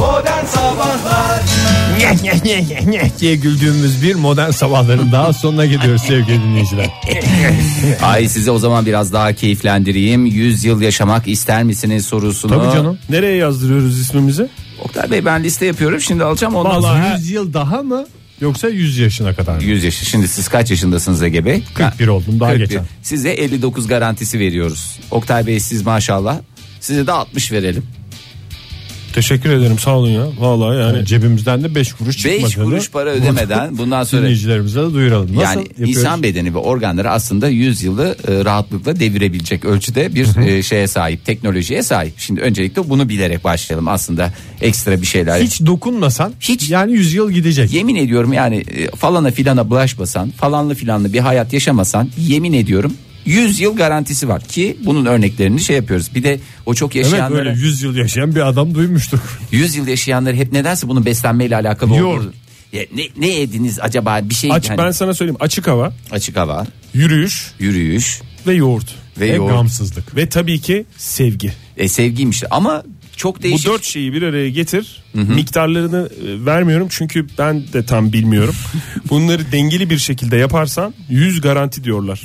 Speaker 3: Nyeh, nyeh, nyeh, nyeh, nyeh diye güldüğümüz bir modern
Speaker 4: [LAUGHS]
Speaker 3: sabahların daha sonuna gidiyoruz sevgili dinleyiciler.
Speaker 2: Ay size o zaman biraz daha keyiflendireyim. 100 yıl yaşamak ister misiniz sorusunu.
Speaker 3: Tabii canım.
Speaker 4: Nereye yazdırıyoruz ismimizi?
Speaker 2: Oktay Bey ben liste yapıyorum. Şimdi alacağım ondan sonra.
Speaker 3: Vallahi 100 yıl daha mı yoksa 100 yaşına kadar mı?
Speaker 2: 100 yaşı. Şimdi siz kaç yaşındasınız Ege Bey?
Speaker 3: 41 oldum daha
Speaker 2: 41.
Speaker 3: geçen.
Speaker 2: Size 59 garantisi veriyoruz. Oktay Bey siz maşallah. Size de 60 verelim.
Speaker 4: Teşekkür ederim sağ olun ya. Vallahi yani
Speaker 3: Yani cebimizden de 5 kuruş çıkmadığını.
Speaker 2: 5 kuruş
Speaker 3: [LAUGHS]
Speaker 2: para ödemeden bundan sonra
Speaker 3: Dinleyicilerimize de duyuralım. Nasıl
Speaker 2: yani
Speaker 3: yapıyoruz?
Speaker 2: insan bedeni ve organları aslında 100 yılı e, rahatlıkla devirebilecek ölçüde bir e, şeye sahip, teknolojiye sahip. Şimdi öncelikle bunu bilerek başlayalım aslında ekstra bir şeyler.
Speaker 3: Hiç dokunmasan
Speaker 2: Hiç.
Speaker 3: yani 100 yıl gidecek.
Speaker 2: Yemin ediyorum yani e, falana filana bulaşmasan, falanlı filanlı bir hayat yaşamasan yemin ediyorum 100 yıl garantisi var ki bunun örneklerini şey yapıyoruz. Bir de o çok
Speaker 3: Evet
Speaker 2: yaşayanlara
Speaker 3: böyle 100 yıl yaşayan bir adam duymuştuk.
Speaker 2: 100 yıl yaşayanlar hep nedense bunun beslenmeyle alakalı
Speaker 3: Yoğurt.
Speaker 2: olduğunu. Ya ne, ne yediniz acaba bir şey
Speaker 4: aç
Speaker 2: yani
Speaker 4: ben sana söyleyeyim açık hava,
Speaker 2: açık hava,
Speaker 4: yürüyüş
Speaker 2: yürüyüş,
Speaker 4: ve yoğurt.
Speaker 2: Ve yoğurt.
Speaker 3: gamsızlık.
Speaker 4: Ve tabii ki sevgi.
Speaker 2: e, sevgiymiş ama çok değişik.
Speaker 4: Bu dört şeyi bir araya getir. Miktarlarını e, vermiyorum çünkü ben de tam bilmiyorum. Bunları dengeli bir şekilde yaparsan 100 garanti diyorlar.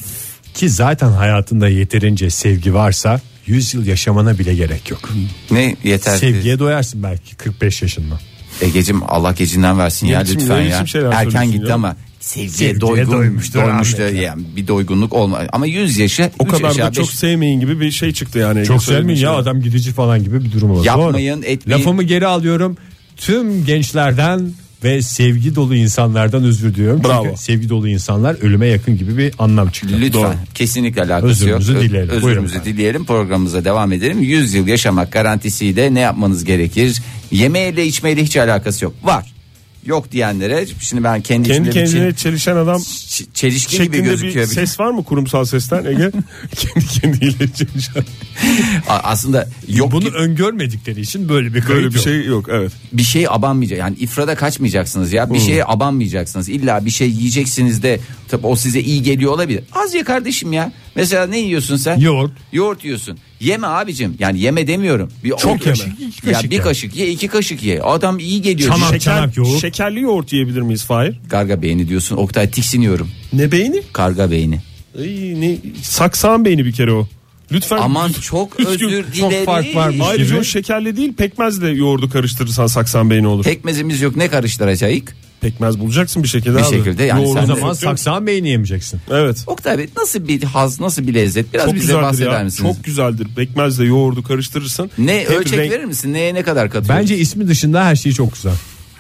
Speaker 3: Ki zaten hayatında yeterince sevgi varsa 100 yıl yaşamana bile gerek yok.
Speaker 2: Ne yeter.
Speaker 3: Sevgiye doyarsın belki 45 yaşında.
Speaker 2: Egecim Allah gecinden versin ya
Speaker 4: Ne biçim-
Speaker 2: lütfen
Speaker 4: ne
Speaker 2: ya.
Speaker 4: biçim şeyler
Speaker 2: Erken
Speaker 4: söylüyorsun
Speaker 2: gitti
Speaker 4: ya?
Speaker 2: ama sevgiye,
Speaker 3: Sevgiye
Speaker 2: doygun,
Speaker 3: doymuştur
Speaker 2: doymuştu.
Speaker 3: rahmetli.
Speaker 2: Yani bir doygunluk olma. Ama 100 yaşa
Speaker 4: O
Speaker 2: üç
Speaker 4: kadar
Speaker 2: yaşa,
Speaker 4: da çok
Speaker 2: beş-
Speaker 4: sevmeyin gibi bir şey çıktı yani.
Speaker 3: Çok
Speaker 4: Söylediğin
Speaker 3: sevmeyin ya
Speaker 4: şeyler.
Speaker 3: adam gidici falan gibi bir durum olur.
Speaker 2: Yapmayın,
Speaker 3: Doğru.
Speaker 2: etmeyin.
Speaker 3: Lafımı geri alıyorum. Tüm gençlerden ve sevgi dolu insanlardan özür diliyorum.
Speaker 4: Bravo.
Speaker 3: Çünkü sevgi dolu insanlar ölüme yakın gibi bir anlam çıktı.
Speaker 2: Lütfen
Speaker 3: Doğru.
Speaker 2: kesinlikle alakası
Speaker 3: Özrümüzü
Speaker 2: yok. Ö-
Speaker 3: dileyelim. Buyurun
Speaker 2: Özrümüzü
Speaker 3: efendim.
Speaker 2: dileyelim. Programımıza devam edelim. 100 yıl yaşamak garantisiyle ne yapmanız gerekir? Yemeğiyle içmeyle hiç alakası yok. Var. Yok diyenlere şimdi ben kendi,
Speaker 4: Kendi
Speaker 2: içimde
Speaker 4: kendine
Speaker 2: bir
Speaker 4: çelişen adam
Speaker 2: çel- ç- çelişki gibi
Speaker 4: şeklinde bir
Speaker 2: gözüküyor. Bir-
Speaker 4: ses var mı kurumsal sesten Ege? Kendi kendiyle çelişen.
Speaker 2: [LAUGHS] A- Aslında yok
Speaker 3: Bunu
Speaker 2: gibi-
Speaker 3: öngörmedikleri için böyle bir kayıt
Speaker 4: Böyle bir
Speaker 3: yok.
Speaker 4: şey yok evet.
Speaker 2: bir şeye abanmayacak. Yani ifrada kaçmayacaksınız ya.
Speaker 3: Hmm.
Speaker 2: Bir şeye abanmayacaksınız. İlla bir şey yiyeceksiniz de tabii o size iyi geliyor olabilir. Az ye kardeşim ya. Mesela ne yiyorsun sen?
Speaker 3: Yoğurt.
Speaker 2: Yoğurt yiyorsun. Yeme abicim. Yani yeme demiyorum. Bir
Speaker 3: Çok
Speaker 2: yeme.
Speaker 3: kaşık, iki kaşık
Speaker 2: ya bir
Speaker 3: ya.
Speaker 2: kaşık ye, iki kaşık ye. Adam iyi geliyor.
Speaker 3: Çanak.
Speaker 2: Şek-
Speaker 3: Çanak yoğurt.
Speaker 4: Şekerli yoğurt yiyebilir miyiz Fahir?
Speaker 2: Karga beyni diyorsun. Oktay tiksiniyorum.
Speaker 4: Ne beyni?
Speaker 2: Karga beyni.
Speaker 4: Ay, ne? Saksan beyni bir kere o. Lütfen
Speaker 2: Aman
Speaker 3: [LAUGHS]
Speaker 2: çok özür
Speaker 4: çok
Speaker 2: dilerim.
Speaker 3: fark varmış.
Speaker 4: Ayrıca
Speaker 3: gibi.
Speaker 4: o şekerli değil pekmezle yoğurdu karıştırırsan saksan beyni olur.
Speaker 2: Pekmezimiz yok. Ne karıştıracağız?
Speaker 4: Pekmez bulacaksın bir şekilde
Speaker 2: Bir
Speaker 4: abi.
Speaker 2: şekilde yani
Speaker 4: Yoğurdu
Speaker 2: sen-
Speaker 3: O
Speaker 4: da-
Speaker 3: zaman saksan beyni yemeyeceksin.
Speaker 4: Evet.
Speaker 2: Oktay Bey nasıl bir haz, nasıl bir lezzet? Biraz
Speaker 4: Çok
Speaker 2: bize
Speaker 4: güzeldir
Speaker 2: bahseder
Speaker 4: ya.
Speaker 2: misiniz?
Speaker 4: Çok güzeldir. Pekmezle yoğurdu karıştırırsın.
Speaker 2: Ne
Speaker 4: Hem
Speaker 2: ölçek
Speaker 4: renk-
Speaker 2: verir misin? Neye ne kadar katıyorsun?
Speaker 3: Bence ismi dışında her şey çok güzel.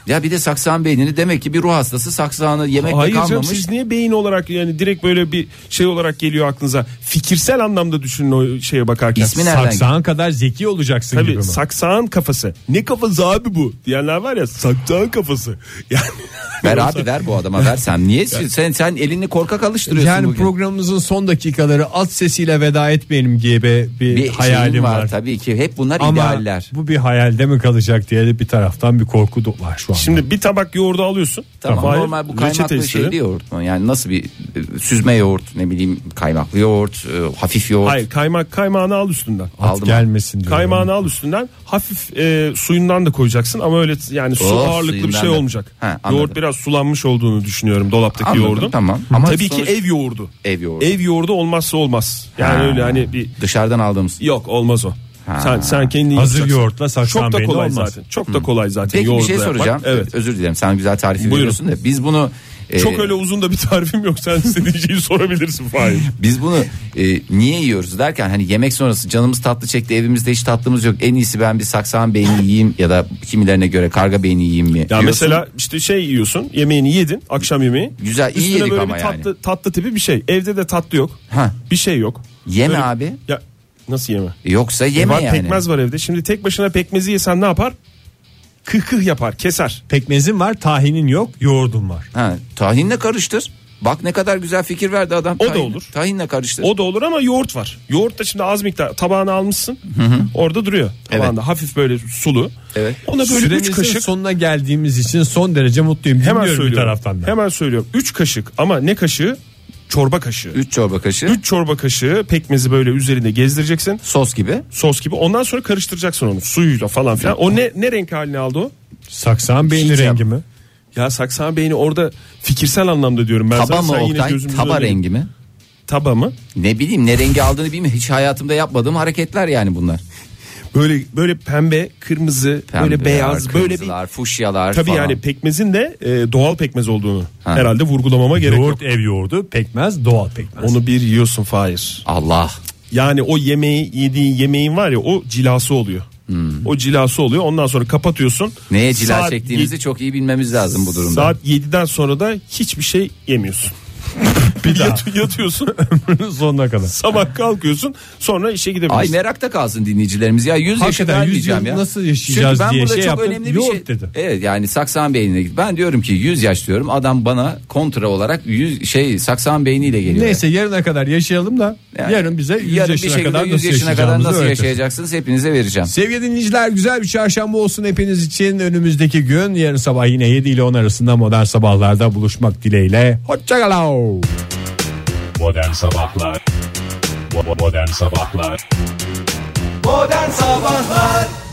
Speaker 2: Ya bir de saksan beynini demek ki bir ruh hastası saksağını yemekle
Speaker 4: Hayır canım
Speaker 2: kalmamış.
Speaker 4: siz niye beyin olarak yani direkt böyle bir şey olarak geliyor aklınıza. Fikirsel anlamda düşünün o şeye bakarken.
Speaker 2: İsmi nereden geliyor?
Speaker 3: Saksağın kadar zeki olacaksın gibi
Speaker 4: Tabii
Speaker 3: mi?
Speaker 4: saksağın kafası. Ne kafası abi bu? Diyenler var ya saksağın kafası. [LAUGHS] Yani
Speaker 2: Ver abi ver bu adama ver sen. Niye sen sen elini korkak alıştırıyorsun
Speaker 3: yani
Speaker 2: bugün?
Speaker 3: programımızın son dakikaları alt sesiyle veda etmeyelim gibi bir,
Speaker 2: bir
Speaker 3: hayalim
Speaker 2: şeyim
Speaker 3: var.
Speaker 2: var, tabii ki. Hep bunlar
Speaker 3: Ama
Speaker 2: idealler.
Speaker 3: bu bir hayalde mi kalacak diye de bir taraftan bir korku da var şu an.
Speaker 4: şimdi bir tabak yoğurdu alıyorsun.
Speaker 2: Tamam
Speaker 4: Hayır,
Speaker 2: normal bu
Speaker 4: reçete
Speaker 2: kaymaklı şey
Speaker 4: istedim.
Speaker 2: şeyli yoğurt mu? Yani nasıl bir e, süzme yoğurt ne bileyim kaymaklı yoğurt, e, hafif yoğurt.
Speaker 4: Hayır kaymak kaymağını al üstünden.
Speaker 3: At
Speaker 2: aldım.
Speaker 3: gelmesin diyorum.
Speaker 4: Kaymağını al üstünden hafif e, suyundan da koyacaksın ama öyle yani su
Speaker 2: Oh,
Speaker 4: ağırlıklı bir
Speaker 2: suyundan
Speaker 4: şey
Speaker 2: da.
Speaker 4: olmayacak.
Speaker 2: Ha, anladım.
Speaker 4: Yoğurt biraz sulanmış olduğunu düşünüyorum dolaptaki
Speaker 2: Anladım,
Speaker 4: yoğurdun.
Speaker 2: tamam. Ama
Speaker 4: Tabii
Speaker 2: sonuç-
Speaker 4: ki ev yoğurdu.
Speaker 2: Ev yoğurdu.
Speaker 4: Ev yoğurdu olmazsa olmaz. Yani
Speaker 2: Ha.
Speaker 4: öyle hani bir
Speaker 2: Dışarıdan aldığımız.
Speaker 4: yok olmaz o.
Speaker 2: Ha.
Speaker 4: Sen sen kendin
Speaker 3: Hazır
Speaker 4: yapacaksın.
Speaker 3: yoğurtla saksan
Speaker 4: Çok da
Speaker 3: beyni
Speaker 4: kolay
Speaker 3: olmaz.
Speaker 4: zaten. Çok da kolay zaten
Speaker 2: Peki bir
Speaker 4: yoğurtla
Speaker 2: şey
Speaker 4: yapmak.
Speaker 2: soracağım.
Speaker 4: Evet.
Speaker 2: Özür dilerim sen güzel tarifi
Speaker 4: Buyurun.
Speaker 2: veriyorsun da biz bunu e,
Speaker 4: Çok öyle uzun da bir tarifim yok. Sen istediğin şeyi sorabilirsin Fahir.
Speaker 2: Biz bunu e, niye yiyoruz derken hani yemek sonrası canımız tatlı çekti evimizde hiç tatlımız yok en iyisi ben bir saksan beyni yiyeyim ya da kimilerine göre karga beyni yiyeyim mi?
Speaker 4: Ya
Speaker 2: diyorsun.
Speaker 4: mesela işte şey yiyorsun yemeğini yedin akşam yemeği.
Speaker 2: Güzel, iyi
Speaker 4: Üstüne
Speaker 2: yedik
Speaker 4: böyle
Speaker 2: ama
Speaker 4: bir
Speaker 2: yani.
Speaker 4: tatlı, tatlı tipi bir şey. Evde de tatlı yok.
Speaker 2: Ha.
Speaker 4: Bir şey yok.
Speaker 2: Yeme
Speaker 4: Böyle-
Speaker 2: abi.
Speaker 4: Ya nasıl yeme?
Speaker 2: Yoksa yeme
Speaker 4: var
Speaker 2: yani.
Speaker 4: pekmez var evde. Şimdi tek başına pekmezi yesen ne yapar? Kıh kıh yapar keser.
Speaker 3: Pekmezin var, tahinin yok, yoğurdun var.
Speaker 2: Ha, tahinle karıştır. Bak ne kadar güzel fikir verdi adam.
Speaker 4: O da
Speaker 2: Tahin-
Speaker 4: olur.
Speaker 2: Tahinle karıştır.
Speaker 4: O da olur ama yoğurt var. Yoğurt da şimdi az miktar tabağına almışsın. Orada duruyor. Tabağında hafif böyle sulu.
Speaker 2: Evet.
Speaker 4: Ona böyle
Speaker 3: Süremizin
Speaker 4: üç kaşık
Speaker 3: sonuna geldiğimiz için son derece mutluyum.
Speaker 4: hemen
Speaker 3: Dinliyorum bir
Speaker 4: söylüyorum.
Speaker 3: taraftan da.
Speaker 4: Hemen söylüyorum. 3 kaşık ama ne kaşığı? Çorba kaşığı.
Speaker 2: 3 çorba kaşığı
Speaker 4: 3 çorba kaşığı pekmezi böyle üzerinde gezdireceksin.
Speaker 2: sos gibi.
Speaker 4: Sos gibi. Ondan sonra karıştıracaksın onu suyuyla falan filan. O ne ne renk haline aldı o?
Speaker 3: Saksan beyni
Speaker 2: Hiç
Speaker 3: rengi mi?
Speaker 4: Ya saksan beyni orada fikirsel anlamda diyorum ben
Speaker 2: Taba
Speaker 4: sana.
Speaker 2: mı
Speaker 4: Sen yine
Speaker 2: Oktay?
Speaker 4: gözümüzün
Speaker 2: Taba
Speaker 4: önünde-
Speaker 2: rengi mi?
Speaker 4: Taba mı?
Speaker 2: Ne bileyim ne rengi aldığını bilmiyorum. Hiç hayatımda yapmadığım hareketler yani bunlar.
Speaker 4: Böyle böyle pembe, kırmızı, böyle
Speaker 2: Pembeler,
Speaker 4: beyaz, böyle bir
Speaker 2: kırmızılar, fuşyalar
Speaker 4: Tabii
Speaker 2: falan.
Speaker 4: yani pekmezin de e, doğal pekmez olduğunu
Speaker 2: Ha.
Speaker 4: herhalde vurgulamama gerek
Speaker 3: Yoğurt
Speaker 4: yok.
Speaker 3: ev yoğurdu, pekmez doğal
Speaker 4: [LAUGHS]
Speaker 3: pekmez.
Speaker 4: Onu bir yiyorsun Fahir.
Speaker 2: Allah.
Speaker 4: Yani o yemeği yediğin yemeğin var ya o cilası oluyor. O cilası oluyor. Ondan sonra kapatıyorsun.
Speaker 2: Hmm. Neye cila
Speaker 4: Saat
Speaker 2: çektiğimizi
Speaker 4: yedi-
Speaker 2: çok iyi bilmemiz lazım bu durumda.
Speaker 4: Saat 7'den sonra da hiçbir şey
Speaker 2: [LAUGHS]
Speaker 4: yemiyorsun. Bir yat- yatıyorsun
Speaker 3: Sonuna kadar.
Speaker 4: sabah kalkıyorsun sonra işe gidebilirsin.
Speaker 2: Ay merakta kalsın dinleyicilerimiz ya 100 yaşında
Speaker 3: Hakikaten 100 yıl
Speaker 2: ölmeyeceğim ya.
Speaker 3: nasıl yaşayacağız
Speaker 2: Çünkü ben
Speaker 3: diye
Speaker 2: burada
Speaker 3: şey
Speaker 2: çok
Speaker 3: yaptım.
Speaker 2: önemli bir
Speaker 3: Yok
Speaker 2: şey.
Speaker 3: dedi.
Speaker 2: Evet yani saksan beynine git. Ben diyorum ki 100 yaş diyorum. Adam bana kontra olarak 100 şey saksan beyniyle geliyor.
Speaker 3: Neyse yarına kadar yaşayalım da
Speaker 2: Yani
Speaker 3: yarın bize 100
Speaker 2: yarın bir
Speaker 3: yaşına
Speaker 2: şekilde
Speaker 3: kadar
Speaker 2: 100
Speaker 3: nasıl
Speaker 2: yaşına kadar
Speaker 3: yaşayacağımızı
Speaker 2: nasıl
Speaker 3: öğretir.
Speaker 2: yaşayacaksınız hepinize vereceğim.
Speaker 3: Sevgili dinleyiciler güzel bir çarşamba olsun hepiniz için. Önümüzdeki gün yarın sabah yine 7 ile 10 arasında modern sabahlarda buluşmak dileğiyle. Hoşçakalın.
Speaker 1: Modern Sabahlar Bo- Modern Sabahlar
Speaker 10: Modern Sabahlar